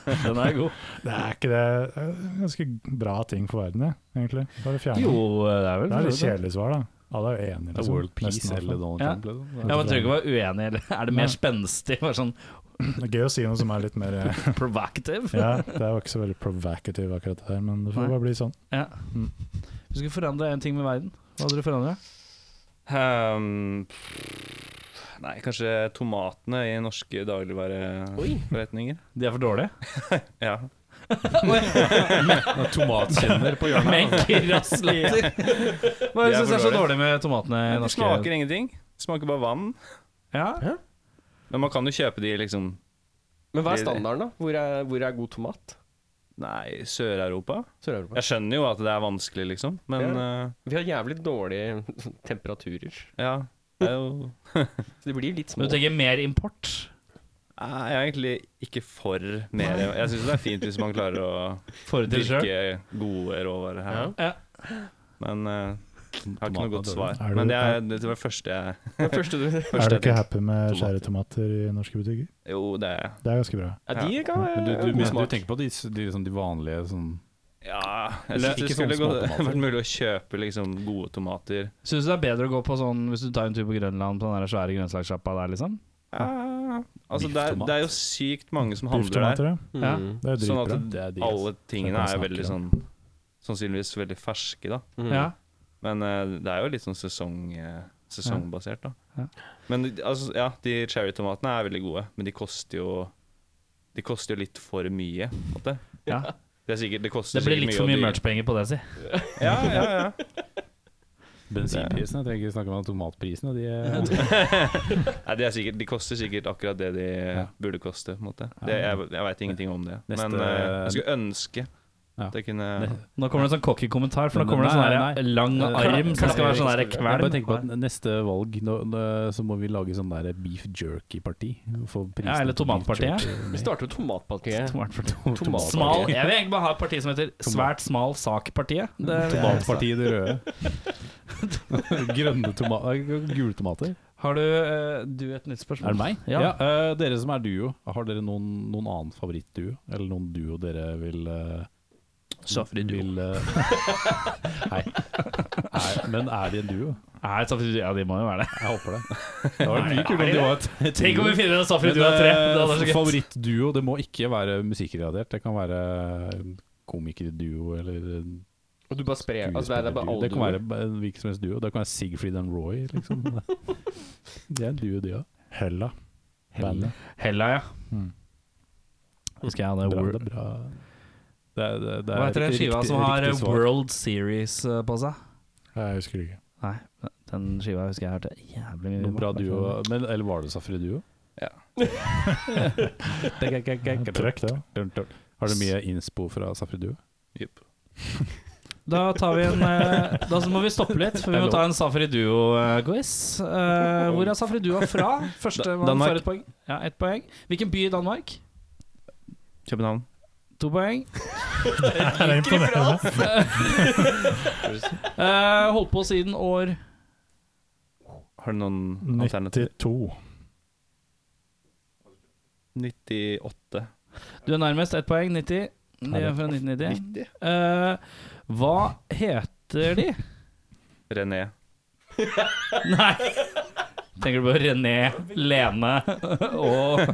[SPEAKER 2] Den er god.
[SPEAKER 6] Det er ikke det det er en Ganske bra ting for verden, det, egentlig. Bare fjerne
[SPEAKER 2] Jo,
[SPEAKER 6] den.
[SPEAKER 2] det er vel
[SPEAKER 6] Det er litt kjedelig svar, da. Alle er jo enige. liksom,
[SPEAKER 3] Det er World Peace
[SPEAKER 6] Nesten, i
[SPEAKER 3] eller
[SPEAKER 6] hvert fall.
[SPEAKER 3] Donald
[SPEAKER 2] Ja.
[SPEAKER 3] Trump. Liksom.
[SPEAKER 2] Ja, man trenger ikke å være uenig, eller er det mer spenstig? Bare sånn
[SPEAKER 6] Det er gøy å si noe som er litt mer eh,
[SPEAKER 2] provocative?
[SPEAKER 6] Ja, det var ikke så veldig provocative akkurat det der, men det får
[SPEAKER 2] Nei.
[SPEAKER 6] bare bli sånn.
[SPEAKER 2] Ja.
[SPEAKER 6] Mm.
[SPEAKER 2] Hvis du skulle forandre én ting med verden, hva hadde du forandra?
[SPEAKER 5] Ehm, pff, nei, kanskje tomatene i norske dagligvareforretninger.
[SPEAKER 2] De er for dårlige?
[SPEAKER 5] Ja.
[SPEAKER 3] Med tomatkjenner på hjørnet.
[SPEAKER 2] Men grasslatter! Hva er
[SPEAKER 5] De
[SPEAKER 2] det
[SPEAKER 5] er
[SPEAKER 2] som er
[SPEAKER 5] for
[SPEAKER 2] så
[SPEAKER 5] dårlige.
[SPEAKER 2] dårlig med tomatene i
[SPEAKER 5] De
[SPEAKER 2] norske
[SPEAKER 5] smaker ingenting. De Smaker bare vann.
[SPEAKER 2] Ja.
[SPEAKER 5] Men man kan jo kjøpe de liksom
[SPEAKER 1] Men hva er standarden, da? Hvor er, hvor er god tomat?
[SPEAKER 5] Nei, Sør-Europa.
[SPEAKER 1] Sør-Europa.
[SPEAKER 5] Jeg skjønner jo at det er vanskelig, liksom, men eh,
[SPEAKER 1] Vi har jævlig dårlige temperaturer,
[SPEAKER 5] ja. Det er jo
[SPEAKER 1] så de blir litt
[SPEAKER 2] Men
[SPEAKER 1] små.
[SPEAKER 2] du tenker mer import?
[SPEAKER 5] Nei, Jeg er egentlig ikke for mer Jeg syns det er fint hvis man klarer å
[SPEAKER 2] For til sjøl?
[SPEAKER 5] dyrke gode råvarer her,
[SPEAKER 1] Ja.
[SPEAKER 2] Ja.
[SPEAKER 5] men eh, jeg har ikke noe godt svar.
[SPEAKER 6] Er du-
[SPEAKER 5] Men det, er, det var det første jeg,
[SPEAKER 1] Det første du
[SPEAKER 6] Er du
[SPEAKER 5] første jeg
[SPEAKER 6] ikke
[SPEAKER 5] tenkte.
[SPEAKER 6] happy med skjære tomater i norske butikker?
[SPEAKER 5] Jo, det er
[SPEAKER 6] Det er ganske bra.
[SPEAKER 1] Ja, de kan være
[SPEAKER 3] Men du, du,
[SPEAKER 1] god
[SPEAKER 3] men, du
[SPEAKER 1] smak.
[SPEAKER 3] tenker på de, de, sånn, de vanlige sånn
[SPEAKER 5] Ja, jeg
[SPEAKER 3] Eller
[SPEAKER 5] synes det
[SPEAKER 3] ikke
[SPEAKER 5] skulle
[SPEAKER 3] sånne
[SPEAKER 5] gå,
[SPEAKER 3] småtomater.
[SPEAKER 5] vært mulig å kjøpe liksom gode tomater.
[SPEAKER 2] Syns du det er bedre å gå på sånn hvis du tar en tur på Grønland, på den der svære grønnsakssjappa der, liksom?
[SPEAKER 5] Ja, altså det er,
[SPEAKER 3] Bifftomat.
[SPEAKER 5] det er jo sykt mange som handler der.
[SPEAKER 6] Bifftomater, ja.
[SPEAKER 2] Ja.
[SPEAKER 1] Mm.
[SPEAKER 6] Det er jo
[SPEAKER 5] Sånn at
[SPEAKER 6] dritbra.
[SPEAKER 5] det-
[SPEAKER 3] Det er de.
[SPEAKER 5] alle tingene
[SPEAKER 6] Det
[SPEAKER 5] er
[SPEAKER 6] kan vi
[SPEAKER 5] veldig
[SPEAKER 6] snakke
[SPEAKER 5] sånn Sannsynligvis veldig ferske, da.
[SPEAKER 1] Mm.
[SPEAKER 2] Ja.
[SPEAKER 5] Men eh, det er jo litt sånn sesong, eh, sesongbasert, da.
[SPEAKER 2] Ja.
[SPEAKER 5] Men altså, ja, de cherrytomatene er veldig gode, men de koster jo De koster jo litt for mye. på en måte.
[SPEAKER 2] ja.
[SPEAKER 5] Det, er sikkert, det, koster
[SPEAKER 2] Det blir
[SPEAKER 5] sikkert
[SPEAKER 2] litt for
[SPEAKER 5] å
[SPEAKER 2] mye
[SPEAKER 5] dyrke-
[SPEAKER 2] merch-penger på det, si.
[SPEAKER 5] Ja, ja, ja.
[SPEAKER 3] Bensinprisene, jeg trenger ikke snakke om tomatprisene. De er,
[SPEAKER 5] Nei, de, er sikkert, de koster sikkert akkurat det de
[SPEAKER 3] Ja.
[SPEAKER 5] burde koste. På en måte. Det, jeg jeg veit ingenting om det.
[SPEAKER 3] Neste-
[SPEAKER 5] Men eh, jeg skulle ønske
[SPEAKER 3] Ja.
[SPEAKER 5] at jeg kunne
[SPEAKER 2] Nå kommer det en sånn cocky kommentar, for nå
[SPEAKER 3] Men-
[SPEAKER 2] kommer det en sånn
[SPEAKER 3] nei,
[SPEAKER 2] der lang arm som skal være sånn der
[SPEAKER 3] jeg bare tenker på
[SPEAKER 2] kvelm.
[SPEAKER 3] at neste valg nå, nå, så må vi lage sånn der beef jerky-parti. Få prisen
[SPEAKER 2] Ja, eller
[SPEAKER 3] på beef
[SPEAKER 2] tomatpartiet.
[SPEAKER 3] jerky.
[SPEAKER 1] Vi starter med tomatpakke. Tomat.
[SPEAKER 2] Smal, jeg vil egentlig bare ha et parti som heter Svært smal sak-partiet.
[SPEAKER 3] Tomatpartiet i det røde. Grønne tomater Gule tomater.
[SPEAKER 2] Har du, eh, du et nytt spørsmål?
[SPEAKER 3] Er det meg?
[SPEAKER 2] Ja.
[SPEAKER 3] eh, dere som er duo, har dere noen, noen annen favorittduo? Eller noen duo dere vil uh, Vil, eh, nei. Er, men er de en duo?
[SPEAKER 2] Nei, Safri, ja, de må jo være det.
[SPEAKER 3] Jeg håper det. Det var mye kult
[SPEAKER 2] Nei,
[SPEAKER 3] om de var et et
[SPEAKER 2] Tenk om vi
[SPEAKER 3] duo.
[SPEAKER 2] finner en Safri
[SPEAKER 3] Men,
[SPEAKER 2] du har tre! Det hadde
[SPEAKER 3] eh,
[SPEAKER 2] vært så gøy.
[SPEAKER 3] Favorittduo, det må ikke være musikkrelatert. Det kan være komikerduo eller
[SPEAKER 1] Og du bare sprer altså, Det er- det er bare
[SPEAKER 3] skuespillerduo.
[SPEAKER 1] alle
[SPEAKER 3] Det kan
[SPEAKER 1] duer.
[SPEAKER 3] være b- en hvilken som helst duo. Det kan være Sigfried and Roy, liksom. Det er en duo, de òg.
[SPEAKER 6] Hella. Bandet.
[SPEAKER 2] Hella, ja.
[SPEAKER 6] Mm.
[SPEAKER 2] Husker jeg hadde
[SPEAKER 3] Bra,
[SPEAKER 2] Wor-
[SPEAKER 3] Hmm. det er bra. Det er, det, det er
[SPEAKER 2] Hva heter den
[SPEAKER 3] riktig-
[SPEAKER 2] skiva som
[SPEAKER 3] riktig
[SPEAKER 2] har eh,
[SPEAKER 3] svar.
[SPEAKER 2] World Series eh, på seg?
[SPEAKER 6] Jeg husker ikke.
[SPEAKER 2] Nei, den skiva husker jeg hørte jævlig mye
[SPEAKER 3] Noen bra duo, men, eller var det Safri Duo?
[SPEAKER 6] Trøkk, det.
[SPEAKER 3] Har du mye innspo fra Safridue?
[SPEAKER 5] Jupp.
[SPEAKER 2] Da tar vi en eh, Da så må vi stoppe litt, for vi må ta en Safri Duo-quiz. Eh, hvor er Safri Duo fra? Første man
[SPEAKER 5] Danmark.
[SPEAKER 2] får et poeng. Ja, ett poeng. Hvilken by i Danmark?
[SPEAKER 5] København.
[SPEAKER 2] To poeng.
[SPEAKER 6] Er det imponerende?
[SPEAKER 2] Eh, holdt på siden år
[SPEAKER 5] Har du noen alternativer?
[SPEAKER 6] 92.
[SPEAKER 5] 98.
[SPEAKER 2] Du er nærmest. Ett poeng. 90. De er fra 1990. Eh, hva heter de?
[SPEAKER 5] René.
[SPEAKER 2] Nei. Tenker du på René, Lene og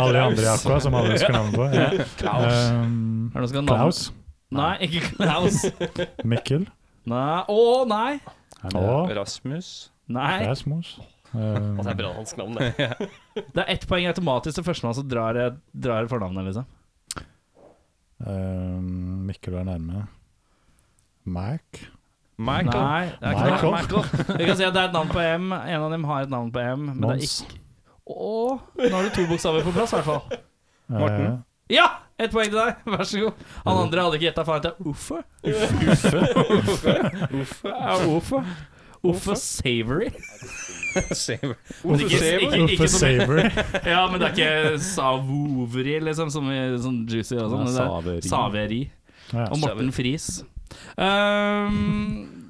[SPEAKER 6] Alle de andre i Aqua som alle husker navnet på. Ja.
[SPEAKER 2] Er det noen som skal ha
[SPEAKER 6] Um,
[SPEAKER 2] navn?
[SPEAKER 6] Klaus.
[SPEAKER 2] Nei, ikke Klaus.
[SPEAKER 6] Mikkel.
[SPEAKER 2] Nei. Å, nei!
[SPEAKER 6] Og
[SPEAKER 5] Rasmus.
[SPEAKER 2] Nei.
[SPEAKER 6] Rasmus. Um,
[SPEAKER 1] Det er bra hans navn, det.
[SPEAKER 2] Det er ett poeng automatisk til førstemann som drar, drar fornavnet, liksom.
[SPEAKER 6] um, Mikkel er nærme. Mac.
[SPEAKER 5] Michael.
[SPEAKER 2] Nei, det er ikke
[SPEAKER 6] Michael.
[SPEAKER 2] Michael. Michael. Vi kan si at det er et navn på M. En av dem har et navn på M, men det er
[SPEAKER 6] Mons.
[SPEAKER 2] ikke Å, nå har du to bokstaver på plass, i hvert fall.
[SPEAKER 5] Morten.
[SPEAKER 6] Eh,
[SPEAKER 2] Ja! Ett poeng til deg, vær så god. Han andre hadde ikke gjetta faen til Uffe. Uffe. Ja, Uffe. Uffe Savory.
[SPEAKER 5] Save.
[SPEAKER 2] Men ikke- ikke- ikke
[SPEAKER 6] Uffe
[SPEAKER 2] som-
[SPEAKER 6] Saver.
[SPEAKER 2] Ja, men det er ikke Savoveri, liksom, som i sånn juicy og sånn. men det er
[SPEAKER 4] Saveri.
[SPEAKER 2] Saveri.
[SPEAKER 6] Ja.
[SPEAKER 2] Og Morten Friis. Um,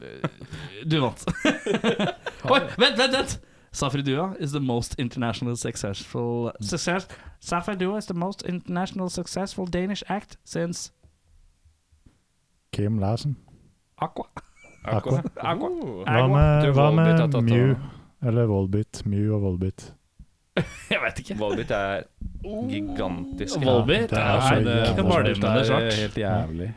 [SPEAKER 2] du vant. Oi, vent, vent, vent! Safridua is the most international successful success, Safridua is the most international successful Danish act since
[SPEAKER 6] Kim Larsen.
[SPEAKER 2] Aqua.
[SPEAKER 6] Aqua.
[SPEAKER 2] Aqua.
[SPEAKER 1] Oh.
[SPEAKER 6] Hva
[SPEAKER 2] Aqua.
[SPEAKER 6] med,
[SPEAKER 5] Du,
[SPEAKER 6] hva
[SPEAKER 5] Volbeat har
[SPEAKER 6] med
[SPEAKER 5] tatt
[SPEAKER 6] Mew?
[SPEAKER 5] av-
[SPEAKER 6] Eller Volbit. Mew og Volbit.
[SPEAKER 2] Jeg vet ikke.
[SPEAKER 5] Volbit er gigantisk.
[SPEAKER 2] Volbeat
[SPEAKER 6] det er så
[SPEAKER 2] er
[SPEAKER 6] jævlig
[SPEAKER 2] kvalmende
[SPEAKER 3] Det er
[SPEAKER 2] svart.
[SPEAKER 3] helt jævlig.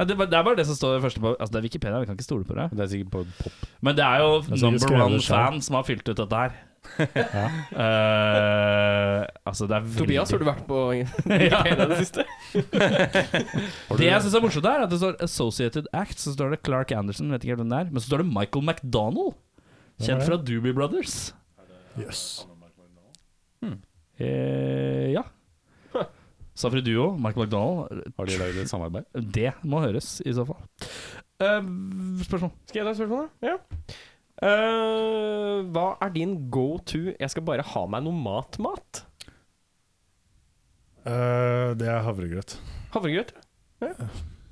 [SPEAKER 2] Ja, det, er bare- det er bare det som står først på Altså, det er Wikipedia, vi kan ikke stole på det.
[SPEAKER 3] Det er sikkert på pop.
[SPEAKER 2] Men det er jo
[SPEAKER 6] er sikkert
[SPEAKER 2] number
[SPEAKER 6] skrevet
[SPEAKER 2] one
[SPEAKER 6] selv.
[SPEAKER 2] fan som har fylt ut dette her.
[SPEAKER 6] Ja.
[SPEAKER 2] Eh, altså, det er veldig
[SPEAKER 1] Tobias, har du vært på
[SPEAKER 2] Ja.
[SPEAKER 1] Wikipedia i det siste?
[SPEAKER 2] Det jeg syns er morsomt, her, er at det står Associated Act, så står det Clark Anderson, vet ikke helt hvem det er, men så står det Michael McDonald. Kjent fra Doobie Brothers.
[SPEAKER 6] Yes.
[SPEAKER 2] Eh, ja. Safri Duo, Michael McDonald.
[SPEAKER 3] Har de lagd et samarbeid?
[SPEAKER 2] Det må høres, i så fall. Eh, spørsmål.
[SPEAKER 1] Skal jeg ta et spørsmål, da? Ja. Eh, hva er din go to 'jeg skal bare ha meg noe mat'-mat?
[SPEAKER 6] Eh, det er havregrøt.
[SPEAKER 1] Havregrøt?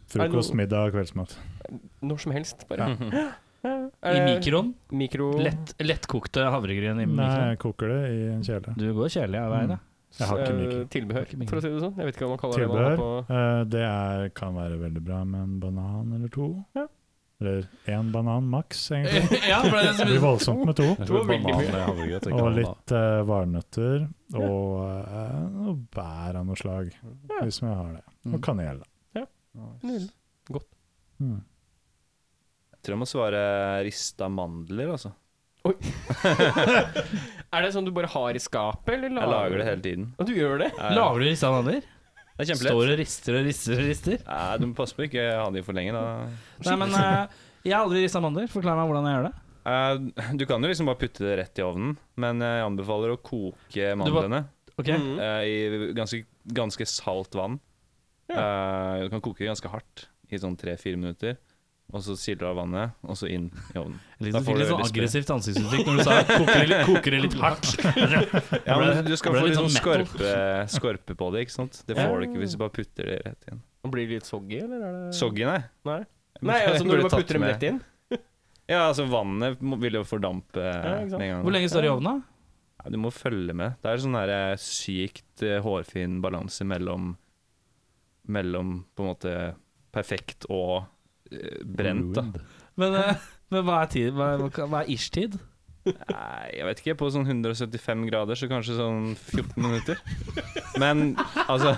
[SPEAKER 6] Frokost, middag, kveldsmat.
[SPEAKER 1] Når som helst, bare. Eh,
[SPEAKER 2] I mikroen.
[SPEAKER 1] Mikro...
[SPEAKER 2] Lett, lettkokte havregryn i
[SPEAKER 6] Nei,
[SPEAKER 2] mikroen.
[SPEAKER 6] jeg koker det i en kjele.
[SPEAKER 2] Du går kjedelig av veien, ja.
[SPEAKER 6] Jeg har ikke
[SPEAKER 1] eh,
[SPEAKER 6] mikro.
[SPEAKER 1] Tilbehør,
[SPEAKER 2] Har ikke mikro.
[SPEAKER 1] for å si det sånn. Jeg vet ikke hva man kaller det.
[SPEAKER 6] Tilbehør.
[SPEAKER 1] man har på-
[SPEAKER 6] Eh, det er, kan være veldig bra med en banan eller to.
[SPEAKER 1] Ja.
[SPEAKER 6] Eller én banan maks, egentlig.
[SPEAKER 2] ja, for det er
[SPEAKER 6] Det
[SPEAKER 2] så
[SPEAKER 6] blir
[SPEAKER 2] mye-
[SPEAKER 6] voldsomt med to.
[SPEAKER 3] Jeg tror
[SPEAKER 1] Det var veldig
[SPEAKER 3] banan
[SPEAKER 1] mye.
[SPEAKER 3] med havregrøt er ikke
[SPEAKER 6] Og
[SPEAKER 3] noe annet.
[SPEAKER 6] litt eh, valnøtter og eh, noe bær av noe slag,
[SPEAKER 1] Ja.
[SPEAKER 6] hvis vi har det. Og kanel. da.
[SPEAKER 1] Nydelig.
[SPEAKER 6] Mm.
[SPEAKER 5] Jeg tror jeg må svare rista mandler, altså.
[SPEAKER 1] Er det sånn du bare har i skapet, eller
[SPEAKER 5] Jeg lager det hele tiden.
[SPEAKER 1] Og du gjør det?
[SPEAKER 5] Jeg-
[SPEAKER 2] Lager du rista mandler?
[SPEAKER 5] Det er
[SPEAKER 2] Står
[SPEAKER 5] kjempelett.
[SPEAKER 2] og rister og rister og rister?
[SPEAKER 5] Nei, du må passe på å ikke ha de for lenge, da.
[SPEAKER 2] Nei, men eh, jeg har aldri rista mandler. Forklar meg hvordan jeg gjør det.
[SPEAKER 5] Eh, Du kan jo liksom bare putte det rett i ovnen, men eh, jeg anbefaler å koke mandlene
[SPEAKER 2] Ok
[SPEAKER 1] Mm.
[SPEAKER 5] eh, i ganske, ganske salt vann. Eh, Du kan koke det ganske hardt i sånn tre-fire minutter. Og så siler du av vannet, og så inn i ovnen.
[SPEAKER 2] Jeg
[SPEAKER 5] Da
[SPEAKER 2] likte-
[SPEAKER 5] får
[SPEAKER 2] fikk
[SPEAKER 5] du
[SPEAKER 2] litt sånn
[SPEAKER 5] veldig spre-
[SPEAKER 2] aggressivt ansiktsuttrykk når du sa 'koker det litt, koker det litt hardt'.
[SPEAKER 5] Ja, men Du skal
[SPEAKER 2] ble
[SPEAKER 5] få
[SPEAKER 2] litt
[SPEAKER 5] litt sånn
[SPEAKER 2] sånn metal.
[SPEAKER 5] skorpe, skorpe på det, ikke sant? Det får du ikke hvis du bare putter det rett inn.
[SPEAKER 1] Og Blir det litt soggy, eller er det
[SPEAKER 5] Soggy, nei.
[SPEAKER 1] Nei. Nei, altså når du bare putter dem rett inn.
[SPEAKER 5] Ja, altså vannet må- vil jo
[SPEAKER 1] ikke
[SPEAKER 5] fordampe med
[SPEAKER 1] sant.
[SPEAKER 5] en gang.
[SPEAKER 2] Hvor lenge står det i ovnen, da?
[SPEAKER 5] Ja, Du må følge med. Det er sånn der eh, sykt eh, hårfin balanse mellom Mellom på en måte perfekt og eh, brent, da.
[SPEAKER 2] Men, eh, men hva er tid? Hva, hva hva er ish-tid?
[SPEAKER 5] Nei, jeg vet ikke. På sånn 175 grader, så kanskje sånn 14 minutter. Men altså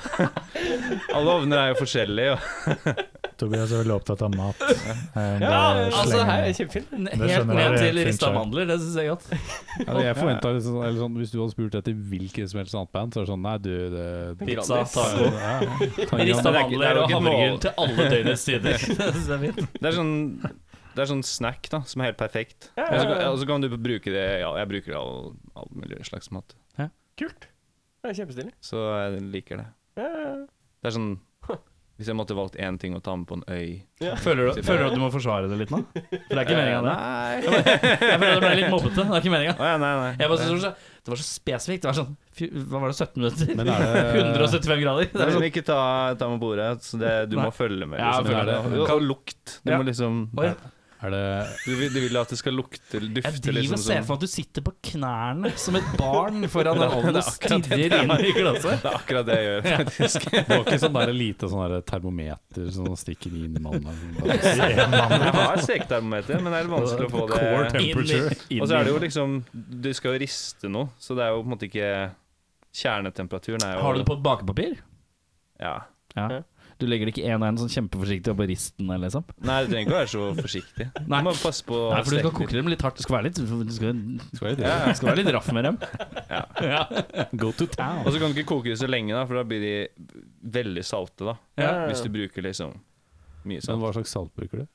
[SPEAKER 5] Alle ovner er jo forskjellige. Og
[SPEAKER 6] Tobias er veldig opptatt av mat. Jeg
[SPEAKER 1] Ja,
[SPEAKER 6] bare
[SPEAKER 1] altså,
[SPEAKER 6] slenger
[SPEAKER 1] her er
[SPEAKER 6] den.
[SPEAKER 1] kjempefint.
[SPEAKER 2] N-
[SPEAKER 6] skjønner
[SPEAKER 2] Helt
[SPEAKER 6] jeg,
[SPEAKER 2] ned
[SPEAKER 6] det er
[SPEAKER 2] til
[SPEAKER 6] fint,
[SPEAKER 2] rista
[SPEAKER 6] skjønner.
[SPEAKER 2] mandler, det syns jeg er godt.
[SPEAKER 3] Ja, men jeg forventet liksom, eller sånn, Hvis du hadde spurt etter hvilket som helst annet band, så er det sånn Nei, du, det, det
[SPEAKER 2] Pizza, taco.
[SPEAKER 3] ja,
[SPEAKER 2] Rista
[SPEAKER 5] det er ikke- det er
[SPEAKER 2] mandler
[SPEAKER 5] jo
[SPEAKER 2] og
[SPEAKER 5] ikke et mål.
[SPEAKER 2] havregryn til alle døgnets tider. Det synes jeg er fint.
[SPEAKER 5] det er sånn Det er sånn snack da, som er helt perfekt.
[SPEAKER 1] Ja,
[SPEAKER 5] Og
[SPEAKER 1] ja,
[SPEAKER 5] så kan-
[SPEAKER 1] ja.
[SPEAKER 5] Og så kan du bruke det Ja, jeg bruker det i all, all mulig slags mat.
[SPEAKER 1] Kult. Det er kjempestilig.
[SPEAKER 5] Så jeg liker det.
[SPEAKER 1] Ja, ja, ja.
[SPEAKER 5] Det er sånn Hvis jeg måtte valgt én ting å ta med på en øy
[SPEAKER 2] Føler du, føler du at du må forsvare det litt nå? For det er ikke meninga, det.
[SPEAKER 5] Eh, Nei.
[SPEAKER 2] Jeg føler det ble litt mobbete. Det er ikke meninga.
[SPEAKER 5] Å ja, nei, nei.
[SPEAKER 2] Jeg bare synes det var så- det var så spesifikt. Det var sånn fy- Hva var det, 17
[SPEAKER 4] Men
[SPEAKER 2] minutter?
[SPEAKER 4] er det
[SPEAKER 2] 175 grader. Det
[SPEAKER 5] Det
[SPEAKER 2] er
[SPEAKER 5] er
[SPEAKER 2] sånn,
[SPEAKER 5] sånn, ikke ta, ta med bordet. Så det, du
[SPEAKER 2] Nei.
[SPEAKER 5] må følge med.
[SPEAKER 2] Ja,
[SPEAKER 5] Liksom.
[SPEAKER 2] følger
[SPEAKER 5] Det er
[SPEAKER 2] med.
[SPEAKER 5] det. Og lukt. Du
[SPEAKER 2] Ja.
[SPEAKER 5] må liksom
[SPEAKER 2] Oi,
[SPEAKER 3] Er det
[SPEAKER 5] du, vil- du vil at det skal lukte eller
[SPEAKER 2] jeg
[SPEAKER 5] dufte,
[SPEAKER 2] driver
[SPEAKER 5] liksom.
[SPEAKER 2] og ser
[SPEAKER 5] sånn-
[SPEAKER 2] for meg at du sitter på knærne som et barn foran
[SPEAKER 5] Det er-
[SPEAKER 2] ovnen og
[SPEAKER 5] det er akkurat det.
[SPEAKER 2] stirrer inn i glasset.
[SPEAKER 5] Det er akkurat det jeg gjør, faktisk.
[SPEAKER 3] Det var ikke sånn der lite sånn der termometer som stikker inn i sånn, mannen?
[SPEAKER 5] Jeg har steketermometer, men det er litt vanskelig å få
[SPEAKER 2] Eh,
[SPEAKER 3] Core
[SPEAKER 5] det
[SPEAKER 3] temperature.
[SPEAKER 5] Og så er det jo liksom Du skal jo riste noe, så det er jo på en måte ikke Kjernetemperaturen er jo
[SPEAKER 2] Har du det på et bakepapir?
[SPEAKER 5] Ja.
[SPEAKER 2] Ja. Du legger det ikke en og en sånn kjempeforsiktig oppå risten? eller liksom
[SPEAKER 5] Nei, du trenger ikke å være så forsiktig. Du
[SPEAKER 2] Nei.
[SPEAKER 5] må passe på å
[SPEAKER 2] Nei, for du skal
[SPEAKER 5] steke
[SPEAKER 2] koke dem litt hardt. Det skal være litt, du skal,
[SPEAKER 3] Skal jeg det?
[SPEAKER 5] Ja, ja.
[SPEAKER 2] du skal være litt raff med dem. Ja.
[SPEAKER 3] Go to town.
[SPEAKER 5] Og så kan du ikke koke det så lenge, da, for da blir de veldig salte. da
[SPEAKER 1] Ja.
[SPEAKER 5] Hvis du bruker liksom mye
[SPEAKER 3] Men
[SPEAKER 5] salt.
[SPEAKER 3] hva slags salt bruker du?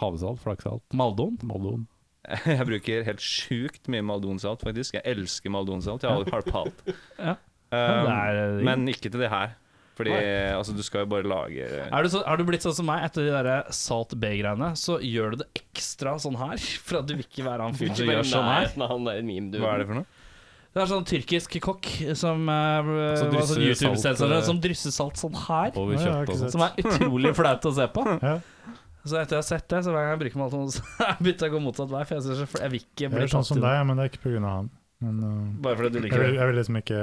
[SPEAKER 3] Havsalt? Flaksalt?
[SPEAKER 2] Maldon.
[SPEAKER 3] Maldon?
[SPEAKER 5] Jeg bruker helt sjukt mye maldonsalt, faktisk. Jeg elsker maldonsalt. Jeg har aldri harpalt.
[SPEAKER 2] Ja.
[SPEAKER 5] Um,
[SPEAKER 2] det er-
[SPEAKER 5] men ikke til det her. Fordi altså, du skal jo bare lage
[SPEAKER 2] Er du, så, er du blitt sånn som meg etter de der Salt B-greiene, så gjør du det ekstra sånn her. For at du vil ikke være han fyren som gjør sånn her.
[SPEAKER 1] Nei, han der meme, du.
[SPEAKER 5] Hva er det for noe?
[SPEAKER 2] Det er sånn tyrkisk kokk som eh, var
[SPEAKER 3] drysser
[SPEAKER 2] sånn YouTube-sensor
[SPEAKER 3] salt, eh,
[SPEAKER 2] som drysser salt sånn her.
[SPEAKER 3] Over
[SPEAKER 6] Nei, jeg har
[SPEAKER 3] kjøtt
[SPEAKER 6] ikke
[SPEAKER 3] og sånt?
[SPEAKER 6] sett.
[SPEAKER 2] Som er utrolig flaut å se på.
[SPEAKER 6] Ja.
[SPEAKER 2] Så etter jeg har sett det, så hver gang jeg bruker meg alt sånn, så har jeg begynt å gå motsatt vei. For jeg, synes, jeg vil ikke
[SPEAKER 6] Jeg
[SPEAKER 2] bli
[SPEAKER 6] er sånn
[SPEAKER 2] tatt i
[SPEAKER 6] som
[SPEAKER 2] det.
[SPEAKER 6] deg, men det er ikke pga. han. Men uh,
[SPEAKER 5] Bare fordi du
[SPEAKER 6] jeg,
[SPEAKER 5] liker
[SPEAKER 6] vil,
[SPEAKER 5] det.
[SPEAKER 6] jeg vil liksom ikke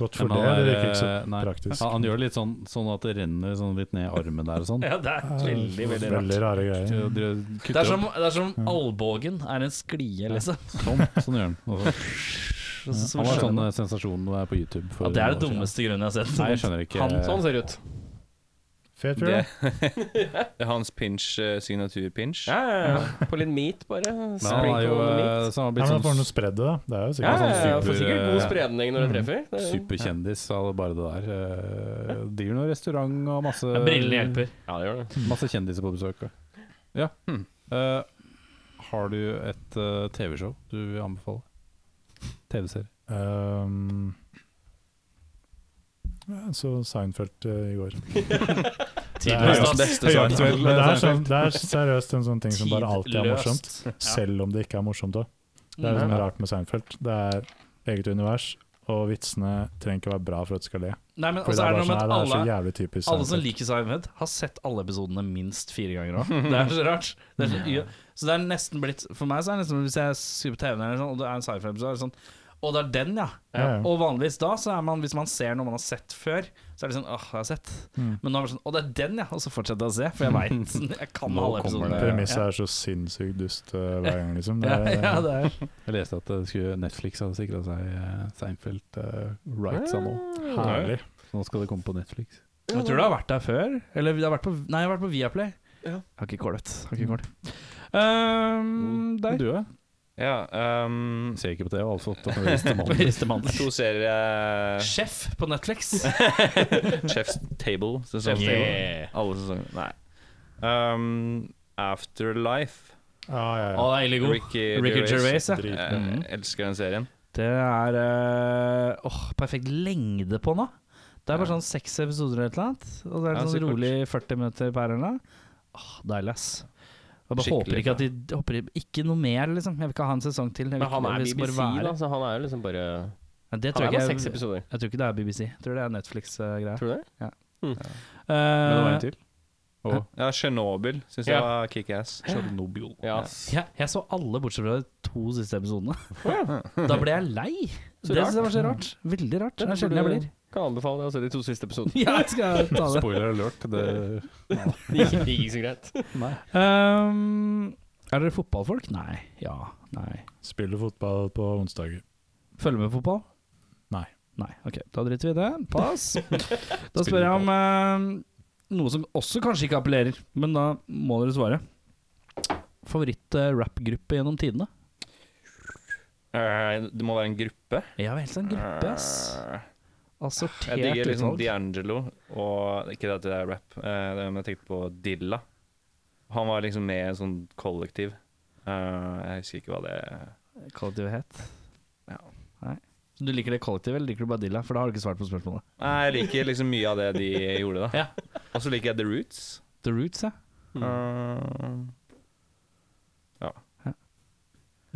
[SPEAKER 6] gått for
[SPEAKER 3] Men
[SPEAKER 6] det.
[SPEAKER 3] han
[SPEAKER 6] Det
[SPEAKER 3] er,
[SPEAKER 6] virker ikke så
[SPEAKER 3] eh, nei.
[SPEAKER 6] praktisk.
[SPEAKER 3] Ja, han gjør det litt sånn, sånn at det renner sånn litt ned i armen der og sånn.
[SPEAKER 2] Ja, det er
[SPEAKER 6] Ja,
[SPEAKER 2] veldig, veldig rart.
[SPEAKER 6] Eh, rare
[SPEAKER 3] Til
[SPEAKER 6] greier.
[SPEAKER 3] å
[SPEAKER 2] Det
[SPEAKER 3] dre-
[SPEAKER 2] er
[SPEAKER 3] Kutter
[SPEAKER 2] som,
[SPEAKER 3] opp.
[SPEAKER 2] det er som albuen er en sklie, liksom.
[SPEAKER 3] Sånn, sånn gjør han. Og så-
[SPEAKER 2] Så- så-
[SPEAKER 3] Han var
[SPEAKER 2] skjønner
[SPEAKER 3] sånn
[SPEAKER 2] man.
[SPEAKER 3] eh, sensasjon der på YouTube. for
[SPEAKER 2] ja, det er det
[SPEAKER 3] noen år siden.
[SPEAKER 2] dummeste grunnen jeg har sett.
[SPEAKER 3] Nei, jeg skjønner ikke
[SPEAKER 2] Han-
[SPEAKER 1] Sånn ser det ut.
[SPEAKER 6] Fet fyr.
[SPEAKER 5] det.
[SPEAKER 6] da.
[SPEAKER 5] det er hans pinch, eh, signatur-pinch.
[SPEAKER 1] Ja, ja, ja. På litt meat, bare.
[SPEAKER 3] Men han er jo eh, så han har
[SPEAKER 6] Nei,
[SPEAKER 3] blitt
[SPEAKER 6] men da får han
[SPEAKER 3] sånn
[SPEAKER 6] jo spredd det, da. Det er jo
[SPEAKER 5] eh,
[SPEAKER 1] Ja,
[SPEAKER 6] sikkert
[SPEAKER 1] ja, ja,
[SPEAKER 3] sånn
[SPEAKER 1] får sikkert god
[SPEAKER 3] super-
[SPEAKER 1] spredning
[SPEAKER 5] mm.
[SPEAKER 1] når det treffer. Det er-
[SPEAKER 3] superkjendis av bare det der. Eh, Driver noe restaurant og masse
[SPEAKER 2] Ja, Brillene hjelper.
[SPEAKER 1] Ja, det gjør det.
[SPEAKER 6] Mm.
[SPEAKER 3] Masse kjendiser på besøk. og- Ja. Eh, har du et eh, TV-show du vil anbefale? TV-serie.
[SPEAKER 6] Ehm, ja, så Seinfeld eh, i går.
[SPEAKER 2] Tidløst, ass.
[SPEAKER 5] beste
[SPEAKER 6] Men
[SPEAKER 5] svar.
[SPEAKER 6] det er, sånn, det er seriøst en sånn ting som bare alltid er
[SPEAKER 2] Tidløst.
[SPEAKER 6] morsomt, selv om det ikke er morsomt òg. Det er liksom rart med Seinfeld. Det er eget univers, og vitsene trenger ikke være bra for at du skal le.
[SPEAKER 2] Nei, men
[SPEAKER 6] Fordi
[SPEAKER 2] også
[SPEAKER 6] det
[SPEAKER 2] Altså, er
[SPEAKER 6] er,
[SPEAKER 2] det noe med
[SPEAKER 6] bare
[SPEAKER 2] at
[SPEAKER 6] sånn, nei, det er så
[SPEAKER 2] alle,
[SPEAKER 6] jævlig typisk
[SPEAKER 2] alle som
[SPEAKER 6] Seinfeld.
[SPEAKER 2] liker Seinfeld, har sett alle episodene minst fire ganger òg. Det er så rart. Det er så, u- så det er nesten blitt For meg så er det nesten hvis jeg skrur på TV-en, eller sånn, og det er en Seinfeld-episode, er det sånn Å, det er den, ja.
[SPEAKER 6] Ja, ja.
[SPEAKER 2] Og vanligvis da, så er man hvis man ser noe man har sett før, så er det sånn Åh, jeg har sett.
[SPEAKER 6] Mm.
[SPEAKER 2] Men nå er det sånn Å, det er den, ja. Og så fortsetter jeg å se, for jeg veit Jeg kan
[SPEAKER 3] Nå
[SPEAKER 2] halve
[SPEAKER 3] kommer
[SPEAKER 2] episoden.
[SPEAKER 3] det.
[SPEAKER 6] Premisset er så sinnssykt dust eh, hver gang, liksom. Det
[SPEAKER 2] Ja,
[SPEAKER 6] er,
[SPEAKER 2] ja, det er
[SPEAKER 3] Jeg leste at det skulle Netflix hadde sikra seg eh, Seinfeld eh, rights av nå.
[SPEAKER 6] herlig.
[SPEAKER 3] Så Nå skal det komme på Netflix.
[SPEAKER 2] Jeg tror du har vært der før. Eller det har vært på, nei, jeg har vært på Viaplay.
[SPEAKER 1] Ja.
[SPEAKER 2] Har ikke kålet. Har ikke kålet.
[SPEAKER 6] Mm,
[SPEAKER 2] Ehm,
[SPEAKER 3] Men
[SPEAKER 2] der.
[SPEAKER 3] Mm. Du er?
[SPEAKER 5] Ja, ehm,
[SPEAKER 3] Ser ikke på TV, altså. opptatt av ristemann.
[SPEAKER 2] Ristemandel.
[SPEAKER 5] to serier eh,
[SPEAKER 2] Sjef på Netflix.
[SPEAKER 5] Chef's Table. Sesong
[SPEAKER 2] Chef's
[SPEAKER 5] Table. Alle sesonger. Nei. Ehm, Afterlife.
[SPEAKER 6] Ja, ja,
[SPEAKER 2] Å,
[SPEAKER 6] ja.
[SPEAKER 2] det er ille god.
[SPEAKER 5] Ricky, Eh,
[SPEAKER 2] Ricky Gervais, ja.
[SPEAKER 6] Drit.
[SPEAKER 5] Jeg
[SPEAKER 2] Mhm.
[SPEAKER 5] elsker den serien.
[SPEAKER 2] Det er eh, Åh, perfekt lengde på den, da. Det er bare
[SPEAKER 5] Ja.
[SPEAKER 2] sånn seks episoder eller et eller annet. Og det er
[SPEAKER 5] Ja,
[SPEAKER 2] en
[SPEAKER 5] så
[SPEAKER 2] sånn
[SPEAKER 5] kort.
[SPEAKER 2] rolig 40 minutter per eller noe. Åh, deilig, ass. Jeg bare
[SPEAKER 5] Skikkelig
[SPEAKER 2] håper ikke at de håper Ikke noe mer, liksom. Jeg vil ikke ha en sesong til. Jeg vil
[SPEAKER 1] Men han
[SPEAKER 2] ikke-
[SPEAKER 1] er
[SPEAKER 2] jeg vil
[SPEAKER 1] BBC,
[SPEAKER 2] bare være-
[SPEAKER 1] da, så han er jo liksom bare
[SPEAKER 2] Nei, Det
[SPEAKER 1] Han
[SPEAKER 2] tror
[SPEAKER 1] er bare
[SPEAKER 2] jeg
[SPEAKER 1] seks
[SPEAKER 2] ikke jeg,
[SPEAKER 1] episoder.
[SPEAKER 2] jeg tror ikke det er BBC. Jeg tror det er Netflix-greia. Eh,
[SPEAKER 1] Tror du det?
[SPEAKER 3] Men det var en til. Og
[SPEAKER 5] Ja, Tsjernobyl syns jeg
[SPEAKER 1] Ja.
[SPEAKER 5] var kickass.
[SPEAKER 3] Tsjernobyl.
[SPEAKER 1] Ja.
[SPEAKER 2] Jeg, jeg så alle bortsett fra de to siste episodene. Da ble jeg lei.
[SPEAKER 1] Så
[SPEAKER 2] det
[SPEAKER 1] rart.
[SPEAKER 2] synes jeg var så rart. Veldig rart. Det er sjelden jeg blir.
[SPEAKER 1] Kan anbefale deg å se de to siste episodene.
[SPEAKER 2] Ja, jeg skal ta det.
[SPEAKER 3] Spoiler alert. Det
[SPEAKER 1] Det gikk det gikk så greit.
[SPEAKER 2] Um, er dere fotballfolk? Nei. Ja. Nei.
[SPEAKER 6] Spiller fotball på onsdager.
[SPEAKER 2] Følger med fotball?
[SPEAKER 6] Nei.
[SPEAKER 2] Nei, ok. Da driter vi i det. Pass. Da spør jeg om eh, noe som også kanskje ikke appellerer, men da må dere svare. Favoritt-rappgruppe gjennom tidene?
[SPEAKER 5] Eh, det må være en gruppe.
[SPEAKER 2] Ja, vel, en gruppe, ass.
[SPEAKER 5] Eh,
[SPEAKER 2] Assortert
[SPEAKER 5] Jeg digger liksom
[SPEAKER 2] utvalg.
[SPEAKER 5] D'Angelo og Ikke at det er rap, eh, det- men jeg tenkte på Dilla. Han var liksom med i en sånn kollektiv. Eh, jeg husker ikke hva det
[SPEAKER 2] Kollektivet het.
[SPEAKER 5] Ja.
[SPEAKER 2] Nei. Så du liker det kollektivet, eller liker du bare Dilla? For da har du ikke svart på spørsmålet.
[SPEAKER 5] Nei, Jeg liker liksom mye av det de gjorde, da.
[SPEAKER 2] Ja.
[SPEAKER 5] Og så liker jeg The Roots.
[SPEAKER 2] The Roots, ja.
[SPEAKER 1] Mm.
[SPEAKER 5] Eh,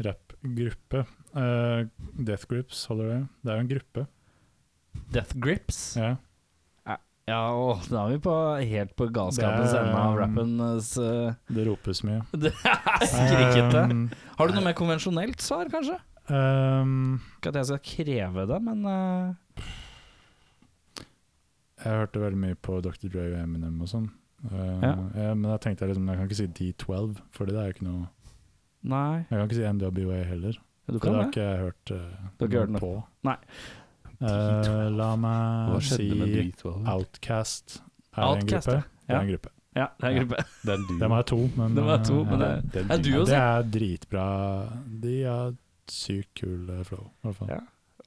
[SPEAKER 6] Rappgruppe. Eh, Death Grips, holder det? Det er jo en gruppe.
[SPEAKER 2] Death Grips.
[SPEAKER 6] Ja.
[SPEAKER 2] Ja, og da er vi på, helt på galskapens
[SPEAKER 6] Det er,
[SPEAKER 2] ende av
[SPEAKER 6] um,
[SPEAKER 2] rappens eh,
[SPEAKER 6] Det ropes mye.
[SPEAKER 2] Det er skrikete.
[SPEAKER 6] Um,
[SPEAKER 2] Har du noe mer konvensjonelt svar, kanskje?
[SPEAKER 6] um,
[SPEAKER 2] Ikke at jeg skal kreve det, men eh,
[SPEAKER 6] jeg hørte veldig mye på Dr. Dre og Eminem og sånn. Eh,
[SPEAKER 2] Ja.
[SPEAKER 6] ja, men da tenkte jeg liksom Jeg kan ikke si D12, Fordi det er jo ikke noe
[SPEAKER 2] nei.
[SPEAKER 6] Jeg kan ikke si NWA heller.
[SPEAKER 2] Du
[SPEAKER 6] For det
[SPEAKER 2] kan
[SPEAKER 6] har
[SPEAKER 2] det.
[SPEAKER 6] ikke jeg hørt, eh,
[SPEAKER 2] Du har ikke hørt noe?
[SPEAKER 6] på.
[SPEAKER 2] Nei.
[SPEAKER 6] Eh, la meg si
[SPEAKER 3] D12?
[SPEAKER 6] Outcast er en
[SPEAKER 2] Outkast,
[SPEAKER 6] gruppe. Det
[SPEAKER 2] ja.
[SPEAKER 6] er en gruppe.
[SPEAKER 2] Ja, det er en gruppe.
[SPEAKER 3] Den du.
[SPEAKER 6] De er to, men,
[SPEAKER 2] Det var to,
[SPEAKER 6] eh,
[SPEAKER 2] men det
[SPEAKER 6] ja.
[SPEAKER 3] Den
[SPEAKER 2] er du
[SPEAKER 6] Ja,
[SPEAKER 2] også.
[SPEAKER 6] det er dritbra. De har sykt kul eh, flow, i hvert fall.
[SPEAKER 2] Ja.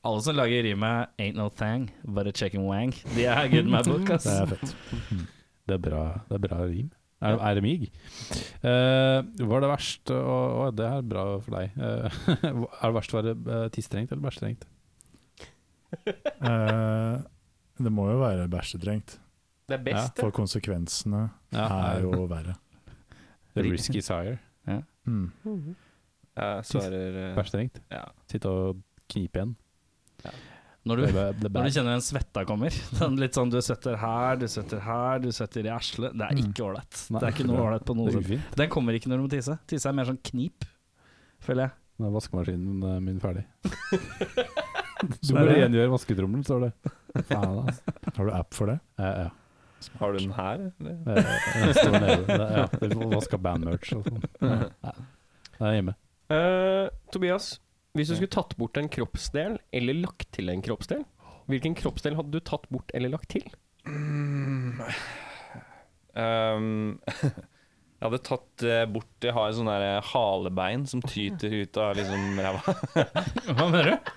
[SPEAKER 2] Alle som lager rimet 'Ain't no thang, but a chicken wang', de er good in my book, ass.
[SPEAKER 6] Det er fett.
[SPEAKER 3] Mm. Det er bra, det er bra rim. Er, er det mig? Eh, var det verst å, å, Det er bra for deg. Eh, er det verst å være eh, tisstrengt eller bæsjstrengt?
[SPEAKER 6] Eh, det må jo være bæsjedrengt,
[SPEAKER 1] Det er best,
[SPEAKER 6] for konsekvensene er jo verre.
[SPEAKER 3] The risky sire.
[SPEAKER 6] Mm.
[SPEAKER 1] det.
[SPEAKER 5] jeg svarer eh,
[SPEAKER 3] Bæsjstrengt.
[SPEAKER 5] ja.
[SPEAKER 3] Sitte og knipe igjen.
[SPEAKER 2] Når du
[SPEAKER 3] Det, er bæ- det, er
[SPEAKER 2] Når du
[SPEAKER 3] bæ-
[SPEAKER 2] kjenner en svetta kommer. Den litt sånn Du svetter her, du svetter her, du svetter i arslet. Det er
[SPEAKER 6] Mm.
[SPEAKER 2] ikke ålreit.
[SPEAKER 3] Nei,
[SPEAKER 2] Det er ikke noe ålreit på noe
[SPEAKER 3] det er
[SPEAKER 2] sett.
[SPEAKER 3] ufint.
[SPEAKER 2] Den kommer ikke når du må tisse. Tisse er mer sånn knip, føler jeg.
[SPEAKER 3] Nå er vaskemaskinen eh, min ferdig. Du
[SPEAKER 6] Så
[SPEAKER 3] må
[SPEAKER 6] er det-
[SPEAKER 3] rengjøre vasketrommelen, står det. Faen, altså.
[SPEAKER 6] Har du app for det?
[SPEAKER 3] Eh, ja.
[SPEAKER 5] Har du den her? eller?
[SPEAKER 3] Eh, Den står nede. Det- Ja, det er vaska bandmerch og sånn. Ja. Det er hjemme.
[SPEAKER 1] Eh, Tobias, hvis du skulle tatt bort en kroppsdel eller lagt til en kroppsdel, hvilken kroppsdel hadde du tatt bort eller lagt til?
[SPEAKER 5] Ehm, jeg hadde tatt eh, bort Jeg har en sånn der eh, halebein som tyter ut av liksom ræva.
[SPEAKER 2] Hva mener du?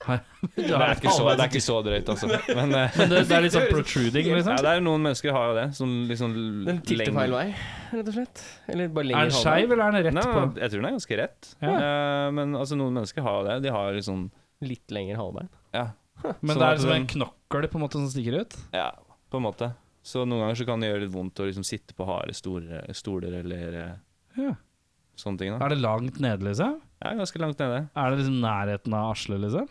[SPEAKER 5] Det er ikke så, det er ikke så drøyt, altså. Men eh,
[SPEAKER 2] Men det, det er litt sånn protruding,
[SPEAKER 5] ja,
[SPEAKER 2] liksom.
[SPEAKER 5] det er jo noen mennesker har jo det. Som liksom
[SPEAKER 1] Den titter
[SPEAKER 5] lengre-
[SPEAKER 1] feil vei, rett og slett. Eller bare
[SPEAKER 2] Er
[SPEAKER 1] lenger
[SPEAKER 2] den
[SPEAKER 1] halvveis.
[SPEAKER 2] skeiv, eller er den rett
[SPEAKER 5] Nei,
[SPEAKER 2] på?
[SPEAKER 5] men jeg tror den er ganske rett. Eh, men altså, noen mennesker har jo det. De har liksom
[SPEAKER 1] Litt lenger halvvein.
[SPEAKER 5] ja,
[SPEAKER 2] Men
[SPEAKER 5] sånn
[SPEAKER 2] det
[SPEAKER 5] at
[SPEAKER 2] er som en
[SPEAKER 5] den-
[SPEAKER 2] knokkel på en måte som stikker ut?
[SPEAKER 5] ja, på en måte. Så noen ganger så kan det gjøre litt vondt å liksom sitte på harde store, stoler eller eh,
[SPEAKER 2] Ja.
[SPEAKER 5] sånne ting. da
[SPEAKER 2] Er det langt nede, liksom?
[SPEAKER 5] Ja, ganske langt nede.
[SPEAKER 2] Er det liksom nærheten av arslet, liksom?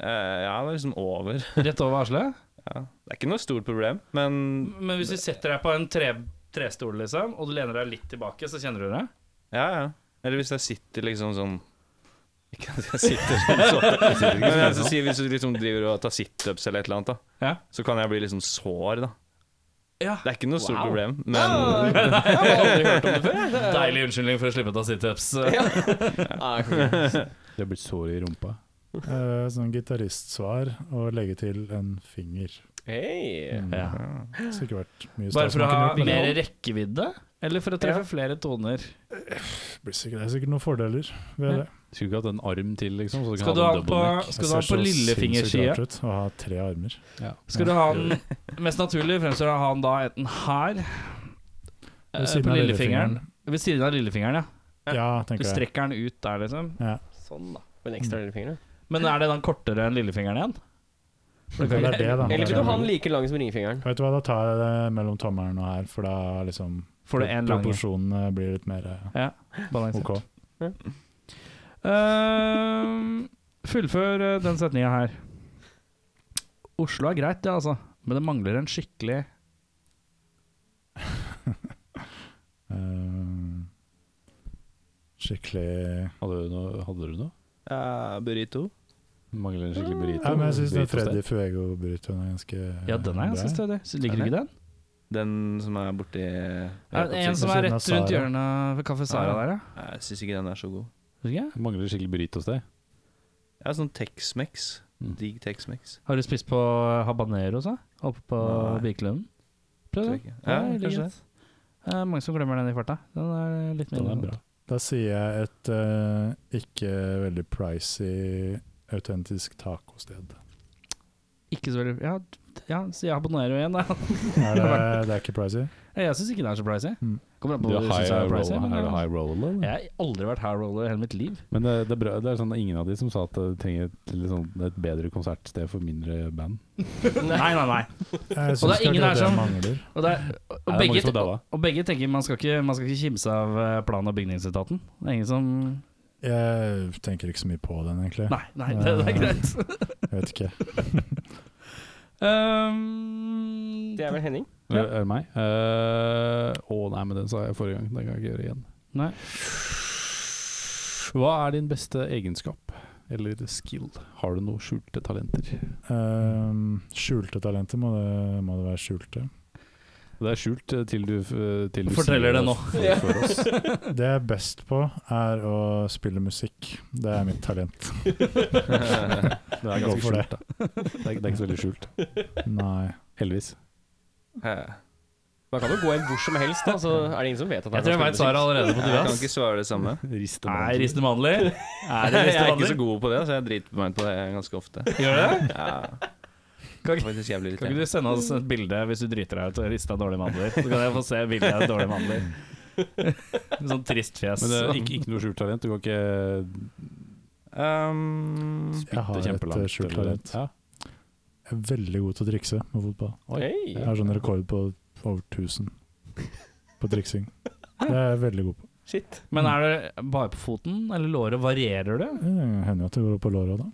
[SPEAKER 5] Eh, ja, det er liksom over.
[SPEAKER 2] Rett over arslet?
[SPEAKER 5] Ja. Det er ikke noe stort problem, men
[SPEAKER 2] Men hvis du setter deg på en tre, trestol, liksom, og du lener deg litt tilbake, så kjenner du det?
[SPEAKER 5] ja, ja. Eller hvis jeg sitter liksom sånn Ikke at jeg sitter sånn, så, men jeg skal si, hvis du liksom driver og tar situps eller et eller annet, da,
[SPEAKER 2] Ja.
[SPEAKER 5] så kan jeg bli liksom sår, da.
[SPEAKER 2] Ja.
[SPEAKER 5] Det er ikke noe stort
[SPEAKER 1] Wow.
[SPEAKER 5] problem,
[SPEAKER 2] Ah!
[SPEAKER 5] men
[SPEAKER 1] Jeg har aldri hørt om det før. jeg. Det er-
[SPEAKER 2] Deilig unnskyldning for å slippe å ta situps.
[SPEAKER 1] Nei, konge.
[SPEAKER 3] Det blir sår i rumpa.
[SPEAKER 6] Eh, sånn gitaristsvar og legge til en finger.
[SPEAKER 1] Hei.
[SPEAKER 6] Mm.
[SPEAKER 2] Ja.
[SPEAKER 6] Det skulle ikke vært mye
[SPEAKER 2] Bare
[SPEAKER 6] stas.
[SPEAKER 2] for å
[SPEAKER 6] Man
[SPEAKER 2] ha
[SPEAKER 6] kunne gjort
[SPEAKER 2] mer
[SPEAKER 6] det.
[SPEAKER 2] rekkevidde, eller for å treffe flere toner?
[SPEAKER 6] Det blir sikkert- Det er sikkert noen fordeler ved det.
[SPEAKER 3] Skulle ikke hatt en arm til, liksom. Så du
[SPEAKER 2] Skal
[SPEAKER 3] kan
[SPEAKER 2] du ha
[SPEAKER 3] ha
[SPEAKER 2] den på,
[SPEAKER 3] en double neck.
[SPEAKER 2] skal
[SPEAKER 6] Det
[SPEAKER 2] du ha den
[SPEAKER 6] ser
[SPEAKER 2] på
[SPEAKER 6] så sinnssykt
[SPEAKER 2] lillefingers-sida?
[SPEAKER 6] rart ut Å ha tre armer.
[SPEAKER 3] Ja.
[SPEAKER 2] Skal du ha den mest naturlig, fremstår det å ha den da enten her eh, på lillefingeren. Ved siden av lillefingeren, ja.
[SPEAKER 6] Ja,
[SPEAKER 2] Du
[SPEAKER 6] tenker jeg.
[SPEAKER 2] strekker den ut der, liksom.
[SPEAKER 1] Sånn, da. Med en ekstra lillefinger.
[SPEAKER 2] Men er det den kortere enn lillefingeren igjen?
[SPEAKER 6] Det er det, da.
[SPEAKER 1] Eller vil du ha den like lang som ringfingeren?
[SPEAKER 6] Vet du hva, da tar jeg det mellom tommelen og her, for da liksom
[SPEAKER 2] Får du en lang
[SPEAKER 6] Proporsjonene blir litt mer eh,
[SPEAKER 2] balanse?
[SPEAKER 6] OK.
[SPEAKER 2] Ehm, fullfør eh, den setninga her. Oslo er greit, det, altså. Men det mangler en skikkelig
[SPEAKER 6] Eh, skikkelig
[SPEAKER 3] Hadde du noe? Hadde du noe?
[SPEAKER 5] Ja, burrito.
[SPEAKER 3] Mangler en skikkelig burrito?
[SPEAKER 6] Ja, men jeg syns
[SPEAKER 3] Burrito
[SPEAKER 6] den Freddy
[SPEAKER 3] steak.
[SPEAKER 6] Fuego-burritoen er ganske
[SPEAKER 2] Ja, den er ganske stødig. Så Liker du ikke den?
[SPEAKER 5] Den som er borti
[SPEAKER 2] Er det en som
[SPEAKER 6] siden
[SPEAKER 2] er
[SPEAKER 6] av
[SPEAKER 2] rett
[SPEAKER 6] Sara.
[SPEAKER 2] rundt hjørnet ved Kaffe Sara
[SPEAKER 5] Ja.
[SPEAKER 2] der, ja.
[SPEAKER 5] Jeg syns ikke den er så god.
[SPEAKER 2] Tror ikke jeg.
[SPEAKER 3] Mangler en skikkelig burritosted.
[SPEAKER 5] Jeg har sånn Tex-Mex.
[SPEAKER 3] Mm.
[SPEAKER 5] Digg Tex-Mex.
[SPEAKER 2] Har du spist på habaneros, da? Oppe på
[SPEAKER 5] Nei.
[SPEAKER 2] Birkelunden?
[SPEAKER 5] Tror
[SPEAKER 2] Prøv
[SPEAKER 5] jeg
[SPEAKER 2] det.
[SPEAKER 5] ikke.
[SPEAKER 2] Ja,
[SPEAKER 5] Ja, kanskje det.
[SPEAKER 2] det. er mange som glemmer den i farta. Den er litt
[SPEAKER 3] Den
[SPEAKER 2] mindre.
[SPEAKER 3] er bra.
[SPEAKER 6] Da sier jeg et eh, ikke veldig pricy, autentisk tacosted.
[SPEAKER 2] Ikke så veldig Ja, d- ja si habanero igjen, da.
[SPEAKER 6] Er det, det er ikke pricy?
[SPEAKER 2] Jeg syns ikke det er så pricey.
[SPEAKER 6] Mm.
[SPEAKER 2] Kommer an
[SPEAKER 3] Du
[SPEAKER 2] på hva
[SPEAKER 3] er
[SPEAKER 2] du
[SPEAKER 3] high
[SPEAKER 2] syns er pricey.
[SPEAKER 3] roller,
[SPEAKER 2] men
[SPEAKER 3] er du
[SPEAKER 2] jeg-
[SPEAKER 3] high roller? eller?
[SPEAKER 2] Jeg har aldri vært high roller i hele mitt liv.
[SPEAKER 3] Men det, det, er bra, det er sånn, ingen av de som sa at de trenger et, litt sånn, et bedre konsertsted for mindre band.
[SPEAKER 2] Nei, nei, nei.
[SPEAKER 6] Jeg
[SPEAKER 2] Og det
[SPEAKER 6] syns
[SPEAKER 2] er ingen
[SPEAKER 6] ikke
[SPEAKER 2] her
[SPEAKER 6] at det
[SPEAKER 2] som-
[SPEAKER 6] mangler.
[SPEAKER 2] Og, det er, og,
[SPEAKER 3] Er det
[SPEAKER 2] begge,
[SPEAKER 3] mange som daua?
[SPEAKER 2] og begge tenker man skal ikke, man skal ikke kimse av eh, plan- og bygningsetaten. Det er ingen som
[SPEAKER 6] Jeg tenker ikke så mye på den, egentlig.
[SPEAKER 2] Nei, nei, det, det er greit.
[SPEAKER 6] Jeg vet ikke.
[SPEAKER 2] Eh, Um,
[SPEAKER 1] Det er vel Henning?
[SPEAKER 3] Er, er det meg? Eh, Å nei, men den sa jeg forrige gang. Den kan jeg ikke gjøre igjen.
[SPEAKER 2] Nei.
[SPEAKER 3] Hva er din beste egenskap eller skill? Har du noen skjulte talenter?
[SPEAKER 6] Ehm, skjulte talenter må det, må det være skjulte.
[SPEAKER 3] Det er skjult eh, til du, f- til du
[SPEAKER 2] Forteller
[SPEAKER 3] sier
[SPEAKER 2] det nå.
[SPEAKER 3] For, for oss.
[SPEAKER 6] Det jeg er best på, er å spille musikk. Det er mitt talent.
[SPEAKER 3] Det er
[SPEAKER 6] Gå
[SPEAKER 3] ganske
[SPEAKER 6] for det.
[SPEAKER 3] skjult, da. Det er, det er ikke så veldig skjult.
[SPEAKER 6] Nei.
[SPEAKER 3] Heldigvis.
[SPEAKER 5] Jeg
[SPEAKER 1] Man kan jo gå inn hvor som helst, da, så er det ingen som vet at det
[SPEAKER 2] Jeg tror jeg veit svaret allerede på
[SPEAKER 5] kan
[SPEAKER 2] Duas.
[SPEAKER 5] ikke svare det samme.
[SPEAKER 3] Riste
[SPEAKER 2] Nei, ristende mandler. Er det
[SPEAKER 5] Jeg er
[SPEAKER 2] ristende
[SPEAKER 5] ikke så
[SPEAKER 2] mandler?
[SPEAKER 5] god på det, så jeg driter meg ut på det ganske ofte.
[SPEAKER 2] Gjør det?
[SPEAKER 5] Ja,
[SPEAKER 2] Kan ikke,
[SPEAKER 5] faktisk jeg blir litt
[SPEAKER 2] kan ikke du sende oss et bilde hvis du driter deg ut og rister av dårlige mandler? Så kan jeg få se bildet av dårlige mandler. Sånn trist fjes.
[SPEAKER 3] Men det er ikke, ikke noe skjult talent. Du kan ikke
[SPEAKER 5] Um,
[SPEAKER 6] Jeg har
[SPEAKER 3] det er
[SPEAKER 6] et
[SPEAKER 3] kjempelangt,
[SPEAKER 6] eh, skjult
[SPEAKER 3] eller-
[SPEAKER 6] talent.
[SPEAKER 3] Ja.
[SPEAKER 6] Jeg er veldig god til å trikse med fotball. Jeg
[SPEAKER 1] Hei,
[SPEAKER 6] har sånn rekord på over 1000 på triksing. Det er jeg veldig god på.
[SPEAKER 1] shit.
[SPEAKER 2] Men er det bare på foten, eller låret? Varierer det?
[SPEAKER 6] Det hender jo at det går opp på låret òg, da.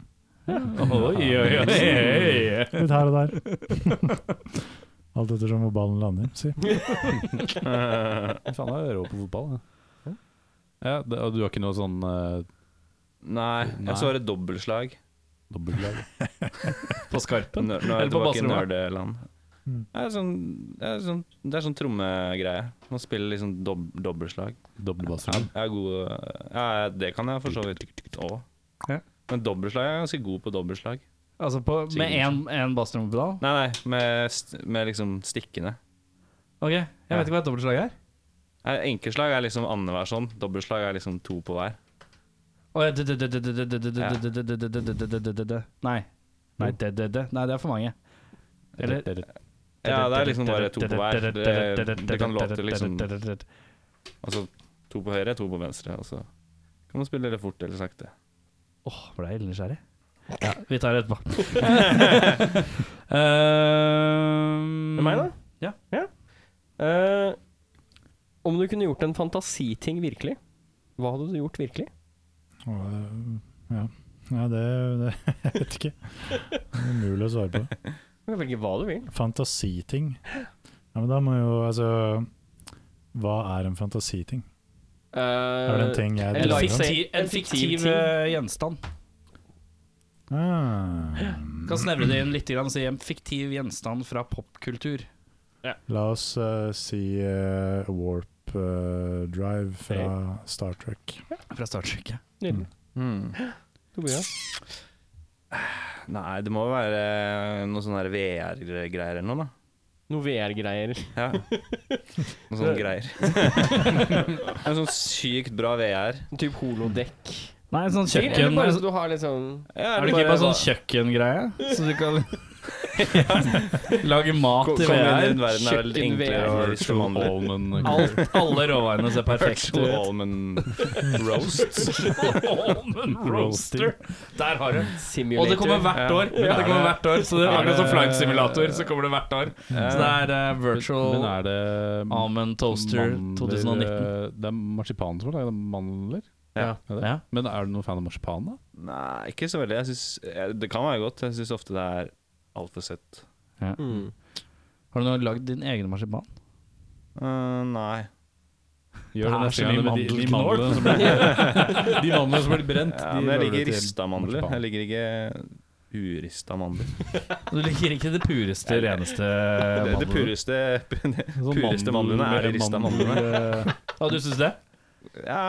[SPEAKER 2] Oi, oi, oi.
[SPEAKER 6] Litt her og der. Alt ettersom hvor ballen lander, si.
[SPEAKER 3] Fy Faen, jeg er rå på fotball. jeg. Ja, det, og du har ikke noe sånn uh,
[SPEAKER 5] nei, jeg svarer dobbeltslag.
[SPEAKER 3] dobbeltlag?
[SPEAKER 2] På skarpen?
[SPEAKER 5] Nå, nå er
[SPEAKER 2] Eller
[SPEAKER 5] jeg
[SPEAKER 2] på
[SPEAKER 5] tilbake i
[SPEAKER 2] bassrommet.
[SPEAKER 5] nerdeland.
[SPEAKER 6] Mm.
[SPEAKER 5] Det er sånn, det er sånn, det er sånn trommegreie. Man spiller liksom dob dobbeltslag.
[SPEAKER 2] Sånn.
[SPEAKER 3] Dobbeltbassrom?
[SPEAKER 5] Jeg er god ja, Det kan jeg for så vidt òg.
[SPEAKER 2] Ja.
[SPEAKER 5] Men dobbeltslag jeg er ganske god på dobbeltslag.
[SPEAKER 2] Altså på, med én basstrommepedal?
[SPEAKER 5] Nei, nei, med, st med liksom stikkene.
[SPEAKER 2] Ok, jeg vet ikke hva et dobbeltslag er.
[SPEAKER 5] Nei, Enkeltslag er liksom annenhver sånn. Dobbeltslag er liksom to på hver.
[SPEAKER 2] Å, ja, d-d-d-d-d-d-d-d-d-d-d-d-d-d-d-d-d-d-d-d-d-d. Nei. Nei, d-d-d. Nei, det er for mange. Eller
[SPEAKER 5] Ja, det er liksom bare to på hver. Det, det kan låte liksom Altså to på høyre, to på venstre. Og så kan man spille det fort eller sakte.
[SPEAKER 2] Åh, ble jeg nysgjerrig? Ja, vi tar det etterpå. Ehm,
[SPEAKER 1] Det er meg, da?
[SPEAKER 2] Ja.
[SPEAKER 1] Eh, om du kunne gjort en fantasiting virkelig, hva hadde du gjort virkelig?
[SPEAKER 6] Og, eh, ja. Nei, det, det Jeg vet ikke. Det er Umulig å svare på.
[SPEAKER 1] Du kan velge hva du vil.
[SPEAKER 6] Fantasiting. Ja, men da må jo altså Hva er en fantasiting? Er
[SPEAKER 1] Eh,
[SPEAKER 6] det en ting jeg
[SPEAKER 1] en
[SPEAKER 6] drømmer om?
[SPEAKER 1] license.
[SPEAKER 2] En fiktiv eh, gjenstand.
[SPEAKER 6] Ah,
[SPEAKER 2] Kan snevre det inn litt og si en fiktiv gjenstand fra popkultur.
[SPEAKER 6] la oss eh, si eh, Warp eh, Drive fra Star Trek.
[SPEAKER 2] Fra Star Trek. ja.
[SPEAKER 1] Nydelig.
[SPEAKER 2] Mm.
[SPEAKER 5] Hmm.
[SPEAKER 1] Tobias.
[SPEAKER 5] Nei, det må jo være noe sånn VR-greier eller noe, da.
[SPEAKER 1] Noe VR-greier.
[SPEAKER 5] Ja. Noe sånne greier. en sånn sykt bra VR.
[SPEAKER 1] Typ holodekk.
[SPEAKER 2] Nei, en sånn
[SPEAKER 1] Sikkert, Eller
[SPEAKER 2] kjøkken
[SPEAKER 1] bare så du har litt sånn
[SPEAKER 5] Ja,
[SPEAKER 2] Er det
[SPEAKER 5] eller
[SPEAKER 2] ikke
[SPEAKER 5] bare-
[SPEAKER 2] bare sånn kjøkkengreie? Så du kan lage mat
[SPEAKER 5] Kom
[SPEAKER 2] i
[SPEAKER 5] inn i
[SPEAKER 2] VR?
[SPEAKER 5] den verden er vel
[SPEAKER 1] Kjøkken
[SPEAKER 5] enklere
[SPEAKER 1] VR.
[SPEAKER 5] å vise som andre.
[SPEAKER 2] Alt, alle råvarene ser perfekte
[SPEAKER 5] Virtual
[SPEAKER 2] ut.
[SPEAKER 5] almond roast.
[SPEAKER 2] Almond roaster. Der har du.
[SPEAKER 1] simulator.
[SPEAKER 2] Og det kommer hvert år. Det kommer hvert år Så det er akkurat som flight simulator. Så kommer det hvert år Så det er eh, virtual
[SPEAKER 3] Men er det
[SPEAKER 2] almond toaster
[SPEAKER 3] mandler- eh,
[SPEAKER 2] 2019.
[SPEAKER 3] Det er marsipan som har laget mandler?
[SPEAKER 5] Ja.
[SPEAKER 3] Er det?
[SPEAKER 2] Ja.
[SPEAKER 3] Men er du noen fan av marsipan, da?
[SPEAKER 5] Nei, ikke så veldig. Jeg synes, eh, det kan være godt. Jeg syns ofte det er altfor søtt.
[SPEAKER 1] Mm.
[SPEAKER 2] Har du nå lagd din egen marsipan?
[SPEAKER 5] Eh, nei.
[SPEAKER 3] Gjør
[SPEAKER 2] Det er så
[SPEAKER 3] neste gang
[SPEAKER 2] mye
[SPEAKER 3] med de, de
[SPEAKER 2] mandelknål.
[SPEAKER 3] mandlene som blir- de mandlene som blir brent.
[SPEAKER 5] Ja,
[SPEAKER 3] de
[SPEAKER 5] men jeg
[SPEAKER 3] lager
[SPEAKER 5] liker
[SPEAKER 3] du til
[SPEAKER 5] rista mandler.
[SPEAKER 3] marsipan.
[SPEAKER 5] Jeg liker ikke urista mandler.
[SPEAKER 2] Du liker ikke det pureste, reneste
[SPEAKER 5] Det, det
[SPEAKER 2] mandelen?
[SPEAKER 5] pureste, det
[SPEAKER 3] Sånn
[SPEAKER 5] pureste
[SPEAKER 3] mandel-
[SPEAKER 5] mandlene er de rista mandlene.
[SPEAKER 2] Ja, du syns det?
[SPEAKER 5] Ja,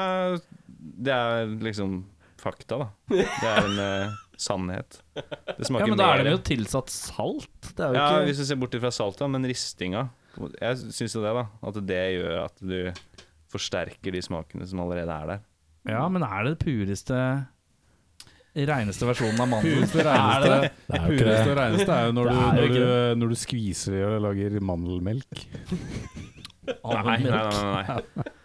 [SPEAKER 5] det er liksom fakta, da. Det er en eh, sannhet. Det
[SPEAKER 2] Ja,
[SPEAKER 5] smaker
[SPEAKER 2] Men da er det
[SPEAKER 5] mer
[SPEAKER 2] jo tilsatt salt? Det er jo
[SPEAKER 5] Ja,
[SPEAKER 2] ikke
[SPEAKER 5] hvis du ser bort fra salta, men ristinga Jeg syns jo det, da. At det gjør at du forsterker de smakene som allerede er der.
[SPEAKER 2] Ja, men er det det pureste Reneste versjonen av mandel?
[SPEAKER 3] Pureste,
[SPEAKER 2] Er det
[SPEAKER 3] reneste,
[SPEAKER 2] det?
[SPEAKER 6] Det er jo ikke
[SPEAKER 3] pureste og reneste er jo
[SPEAKER 2] Det
[SPEAKER 3] når du,
[SPEAKER 2] er jo
[SPEAKER 3] når
[SPEAKER 2] ikke
[SPEAKER 3] du, når du skviser i og lager mandelmelk.
[SPEAKER 5] Nei, nei,
[SPEAKER 2] Albumelk.
[SPEAKER 5] nei. nei.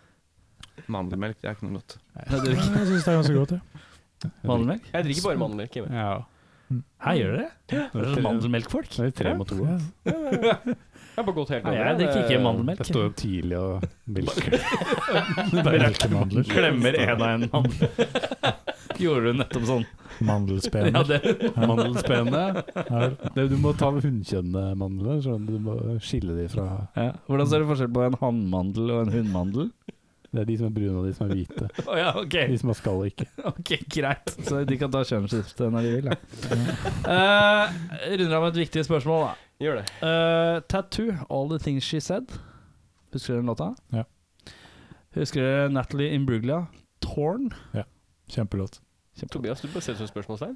[SPEAKER 5] Mandelmelk det er ikke noe godt.
[SPEAKER 2] Nei, du drikker
[SPEAKER 6] Jeg syns det er ganske godt, jeg.
[SPEAKER 2] Mandelmelk?
[SPEAKER 1] Jeg drikker bare mandelmelk. jeg.
[SPEAKER 2] Ja. Her gjør dere det? Dere er Mandelmelkfolk?
[SPEAKER 7] Det er tre mot to. da.
[SPEAKER 1] Jeg har bare gått helt
[SPEAKER 2] Nei,
[SPEAKER 1] over.
[SPEAKER 2] jeg drikker ikke mandelmelk.
[SPEAKER 7] Jeg står opp tidlig og melker.
[SPEAKER 6] Melkemandler.
[SPEAKER 2] Klemmer en av en mandel. Gjorde du nettopp sånn?
[SPEAKER 6] Mandelspen.
[SPEAKER 2] Ja, det
[SPEAKER 7] Mandelspennene.
[SPEAKER 6] Her.
[SPEAKER 7] Det- Du må ta hundkjønnede mandler. Sånn, du må skille de fra
[SPEAKER 2] ja. Hvordan ser du forskjell på en hannmandel og en hunnmandel?
[SPEAKER 7] Det er de som er brune, og de som er hvite.
[SPEAKER 2] Å ja, ok.
[SPEAKER 7] De som har skall og ikke.
[SPEAKER 2] Ok, greit. Så de kan ta kjønnsskifte når de vil. Da. Eh, runder av med et viktig spørsmål, da.
[SPEAKER 1] Gjør det.
[SPEAKER 2] Eh, tattoo, All The Things She Said. Husker dere den låta?
[SPEAKER 6] Ja.
[SPEAKER 2] Husker dere Natalie Imbruglia? Torn?
[SPEAKER 6] Kjempelåt.
[SPEAKER 1] Tobias, du bør sette et spørsmålstegn.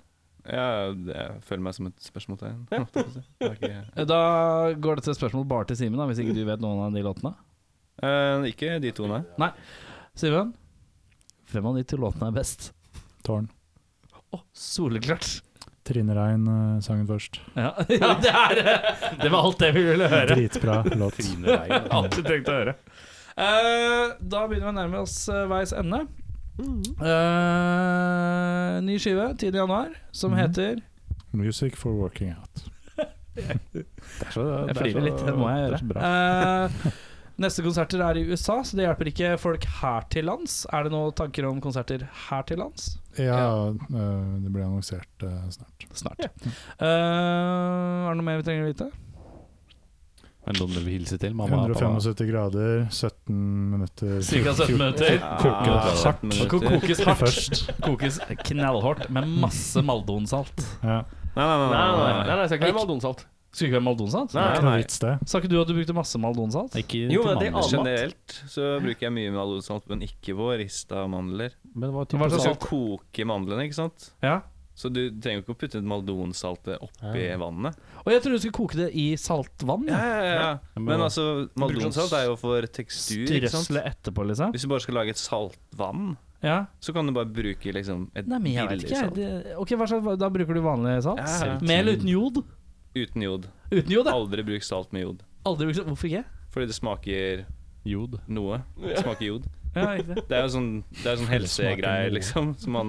[SPEAKER 5] Ja, det- jeg føler meg som et spørsmålstegn. holdt jeg på å si. Det er ikke-
[SPEAKER 2] Eh, Da går dette spørsmålet bare til Simen, da, hvis ikke du vet noen av de låtene.
[SPEAKER 5] Eh, Ikke de to, nei.
[SPEAKER 2] Simen, hvem av de to låtene er best?
[SPEAKER 6] Tårn.
[SPEAKER 2] Å, soleklart!
[SPEAKER 6] Trine Rein eh, sangen først.
[SPEAKER 2] Ja, ja det, er, eh, det var alt det vi ville høre.
[SPEAKER 6] Dritbra låt.
[SPEAKER 2] Alt du trengte å høre. Eh, da begynner vi å nærme oss eh, veis ende. Eh, ny skive 10. januar som
[SPEAKER 6] Mhm.
[SPEAKER 2] heter
[SPEAKER 6] Music for working out.
[SPEAKER 7] Det er så, det
[SPEAKER 2] Jeg
[SPEAKER 7] er så-
[SPEAKER 2] flirer litt, det må jeg
[SPEAKER 7] det er
[SPEAKER 2] gjøre.
[SPEAKER 7] så bra.
[SPEAKER 2] Eh, neste konserter er i USA, så det hjelper ikke folk her til lands. Er det noen tanker om konserter her til lands?
[SPEAKER 6] Ja, eh, det blir annonsert eh, snart.
[SPEAKER 2] Snart. Eh, er det noe mer vi trenger å vite?
[SPEAKER 7] Men noen vil hilse til mamma og pappa.
[SPEAKER 6] 175 grader, 17 minutter
[SPEAKER 2] Cirka 17 minutter.
[SPEAKER 5] Ah,
[SPEAKER 6] det
[SPEAKER 5] sytten
[SPEAKER 2] Og ko-
[SPEAKER 5] minutter.
[SPEAKER 2] kokes hardt. Kokes knallhardt med masse maldonsalt.
[SPEAKER 6] Ja,
[SPEAKER 5] Nei, nei,
[SPEAKER 1] Nei, nei, nei,
[SPEAKER 5] nei.
[SPEAKER 1] nei,
[SPEAKER 5] nei.
[SPEAKER 1] nei skal ikke være maldonsalt.
[SPEAKER 2] Skulle Ah. ikke være maldonsalt?
[SPEAKER 6] det
[SPEAKER 5] Nei.
[SPEAKER 6] er ikke noe vits, det.
[SPEAKER 2] Sa ikke du at du brukte masse maldonsalt?
[SPEAKER 7] Ikke
[SPEAKER 1] Jo,
[SPEAKER 7] til
[SPEAKER 1] men det er
[SPEAKER 7] mandler.
[SPEAKER 1] annet.
[SPEAKER 5] Generelt så bruker jeg mye maldonsalt, men ikke på rista mandler.
[SPEAKER 7] Men hva
[SPEAKER 2] Hva
[SPEAKER 7] type
[SPEAKER 2] er
[SPEAKER 5] Du
[SPEAKER 2] det
[SPEAKER 7] salt?
[SPEAKER 5] skal
[SPEAKER 2] Salt.
[SPEAKER 5] koke mandlene, ikke sant?
[SPEAKER 2] Ja.
[SPEAKER 5] Så du trenger jo ikke å putte maldonsaltet oppi
[SPEAKER 2] Og
[SPEAKER 5] vannet.
[SPEAKER 2] jeg trodde du skulle koke det i saltvann.
[SPEAKER 5] Ja, ja, ja. Men altså,
[SPEAKER 1] bruker sånn
[SPEAKER 5] maldonsalt er jo for tekstur, ikke sant?
[SPEAKER 2] Strøsle etterpå, liksom.
[SPEAKER 5] Hvis du bare skal lage et saltvann,
[SPEAKER 2] Ja.
[SPEAKER 5] så kan du bare bruke liksom et
[SPEAKER 2] Nei, men jeg vet
[SPEAKER 5] billig
[SPEAKER 2] ikke. jeg.
[SPEAKER 5] salt.
[SPEAKER 2] Det, ok, hva slags, Da bruker du vanlig salt?
[SPEAKER 5] Ja, ja.
[SPEAKER 2] Med eller uten jod?
[SPEAKER 5] Uten jod.
[SPEAKER 2] Uten jod, ja.
[SPEAKER 5] Aldri bruk salt med jod.
[SPEAKER 2] Aldri brukt Hvorfor ikke?
[SPEAKER 5] Fordi det smaker
[SPEAKER 7] Jod.
[SPEAKER 5] noe. Det smaker jod.
[SPEAKER 2] Ja, riktig.
[SPEAKER 5] Det er jo sånn, det er sånn
[SPEAKER 6] smaker
[SPEAKER 5] helsegreie,
[SPEAKER 6] noe.
[SPEAKER 5] liksom. Som man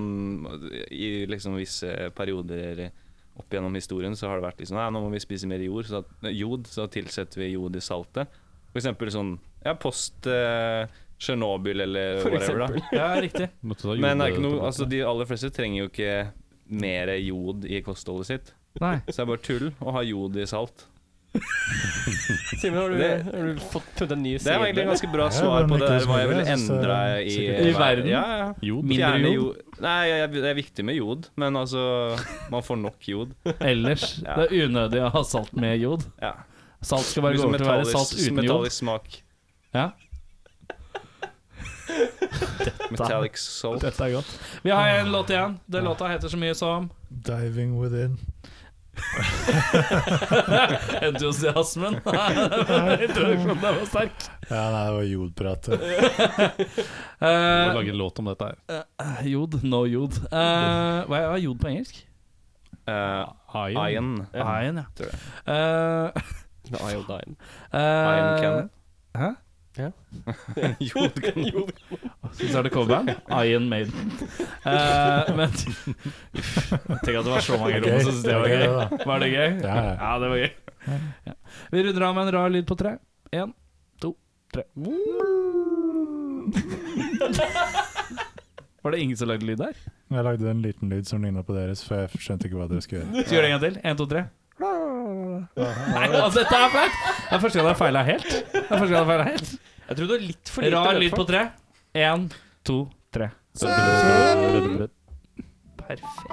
[SPEAKER 5] I liksom visse perioder opp gjennom historien så har det vært liksom Nei, nå må vi spise mer jord, så at, jod, så tilsetter vi jod i saltet. For eksempel sånn Ja, post eh, Tsjernobyl eller
[SPEAKER 1] For
[SPEAKER 5] whatever, da.
[SPEAKER 2] Ja, riktig.
[SPEAKER 7] Måtte ta eh,
[SPEAKER 5] Men det er ikke
[SPEAKER 7] jodtabletter.
[SPEAKER 5] noe, altså, de aller fleste trenger jo ikke mer jod i kostholdet sitt.
[SPEAKER 2] Nei.
[SPEAKER 5] Så det er bare tull å ha jod i salt.
[SPEAKER 1] Simen, har, du-
[SPEAKER 5] Det-
[SPEAKER 1] har du fått funnet en ny
[SPEAKER 5] Det er jo egentlig
[SPEAKER 1] scene?
[SPEAKER 5] et ganske bra
[SPEAKER 6] Ja,
[SPEAKER 5] svar
[SPEAKER 6] men
[SPEAKER 5] på
[SPEAKER 6] ikke
[SPEAKER 5] det der
[SPEAKER 6] så
[SPEAKER 5] hva
[SPEAKER 6] mye,
[SPEAKER 5] jeg ville
[SPEAKER 6] så-
[SPEAKER 5] endra i,
[SPEAKER 6] sikkert.
[SPEAKER 2] altså. I verden?
[SPEAKER 5] Ja, ja.
[SPEAKER 7] Jod.
[SPEAKER 2] Mindre
[SPEAKER 5] Fjerne
[SPEAKER 2] jod?
[SPEAKER 5] jod. Nei, jeg, det er viktig med jod, men altså Man får nok jod.
[SPEAKER 2] Ellers.
[SPEAKER 5] Ja.
[SPEAKER 2] Det er unødig å ha salt med jod.
[SPEAKER 5] Ja.
[SPEAKER 2] Salt skal bare gå
[SPEAKER 5] Liksom
[SPEAKER 2] over til å være salt uten jod.
[SPEAKER 5] metallisk smak.
[SPEAKER 2] Ja.
[SPEAKER 5] Metallic salt.
[SPEAKER 7] Dette er godt.
[SPEAKER 2] Vi har en låt igjen. Den låta heter så mye som
[SPEAKER 6] Diving within.
[SPEAKER 2] Entusiasmen. Introduksjonen der var sterk.
[SPEAKER 6] Ja, nei, det var jodprat.
[SPEAKER 7] Vi
[SPEAKER 2] Eh,
[SPEAKER 7] må lage en låt om dette her.
[SPEAKER 2] Jod, no jod. Eh, hva er jod på engelsk?
[SPEAKER 5] Eh,
[SPEAKER 7] Iron.
[SPEAKER 5] Iron.
[SPEAKER 2] Iron, ja.
[SPEAKER 5] Tror jeg.
[SPEAKER 2] Eh,
[SPEAKER 1] Det er iodine.
[SPEAKER 2] eh,
[SPEAKER 5] Iron cannon.
[SPEAKER 2] Hæ?
[SPEAKER 5] Jod kan
[SPEAKER 2] Syns du det er coverband? Iron Maiden. Eh, men Tenk at det var så mange rom som syntes det var gøy.
[SPEAKER 6] da.
[SPEAKER 2] Var det gøy?
[SPEAKER 6] Ja, ja.
[SPEAKER 2] Ja, det var gøy. Ja. Vi runder av med en rar lyd på tre. Én, to, tre. Var det ingen som lagde lyd der?
[SPEAKER 6] Jeg lagde en liten lyd som ligna på deres, for jeg skjønte ikke hva dere skulle gjøre.
[SPEAKER 2] Skal vi gjøre det en gang til? En, to, tre. Nei, altså, dette er flaut! Det er første gang jeg har feila helt. Det er første gang jeg har feilet helt.
[SPEAKER 1] Jeg tror du har litt for lite
[SPEAKER 2] Rar lyd
[SPEAKER 1] løpeform.
[SPEAKER 2] på tre. Én, to, tre.
[SPEAKER 7] Perfekt.